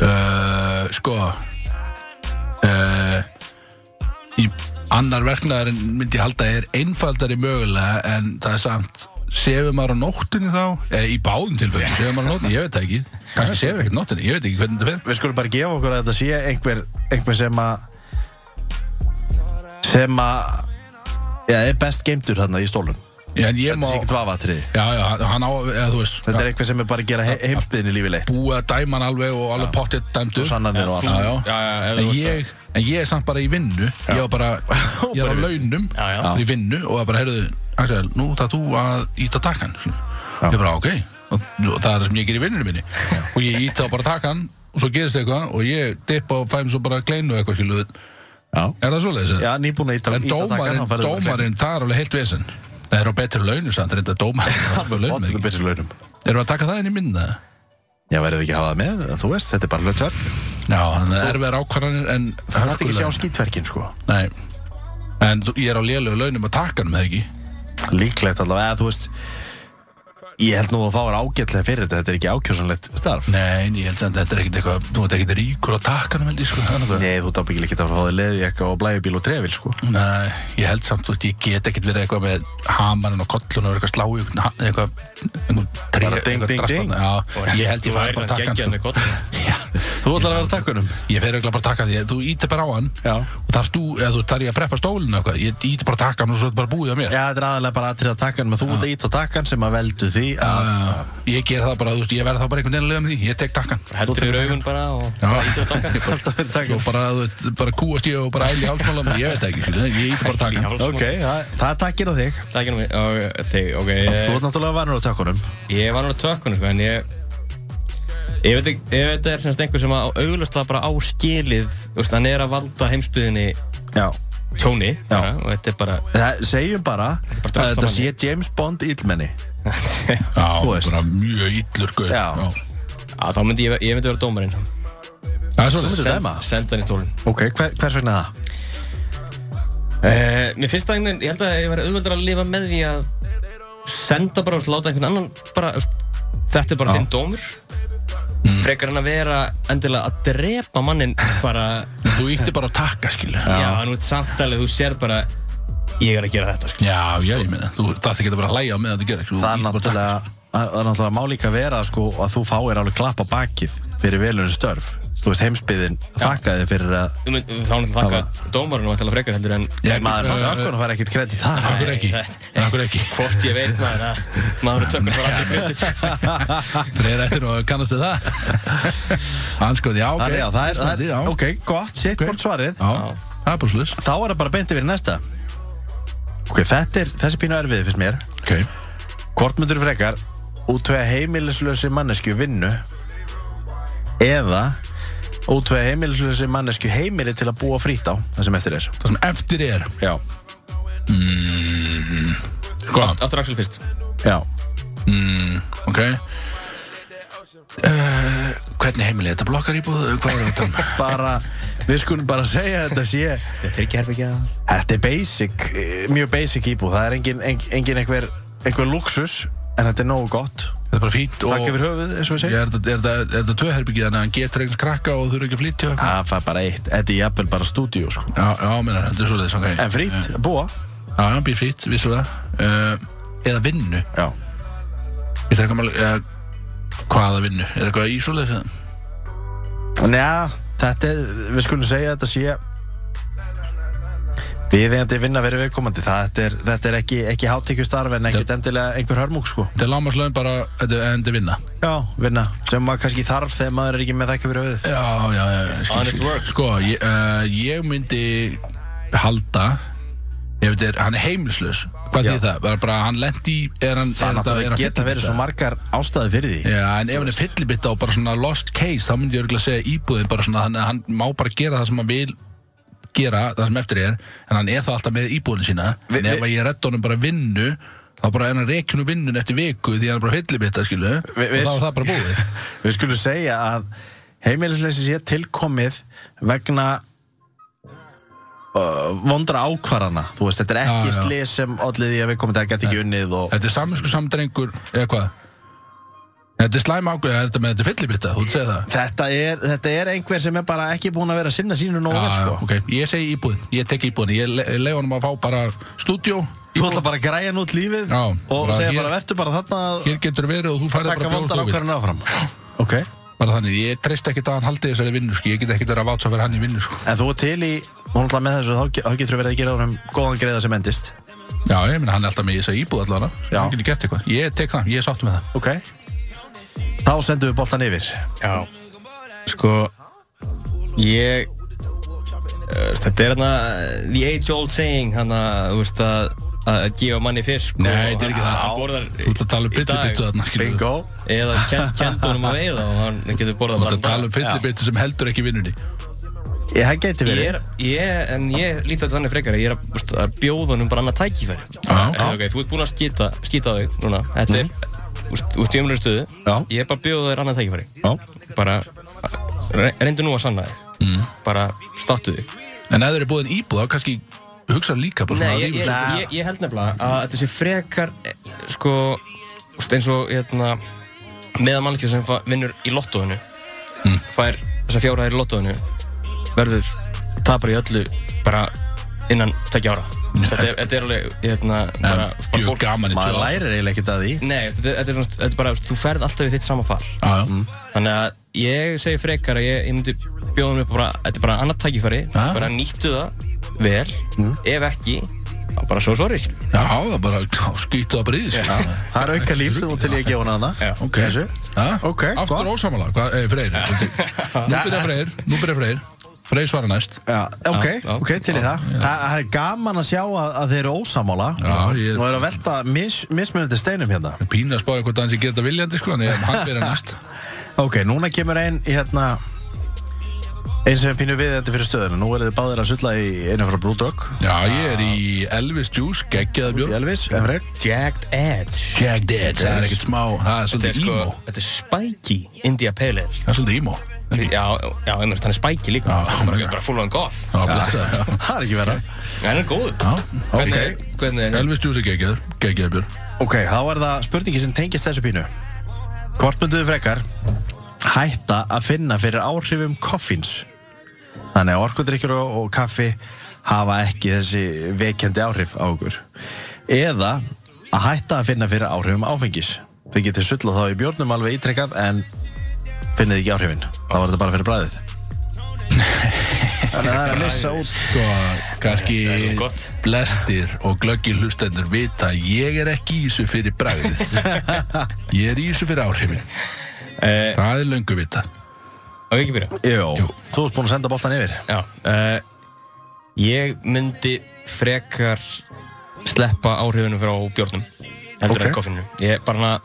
A: uh, Sko uh, Í annar verknaðar myndi ég halda er einfaldari mögulega en það er samt sefur maður á nóttunni þá eða í báðum tilfellum, sefur maður á nóttunni, ég veit það ekki kannski sefur ekkert nóttunni, ég veit ekki hvernig þetta fer
C: Við skulum bara gefa okkur að þetta sé einhver, einhver sem að sem að Já, er best geimtur þarna í stólum
A: Já, en ég má
C: Þetta sé ekki dvafatriði
A: já, já, hann á, eða þú veist
C: Þetta er eitthvað sem er bara að gera he heimsbyðinni lífi leitt
A: búið að dæma hann alveg og alveg pottitt dæmdur
C: Og sannanir og
A: já, já.
C: allt
B: Já, já, ef þú
A: en,
B: ert
A: ég, en ég er samt bara í vinnu ég er bara, ég er á launum
B: Já, já.
A: í vinnu og það bara, heyrðu, Axel, nú það þú að íta takkan ég bara, ok, og, og það er það sem ég ger í vinnunum minni og ég íta bara takkan og svo gerist eitthvað og ég dippa og fæm svo bara kleinu eitthvað skilu
C: Já,
A: er það svoleiðis? eða?
C: já nýbúin að íta
A: en dómarinn, dómarinn, það er alveg heilt vesinn það er á betri launum samt, reynda dómarinn er á betri
C: *laughs*
A: launum,
C: Óttu
A: eða ekki?
C: það byrja launum
A: erum við að taka það inn í minna?
C: Já, verður við ekki að hafa það með, eða þú veist, þetta er bara lögtverk
A: Já, þannig að erfiðar ákvarðanir en
C: Það þarf ekki að sjá
A: hörkulegar.
C: skítverkin, sko
A: Nei En þú- ég er á lélegu launum að taka hann með ekki
C: Líklegt allavega, eða þú veist Ég held nú að fá er ágætlega fyrir þetta, þetta er ekki ákjósanlegt starf
A: Nei, en ég held sem þetta er ekkert eitthvað Þú ert ekkert ríkur að taka hann með sko, þannig að-
C: Nei, þú dápir ekki ekki að fá þig leðjaka og blæjubíl og trefil, sko
A: Nei, ég held samt að ég get ekkert verið eitthvað með hamarinn og kollun og eitthvað slá í einhvern ha- eitthvað, einhvern tré,
C: Bara ding,
A: eitthvað
C: ding,
A: drasl
C: ding.
A: þarna. Já, ég held ég fæði bara að taka hann sko.
B: sko.
A: *laughs* Já,
C: Þú ætlar að vera takkunum?
A: Ég fer eitthvað bara að taka hann því að Þú ítir bara á hann
C: Já.
A: Og þar þú, eða þú þarf ég að preppa stólinn og eitthvað Ég ítir bara að taka hann og svo er þetta bara búið á mér
C: Já, þetta er aðalega bara aðtrið að takkan, menn þú ert að íta á takkan sem að veldu því að *laughs*
A: Uh, Ég ger það bara, þú veist, ég verð það bara einhvern veginn að leiða með því Ég tek takkan
B: Heldur yfir augun bara og
A: Já.
B: ítir að taka
C: Þetta verður
A: Svo
C: takkan
A: bara, þú veit, bara kúast ég og bara æli hálsmála mig, ég veit það ekki, skilu, ég ítti bara að taka hann.
C: Ok, það það er takkir á þig
B: Takk hérna mig og þig, ok
C: Þú
B: ég-
C: ert náttúrulega vanur á takkunum
B: Ég var náttúrulega tökkunum sko en ég Ég veit ekki, ef þetta er semst einhver sem að auglustlega bara á skilið, þú veist, hann er að valda heimsbyðinni
C: Já,
B: tjóni bara,
C: Já.
B: og þetta er bara
C: Það segjum bara
B: bara
C: að
B: drasl
C: þetta
B: á
C: sé James Bond illmenni
A: Já,
C: Þú veist.
A: bara mjög illur guð.
C: Já.
B: að þá myndi ég, ég myndi vera dómarinn
A: Það er svona
C: myndir dæma?
B: Senda hann í stólinn
C: Ok, hver, hvers vegna það?
B: Eh, Mér finnst það einhvern veginn, ég held að ég væri auðveldur að lifa með því að senda bara, þú veist, láta einhvern annan bara, þú veist, þetta er bara þinn dómur frekar en að vera endilega að drepa mannin bara,
A: Þú ítti bara að taka skilur
B: já, nú ert samtalið, þú sér bara ég er að gera þetta, sko
A: Já, já, ég meina, þú þarft ekki að bara að hlæja á meðan þú gerir ekki, þú
C: Það er
A: ýtir bara á takka,
C: náttúrulega Það er náttúrulega má líka vera sko, að þú fáir alveg klapp á bakið fyrir velunum störf Þú veist heimsbyðin þakkaði fyrir að
B: Þú mynd- Þá er þetta þakka dómarunum að tala frekar heldur en
A: sko. Ég-
C: maður
A: eh,
C: samt ökkun og fær ekkert kredit þar
A: Af hverju
B: Nei,
A: ekki?
B: þetta-
A: Af hverju ekki?
B: Hvort ég veit maður að maður er tökur bara allir kredit
A: Nei, þetta er nú, kannast þið það? Anskoði, já, ok.
C: Það er, já, það er, það
A: já.
C: er, ok, gott, sitt
A: Ok.
C: hvort svarið
A: Já, það er bara sluss.
C: Þá er það bara beint yfir í næsta Ok, þetta er, þessi pínu erfið fyrst mér
A: Ok.
C: Hvort myndur frekar útvega heimilislösi mannesku vinnu eða útvega heimilislösi mannesku heimili til að búa frýtt á það sem eftir er
A: Það sem eftir er,
C: Já,
A: hvað?
B: Aftur Axel fyrst
C: já,
A: Sko, Ok. Uh, hvernig heimilið? Þetta blokkar íbúð? Hvað er þetta?
C: bara við skulum bara segja að þetta sé
B: Þetta er ekki herbyggja
C: þetta er basic, eh, mjög basic íbúð það er engin, engin, engin einhver, einhver luxus en þetta er nógu gott
A: Þetta er bara fínt og...
C: Takk yfir höfuð, eins og
A: Ég,
C: við segjum
A: er þetta- er þetta- er þetta tvöherbyggið þannig að hann getur eignast krakka og þurfa ekki að flytja? og eitthvað?
C: Það er bara eitt, þetta er jafnvel bara stúdíu sko.
A: Já, já, minna, þetta er svo leiðis, ok. Eh,
C: en frýtt, búa
A: Já, hann býr frýtt, vissulega. Uh, eða vinnu.
C: Já,
A: Ég þarf ekki að mála... eða Hvaða vinnu? Er eitthvað í svo leiðis?
C: Njá, þetta er, við skulum segja að þetta sé Við eigandi vinna verið viðkomandi Þetta er, þetta er ekki, ekki hátíkju starf en ekkert endilega einhver hörmúk sko
A: Þetta er lámaslaun bara, þetta er endi vinna.
C: Já, vinna, sem maður kannski þarf þegar maður er ekki með þekka fyrir höfuð
A: Já, já, já. skil,
B: honest
A: skil.
B: work.
A: Sko, ég, uh, ég myndi halda, ef þetta er, hann er heimilslaus. Hvað
C: Já.
A: þýð það? Bara, bara hann lendi, er hann,
C: Það
A: er
C: náttúrulega geta verið svo margar ástæði fyrir því
A: Já, en ef hann er fyllibitta og bara svona lost case, þá myndi ég örgulega segja íbúðin bara svona, þannig að hann má bara gera það sem hann vil gera, það sem eftir er, en hann er þá alltaf með íbúðin sína.
C: Vi-
A: en ef
C: vi-
A: að ég redda honum bara vinnu, þá bara er hann reikinu vinnun eftir viku því hann er bara fyllibitta, skilu,
C: Vi-
A: og
C: við-
A: þá er það bara búið.
C: Við skulum segja að heimilisleysi sé tilkomið vegna uh, vondra ákvarana Þú veist, þetta er
A: Já,
C: ekki
A: já.
C: slið sem allir því að viðkomandi að geta ekki unnið og
A: Þetta er saminsku samdrengur eða hvað? Þetta er slæm ákveð, þetta með þetta er fyllibitta, þú ert að segja það?
C: Þetta er, þetta er einhver sem er bara ekki búin að vera að sinna sínu nógu vel sko.
A: ok, ég segi íbúðin, ég tek íbúðin, ég le leið honum að fá bara stúdjó,
C: Þú ætla bara að græja nút lífið
A: Já,
C: og
A: bara
C: segja
A: hér-
C: bara verður bara þarna að
A: hér getur verið og þú færið
C: taka
A: bara bjór
C: vondar
A: þú vilt.
C: ákvarðan áfram Ok
A: Bara þannig, ég treyst ekki að hann haldi þessari vinnu, sko, ég get ekki verið að vátsa fyrir hann í vinnu, sko.
C: En þú er til í, hún ætla með þessu þá, ge- þá getur verið að gera honum góðan greiða sem endist
A: Já, ég meina, hann er alltaf með þessa íbúð allavega,
C: Já.
A: hann getur gert eitthvað. Ég tek það, ég er sátt með það.
C: Ok Þá sendum við boltan yfir
B: Sko Ég eh, Þetta er hérna The age old saying Hanna, þú veist að að gefa manni fisk og-
A: Nei, þetta er ekki það.
B: Hann borðar
A: Þú ert að tala um
B: í dag.
A: fyllibittu þarna, skilur
C: Bingo
B: Eða ken- kenndi honum að veiða og hann getur borðað
A: Þú ert að
B: bara
A: tala um fyllibittu sem heldur ekki vinnunni.
C: Ég hef geti
B: Ég
C: verið
B: er, ég, en ég líti þetta þannig frekar að ég er að, þú veist, að bjóða honum bara annað tækifæri
A: Já.
B: Eh, ok, Þú ert búinn að skýta, skýta á þig núna Þetta er, þú veist, þú ert í umlega stöðu
C: Já.
B: Ég er bara að bjóða þér annað tækifæri
C: Já.
B: Bara, re- reyndu nú að sanna þig mm. Bara, startu þig
A: En ef þeir eru búin íbúð, þá kannski hugsa líka bara svona
B: Nei,
A: að
B: ég,
A: rífa
B: ég,
A: sig.
B: ég, ég held nefnilega að þetta sé frekar eh, sko, úst, eins og hérna, meðan mannskja sem fa- vinnur í lottóinu
A: Hmm.
B: fær þessar fjóraðir í lottóinu verður tapar í öllu bara innan tvekja ára þetta, er- þetta er alveg hérna, bara, bara
A: Hmm. Djöfull gaman í tvö
C: Maður
A: ár,
C: lærir eiginlega ekkert að því
B: Nei, þetta, þetta, er, svona- þetta er bara, þú ferð alltaf í þitt sama far
A: sko. Já, já.
B: Mm. Þannig að ég segi frekar að ég, ég myndi bjóða mér bara, þetta er bara annað tækifæri,
A: Ah.
B: bara nýttu það vel,
A: Hmm.
B: ef ekki, þá bara svo sorry. skilur.
A: Já, það bara *laughs* skýtu það bara í þessu
C: Það er auka líf sem þú til ég gefa
B: Já.
C: hana það
A: sko. Ok,
C: Þessu?
A: Ha?
C: Ok,
A: Aftur
C: gott.
A: ósamala, hvað, eh, Freyr Nú byrja Freyr, nú byrja Freyr Freyr svara næst
C: Já, ok,
B: já,
C: ok, til í það Þa- Það er gaman að sjá að, að þeir eru ósamála
A: Já, ég-
C: Nú er að velta mis, mismunandi steinum hérna
A: Pína að spáði hvort hann sé gera þetta viljandi sko En ég- hann
B: *laughs*
A: byrja næst
C: Ok, núna kemur ein hérna Ein sem er pínu viðendi fyrir stöðuna Nú eru þið báðir að sulla í einu frá Blue Dog
A: Já, ég er í Elvis Juice, geggjaða
C: í
A: björn
C: Elvis, en fyrir
B: Jagged Edge
A: Jagged Edge, það er ekkert smá Það er
B: Þetta er
A: svolítið
B: sko,
A: ímó
B: þetta er spiky India Pale Ale
A: Það er svolítið ímó
B: Já, já, ég mennst, hann er spæki líka
A: Já,
B: Hann er bara,
A: já.
B: bara full on goth
A: Já, blessaður, já.
C: Það er ekki vera
B: En hann er góður
A: Já,
B: Hvernig,
A: ok.
B: hvernig,
A: Elvis Juice er geggjaður, geggjaður Björn.
C: Ok, þá er það spurningi sem tengist þessu pínu Hvort mynduðu frekar hætta að finna fyrir áhrifum koffins Þannig að orkudrykkjur og, og kaffi hafa ekki þessi veikjandi áhrif á okkur Eða að hætta að finna fyrir áhrifum áfengis Þið getið sullað þá í bjórnum alveg ítrekkað en finnið ekki áhrifin Þá var þetta bara fyrir bræðið Þannig að það er að lissa út
A: Sko, kannski
B: er nú gott.
A: blestir og glöggir hlustendur vita að ég er ekki í þessu fyrir bragðið.
B: *laughs*
A: Ég er í þessu fyrir áhrifin.
B: Eh,
A: Það er löngu vita.
B: á ekki byrja
C: Jó,
A: Jú.
C: þú ert búin að senda boltan yfir
B: Já uh, Ég myndi frekar sleppa áhrifunum frá bjórnum heldur
C: Ok.
B: okay. en koffinu Ég bara hana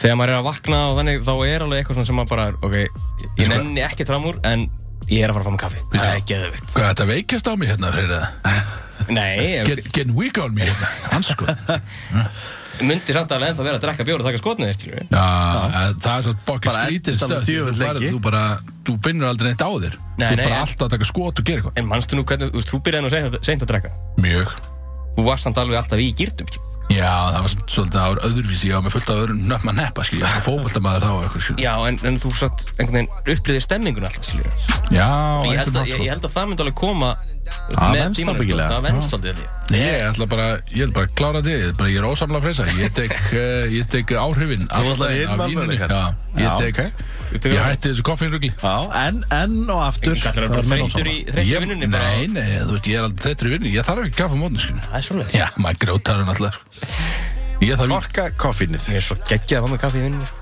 B: þegar maður er að vakna og þannig þá er alveg eitthvað svona sem maður bara er ok, ég nenni ekkert fram úr en ég er að fara að fá mig kaffi Það er geðvitt
A: Hvað þetta veikjast á mig hérna, Freyra?
B: Nei, ég
A: Get, get weak on me hérna, hans sko.
B: myndi samt alveg ennþá vera að drekka bjór og taka skotnið þér til við
A: Já, eh, það er svo fokkið
C: Bara
A: skrítið
C: endist
A: stöð.
C: alveg
A: Þú,
C: djöfull
A: færð-
C: lengi.
A: þú bara, þú finnur aldrei neitt á þér. þú
B: Nei,
A: er
B: nei,
A: bara
B: en-
A: alltaf að taka skot og gera eitthvað.
B: En manstu nú hvernig, þú veist, þú byrjaði nú seint að- seint að drekka
A: Mjög.
B: Þú varst samt alveg alltaf í gýrtum skil.
A: Já, það var s- svolítið, það var öðruvísi, ég var með fullt af öðrum nöfn að neppa, skilja, fókbaltamaður þá og eitthvað, skilja.
B: Já, en, en þú satt einhvern veginn upplýðir stemmingun alltaf skilur
A: Já, á
B: ég held,
A: einhvern
B: að,
A: hátt,
B: ég,
A: sko.
B: ég held að það myndi alveg koma
C: Það
B: með
C: venst
B: tímanum sko,
C: ábyggilega.
B: það venst aldrei því
A: Nei, ég ætla bara, ég ætla bara að klára þig, ég, er bara, ég er ósamla freysa, ég tek, *laughs* uh, ég tek áhrifin allan
C: ætlar í
A: daginn
C: hinn
A: af
C: valmöguleikann?
A: víninu, já, ég
C: Já,
A: tek,
C: ok.
A: ég hætti þessu koffinrugli.
C: Já, en, en og aftur
B: Kallar það
C: það
B: bara
C: er menn
B: þreytur í
C: ósammála.
B: þreytur í
A: Ég-
B: vinnunni bara
A: Nei, nei, þú veit, ég er aldrei þettur í vinnu, ég þarf ekki kaffa mótni, skilja.
B: Það er svolítið
A: Já, maður grótar hann alltaf, sko. Ég þarf,
C: Orka koffinnið
B: Ég er svo geggjað að fá mig kaffi í vinnunni sko.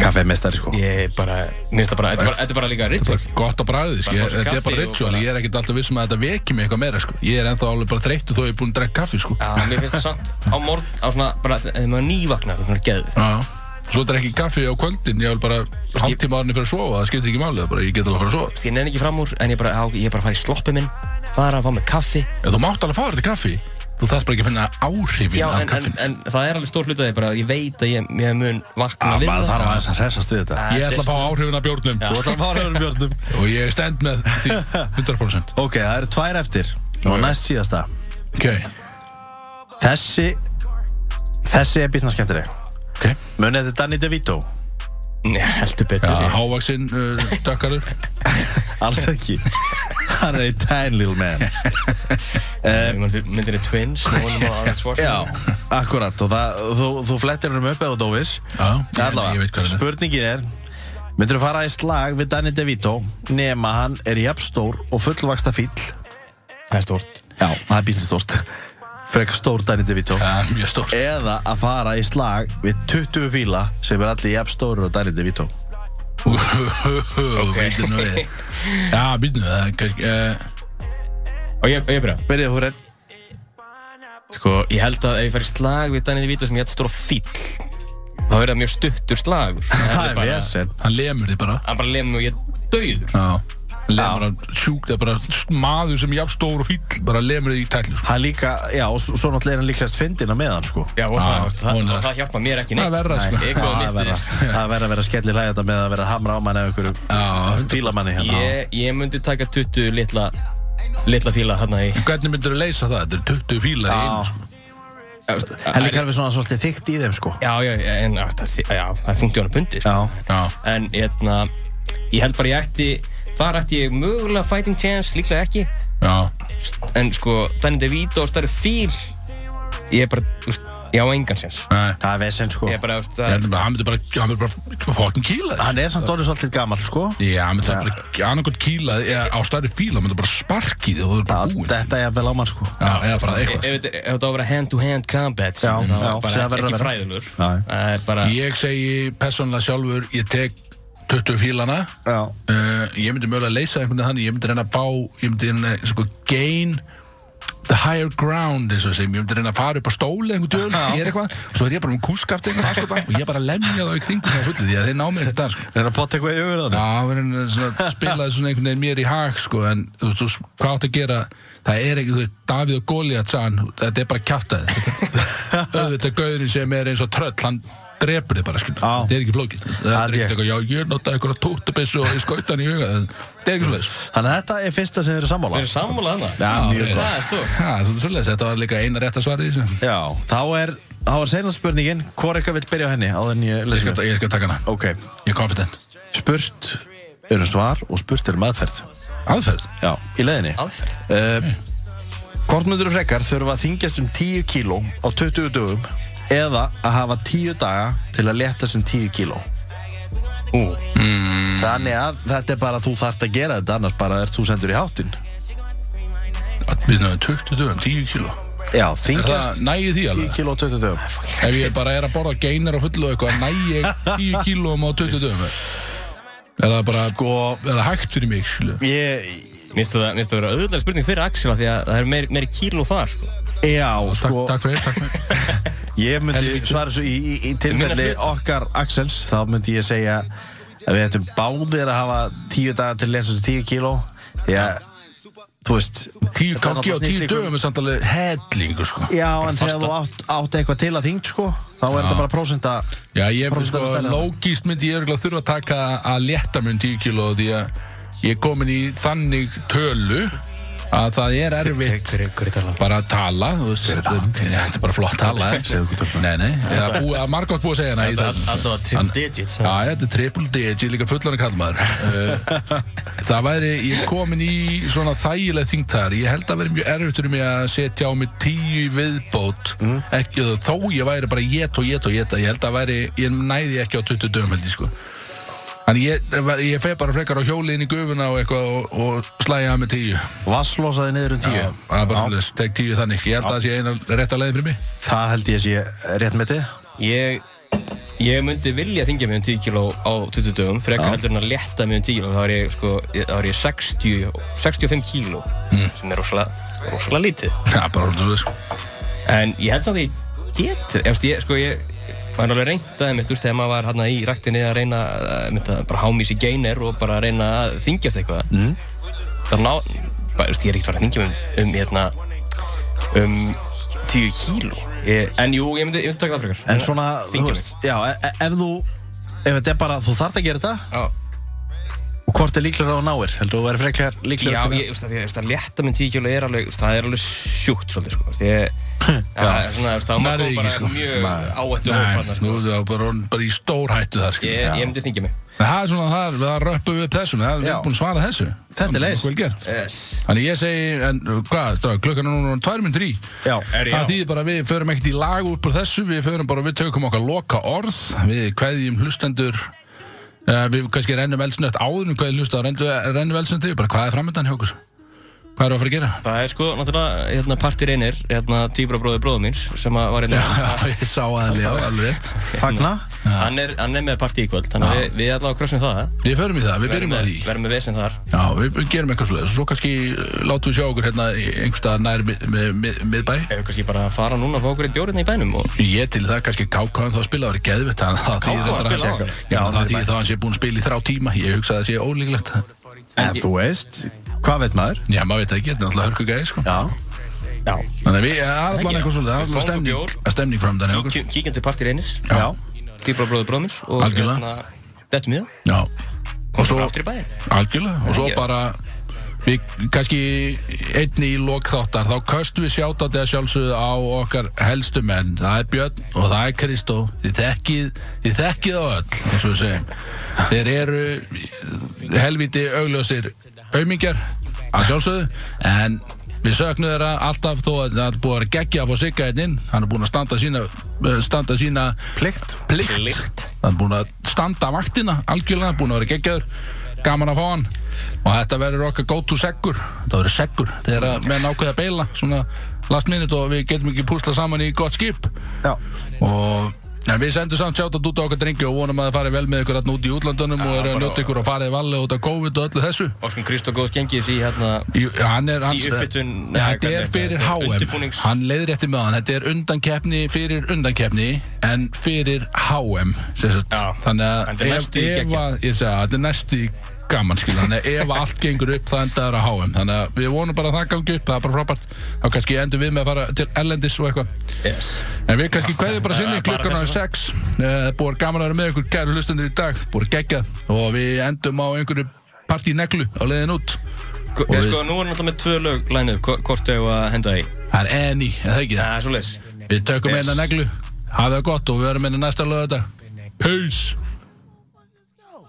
C: Kaffi er mestari sko
B: Ég er bara, minnst það bara, þetta er bara- þetta er bara líka ritual
A: bara gott á bræðið, sko,
B: Bara
A: ég-
B: fá sér
A: þetta er bara
B: kaffi og
A: ritual,
B: bara-
A: ég er ekkert alltaf vissum að þetta veki mig eitthvað meira, sko. Ég er ennþá alveg bara þreyttur þó ég er búinn að drekka kaffi, sko.
B: Já, mér finnst það samt á morgun, á svona, bara, þegar maður nývagnar, það er geðu
A: Já, svo drekki kaffi á kvöldin, ég vil bara hálftíma árinni fyrir að sofa, það skiptir ekki málið, bara ég get alveg að fara að sofa.
B: Ég nenni ekki fram úr, en ég bara, á, ég bara fara í sloppi minn fara að fá mig kaffi
A: Ef þú mátt alveg fara til kaffi Þú þarfst bara ekki að finna áhrifin
B: Já,
A: af
B: en, en,
A: kaffinu
B: en það er alveg stór hlut að ég bara, ég veit að ég, ég mun vakna
C: Það
B: við
C: maður
B: það
C: þarf aðeins að hressast við þetta
A: Ég ætla að fá áhrifin af bjórnum
C: Þú ætlar að fara öðrum björnum
A: *laughs* Og ég stend með því 100%
C: Ok, það eru tvær eftir Og næst síðasta
A: Ok,
C: Þessi Þessi er bísna skemmtileg
A: ok
C: Munið þetta er Danny DeVito
B: Nei, heldur
A: Já,
B: betur ég.
A: hávaksinn uh, dökkarur
C: Alls ekki Hann er a tiny little man
B: Ég man eftir myndinni Eh, *laughs* Twins með honum og Arnold
C: Já,
B: Schwarzenegger.
C: akkurat Og það, þú, þú flettir hann upp eða þú dóvis
A: Já, ég- ég veit
C: Allavega,
A: hvað hann er.
C: spurningin er Myndirðu fara í slag við Danny DeVito Nema hann er jafnstór og fullvaksta fíll
B: Það er stórt
C: Já, það er bísna stórt Frekar stór Danny DeVito
A: Já, mjög stór
C: eða að fara í slag við 20 fíla sem er allir jafn stóru og Danny DeVito
A: Ok Býtum við Já, býtum við það er kannski, uh,
B: Og ég, ég byrja
C: Byrjaði þú reynd
B: Sko, ég held að ef ég fær í slag við Danny DeVito sem ég hætti stóra fíll þá er það mjög stuttur slagur
C: Það
B: Hann
C: er vesen
A: Hann lemur þig bara
B: hann bara lemur og ég er dauður
A: Já Hann Lemur hann sjúkt Það er bara maður sem er jafn stór og fíll Bara lemur þig í tætlu sko.
C: Hann líka, já, og svo svo náttúrulega er hann líklegast fyndin á meðan sko
B: Já, og
A: Já,
B: það, það,
A: vonar.
B: það, það hjálpa mér ekki
A: Það er
B: neitt
A: verra sko Já,
B: Nei, Eitthvað mitt
C: Það er verra- það er verið að vera skellir hlægjata með að vera að hamra á manni eða einhverju
A: en
C: fílamanni hérna
B: ég, ég myndi taka 20 litla litla fíla hérna í
A: Hvernig myndir þú leysa það? Þetta er 20 fíla í einu
C: Já,
A: sko
B: Já, veist,
C: hann
B: er-
C: líka er við svona svolítið þykkt í þeim sko
B: Já, já, en já, það er þi- já, það er 50 ára pundi sko.
C: Já,
A: Já
B: en hérna, ég held bara ég ætti þar ætti ég mögulega fighting chance líklega ekki
A: Já
B: en sko, Danny DeVito og stærri fíl ég er bara, úst, ég á engan sens
A: Nei
C: það er vesen sko
B: ég er bara, úst,
A: Ég
B: það,
A: heldur bara, hann myndi bara, hann myndi bara fokkin kýla þig.
C: Hann er samt orðið svolítið gamall sko
A: Já, hann myndi samt bara, annarkot kýla þig, eða á stærri fíla, hann myndi bara sparki þig og þú er bara
C: Já,
A: búinn.
C: Þetta er jafnvel á mann sko
A: Já, eða bara
B: ef
A: eitthvað.
B: þetta ef þetta á að vera hand to hand combat
C: Já,
B: þá er
C: já,
B: bara
C: sem það
B: ekki,
C: verður að
B: ekki
C: vera.
B: fræðilur
C: Nei.
B: það er bara,
A: Ég segi persónulega sjálfur, ég tek 20 fílana,
C: Já,
A: uh, ég myndi mögulega leysa einhvern veginn þannig, ég myndi reyna að fá, ég myndi reyna að sko, gain the higher ground, eins og sem, ég myndi reyna að fara upp á stóli einhvern djörn, ég er eitthvað, og svo er ég bara með kúskaft einhvern aðskotan og ég bara lemja þá í kringum það fullu því að þeir ná mér einhvern dag, sko.
C: er að potta eitthvað yfir þannig
A: Já, við erum svona, spilaði svona einhvern veginn mér í hag sko, en þú veist, þú- hvað átt að gera það er ekki, þú veist, Davíð og Góliat sann, þetta er bara kjáftæði auðvitað gauðurinn sem er eins og tröll hann drepur þið bara, skil
C: Á.
A: þetta er ekki flókið, það
C: Það er
A: er ekki
C: ég.
A: eitthvað já, ég notaði eitthvað tóttabessu og ég skauta hann í huga þetta er ekki svoleiðis
C: Þannig að þetta er fyrsta sem þið eru sammála
B: Við erum sammálað þarna
C: Já,
A: Já,
C: mjög
A: reyna.
C: gott
B: Það er stórt
A: Ha, það er svoleiðis, þetta var líka eina rétt að svara í þessu ég
C: Já, þá er, þá er seinast spurningin Hvor eitthvað vill byrja á henni áður en ég lesum
A: skal,
C: henni?
A: ég skal taka hana,
C: Ok,
A: ég er confident
C: spurt eru svar og spurt eru maðferð
A: aðferð,
C: Já, í leiðinni
B: Aðferð
C: uh, Hvort myndur frekar þurfa að þingjast um 10 kíló á 20 dögum eða að hafa 10 daga til að letast um 10 kíló
A: Hmm.
C: mm. Þannig að þetta er bara að þú þarft að gera þetta annars bara er þú sendur í hátinn
A: að við náðum 20 dögum, 10 kíló
C: Já,
A: er
C: þingjast
A: það nægir því
C: 10
A: alveg?
C: kíló á 20 dögum
A: Ef ég bara er að borða geinar og fullu og eitthvað, næ ég 10 kílóum á 20 dögum Er það bara,
C: Sko,
A: er það hægt fyrir mig, skilu?
C: ég,
B: Minnst það minnst það vera auðvitað spurning fyrir Axel af Því að það er meiri, meiri kíló þar sko.
C: já,
A: Takk,
C: sko
A: takk fyrir, takk fyrir
C: Ég myndi svara svo í, í, í tilfelli
B: Minna hlut.
C: okkar Axels þá myndi ég segja að við ættum báðir að hafa tíu daga til að lesa þessu tíu kíló því að, þú veist
A: 10
C: þetta
A: kaki
C: er
A: á
C: náttúrulega
A: 10
C: snýst líka um-
A: dögum er samt alveg hellingu, sko
C: Já, en
B: fasta.
C: þegar þú átt, átt eitthvað til að þyngd sko, þá er þetta bara prósenta
A: Já, ég myndi sko,
C: Prósentan er stærri.
A: lógist myndi ég örgulega þurfa að taka að létta mun 10 kíló Því að ég er komin í þannig tölu að það er erfitt
B: Hver er talað?
A: bara að tala, þú veist Þetta er- þetta er bara flott tala eh? Nei, nei, það er búið að margótt búið að segja hana í þessum.
B: Alltaf að trim digits
A: Já, já, þetta er triple digit, líka fullan að kalla maður *laughs* Það væri, ég er komin í svona þægileg þyngd þar Ég held að vera mjög erfitt fyrir mig að setja á mig tíu í viðbót ekki, Þó ég væri bara get og get og get Ég held að væri, ég næði ekki á 20 dögum held ég sko Þannig ég, ég feg bara frekar á hjóliðin í gufuna og eitthvað og, og slæja það með tíu
C: vasslosaði niður um tíu
A: Já, Það er bara fyrir þess, tek tíu þannig Ég held að það sé eina rétt að leiði fyrir mig
C: Það held ég að sé rétt með þið
B: Ég Ég myndi vilja þingja mig um 10 kíló á 20 dögum frekar heldur en að létta mig um 10 kíló þá er ég sko, ég- þá er ég 60 65 kíló
C: Mm.
B: sem er rosalega rosalega lítið
A: Já, bara fyrir þess
B: En ég held samt að ég get Efst, ég, sko, ég maður er alveg reynt að mitt, þú veist, þegar maður var hérna í ræktinni að reyna að, mitt, að bara hámísi geynir og bara að reyna að þingjast eitthvað mm. Það ná, bara, þú veist, ég er ekkert farið að þingja um, um, hérna, um 10 kíló ég, En jú, ég myndi, ég myndi taka það frekar
C: En svona, þú
B: Þyngja
C: veist, já, e- e- ef þú ef þetta er bara, þú þarft að gera þetta
A: Já,
C: og hvort er líklega á náir, heldur þú verið frekar
B: Já,
C: líklega
B: ég, þú veist, að, ég, þú veist, að létta minn 10 kíló er alveg, þú veist, það er alveg sjúkt svolítið, sko, þú veist, ég Það er svona, þú veist, þá
A: Nærðu
B: maður kom
A: ekki,
B: bara
A: sko.
B: mjög
C: Nei.
B: áættu
A: nei,
B: hóparna,
A: nú
B: sko
A: er það bara, bara í stór hættu þar sko. skilur.
B: Ég, ég myndi þingja mig
A: En Það er svona þar, við að röppu við þessum, það er við
C: Já.
A: erum búin að svara þessu.
C: Þetta er
A: Það
C: leyst.
A: nokkuð vel gert.
B: yes.
A: Þannig ég segi, en uh, hvað, strá, klukkan er núna tvær myndir í.
C: Já,
B: Er ég á?
A: Það þýðir bara að við förum ekkert í lag upp úr þessu, við förum bara, við tökum okkar loka orð, við kveðjum hlustendur, uh, við kannski rennum eldsnött áður um hvað ég hlusta, rennum, rennum eldsnött yfir, bara hvað er framöndan hjá okkur? Hvað eru að fara að gera?
B: Það er sko, náttúrulega, hérna, partir einir, hérna, tíbra bróður bróður míns, sem að var hérna,
A: Já, ég sá aðeins, já, alveg rétt.
C: fagna
B: hann er, hann er með partí í kvöld, þannig að við, við allavega krossum það,
A: Við förum í það, við byrjum á
B: með,
A: því.
B: verðum með vesen þar.
A: Já, við við gerum eitthvað svoleiðis og svo kannski uh, látum við sjá okkur hérna í einhverstað nær mið, mið, mið, miðbæ.
B: Ef við kannski bara fara núna og fá okkur í bjórið í bænum og...
A: Ég til það kannski KK en þá spila það er geðvitt þannig að það
B: KK
A: þýðir að
B: að spila á
A: hann
B: hann?
A: Já,
C: Já, hann
A: það
C: er í
A: þýðir
C: bæ.
A: þá að hann sé búinn að spila í þrá tíma ég hugsa að það sé ólíklegt
C: En þú veist, hvað veit maður?
A: Já, maður veit það ekki, þetta er náttúrulega hörku gæði sko.
C: Já,
B: Já.
A: Þannig að við, það er allan
B: Ekki.
A: eitthvað svolítið það er
B: Við
A: allan
B: fáum
A: stemning,
B: bjór.
A: að stemning fram þannig okkur
B: Kíkjum til partir einir,
C: já,
B: tíbra bróður bróður míns og... hérna,
A: Algjörlega.
B: Þetta miða.
A: Já, og
B: Svo...
A: svo,
B: Aftur í bæin.
A: algjörlega og svo
B: Ekki.
A: bara Við kannski einni í lok þáttar þá köstum við sjátátti að sjálfsögðu á okkar helstu menn það er Björn og það er Kristó þið þekkið, þið þekkið á öll eins og við segjum þeir eru helviti augljósir aumingjar að sjálfsögðu en við sögnum þeirra alltaf þó að það er búið að vera geggja að fá sigga einn inn hann er búin að standa sína, eh, standa sína
C: plikt
A: plikt
B: Líkt.
A: hann er búin að standa vaktina algjörlega, búin að vera geggjaður gaman að fá hann og þetta verður okkar go to seggur þetta verður seggur þegar að menn ákveða að beila svona last minute og við getum ekki púsla saman í gott skip
C: Já,
A: og En við sendum samt sjátat út á okkar drengi og vonum að það fari vel með ykkur alltaf út í útlandunum og eru að
B: bara-
A: njóta ykkur og farið valið út af COVID og öllu þessu.
B: Óskan Kristó Góðs gengis í hérna...
A: Í, hann er, hans,
B: upphitun,
A: ja,
B: eða
A: þetta
B: hvernig
A: er
B: er
A: fyrir
B: það?
A: HM
B: Undirbúnings-
A: hann leiðir eftir með hann þetta er undankeppni fyrir undankeppni en fyrir HM sem sagt.
B: Já,
A: þannig
B: en
A: að
B: þetta er
A: ef,
B: næstu í
A: ef
B: geggjað.
A: að, ég segi að þetta er næstu í gaman skilur þannig að ef allt gengur upp það endaður að HM þannig að við vonum bara að það gangi upp það er bara frábært þá kannski endur við með að fara til Ellendis og eitthvað
B: Yes.
A: en við kannski kveðum bara sinni
C: Eh, bara
A: klukkan á
C: þess
A: 6 Eh, búið að gaman að vera með ykkur kæru hlustendur í dag búið að gegja og við endum á einhverju partíneglu á leiðin út
B: Sko,
A: Og við-
B: sko, nú erum við alltaf með tvö lög lænu, hvort ég að henda því.
A: það er enni, er það ekki það?
B: Það er svo leys.
A: við tökum hérna
B: Yes.
A: eina neglu hafa það gott og við verum eina næsta lög þetta hérna Peace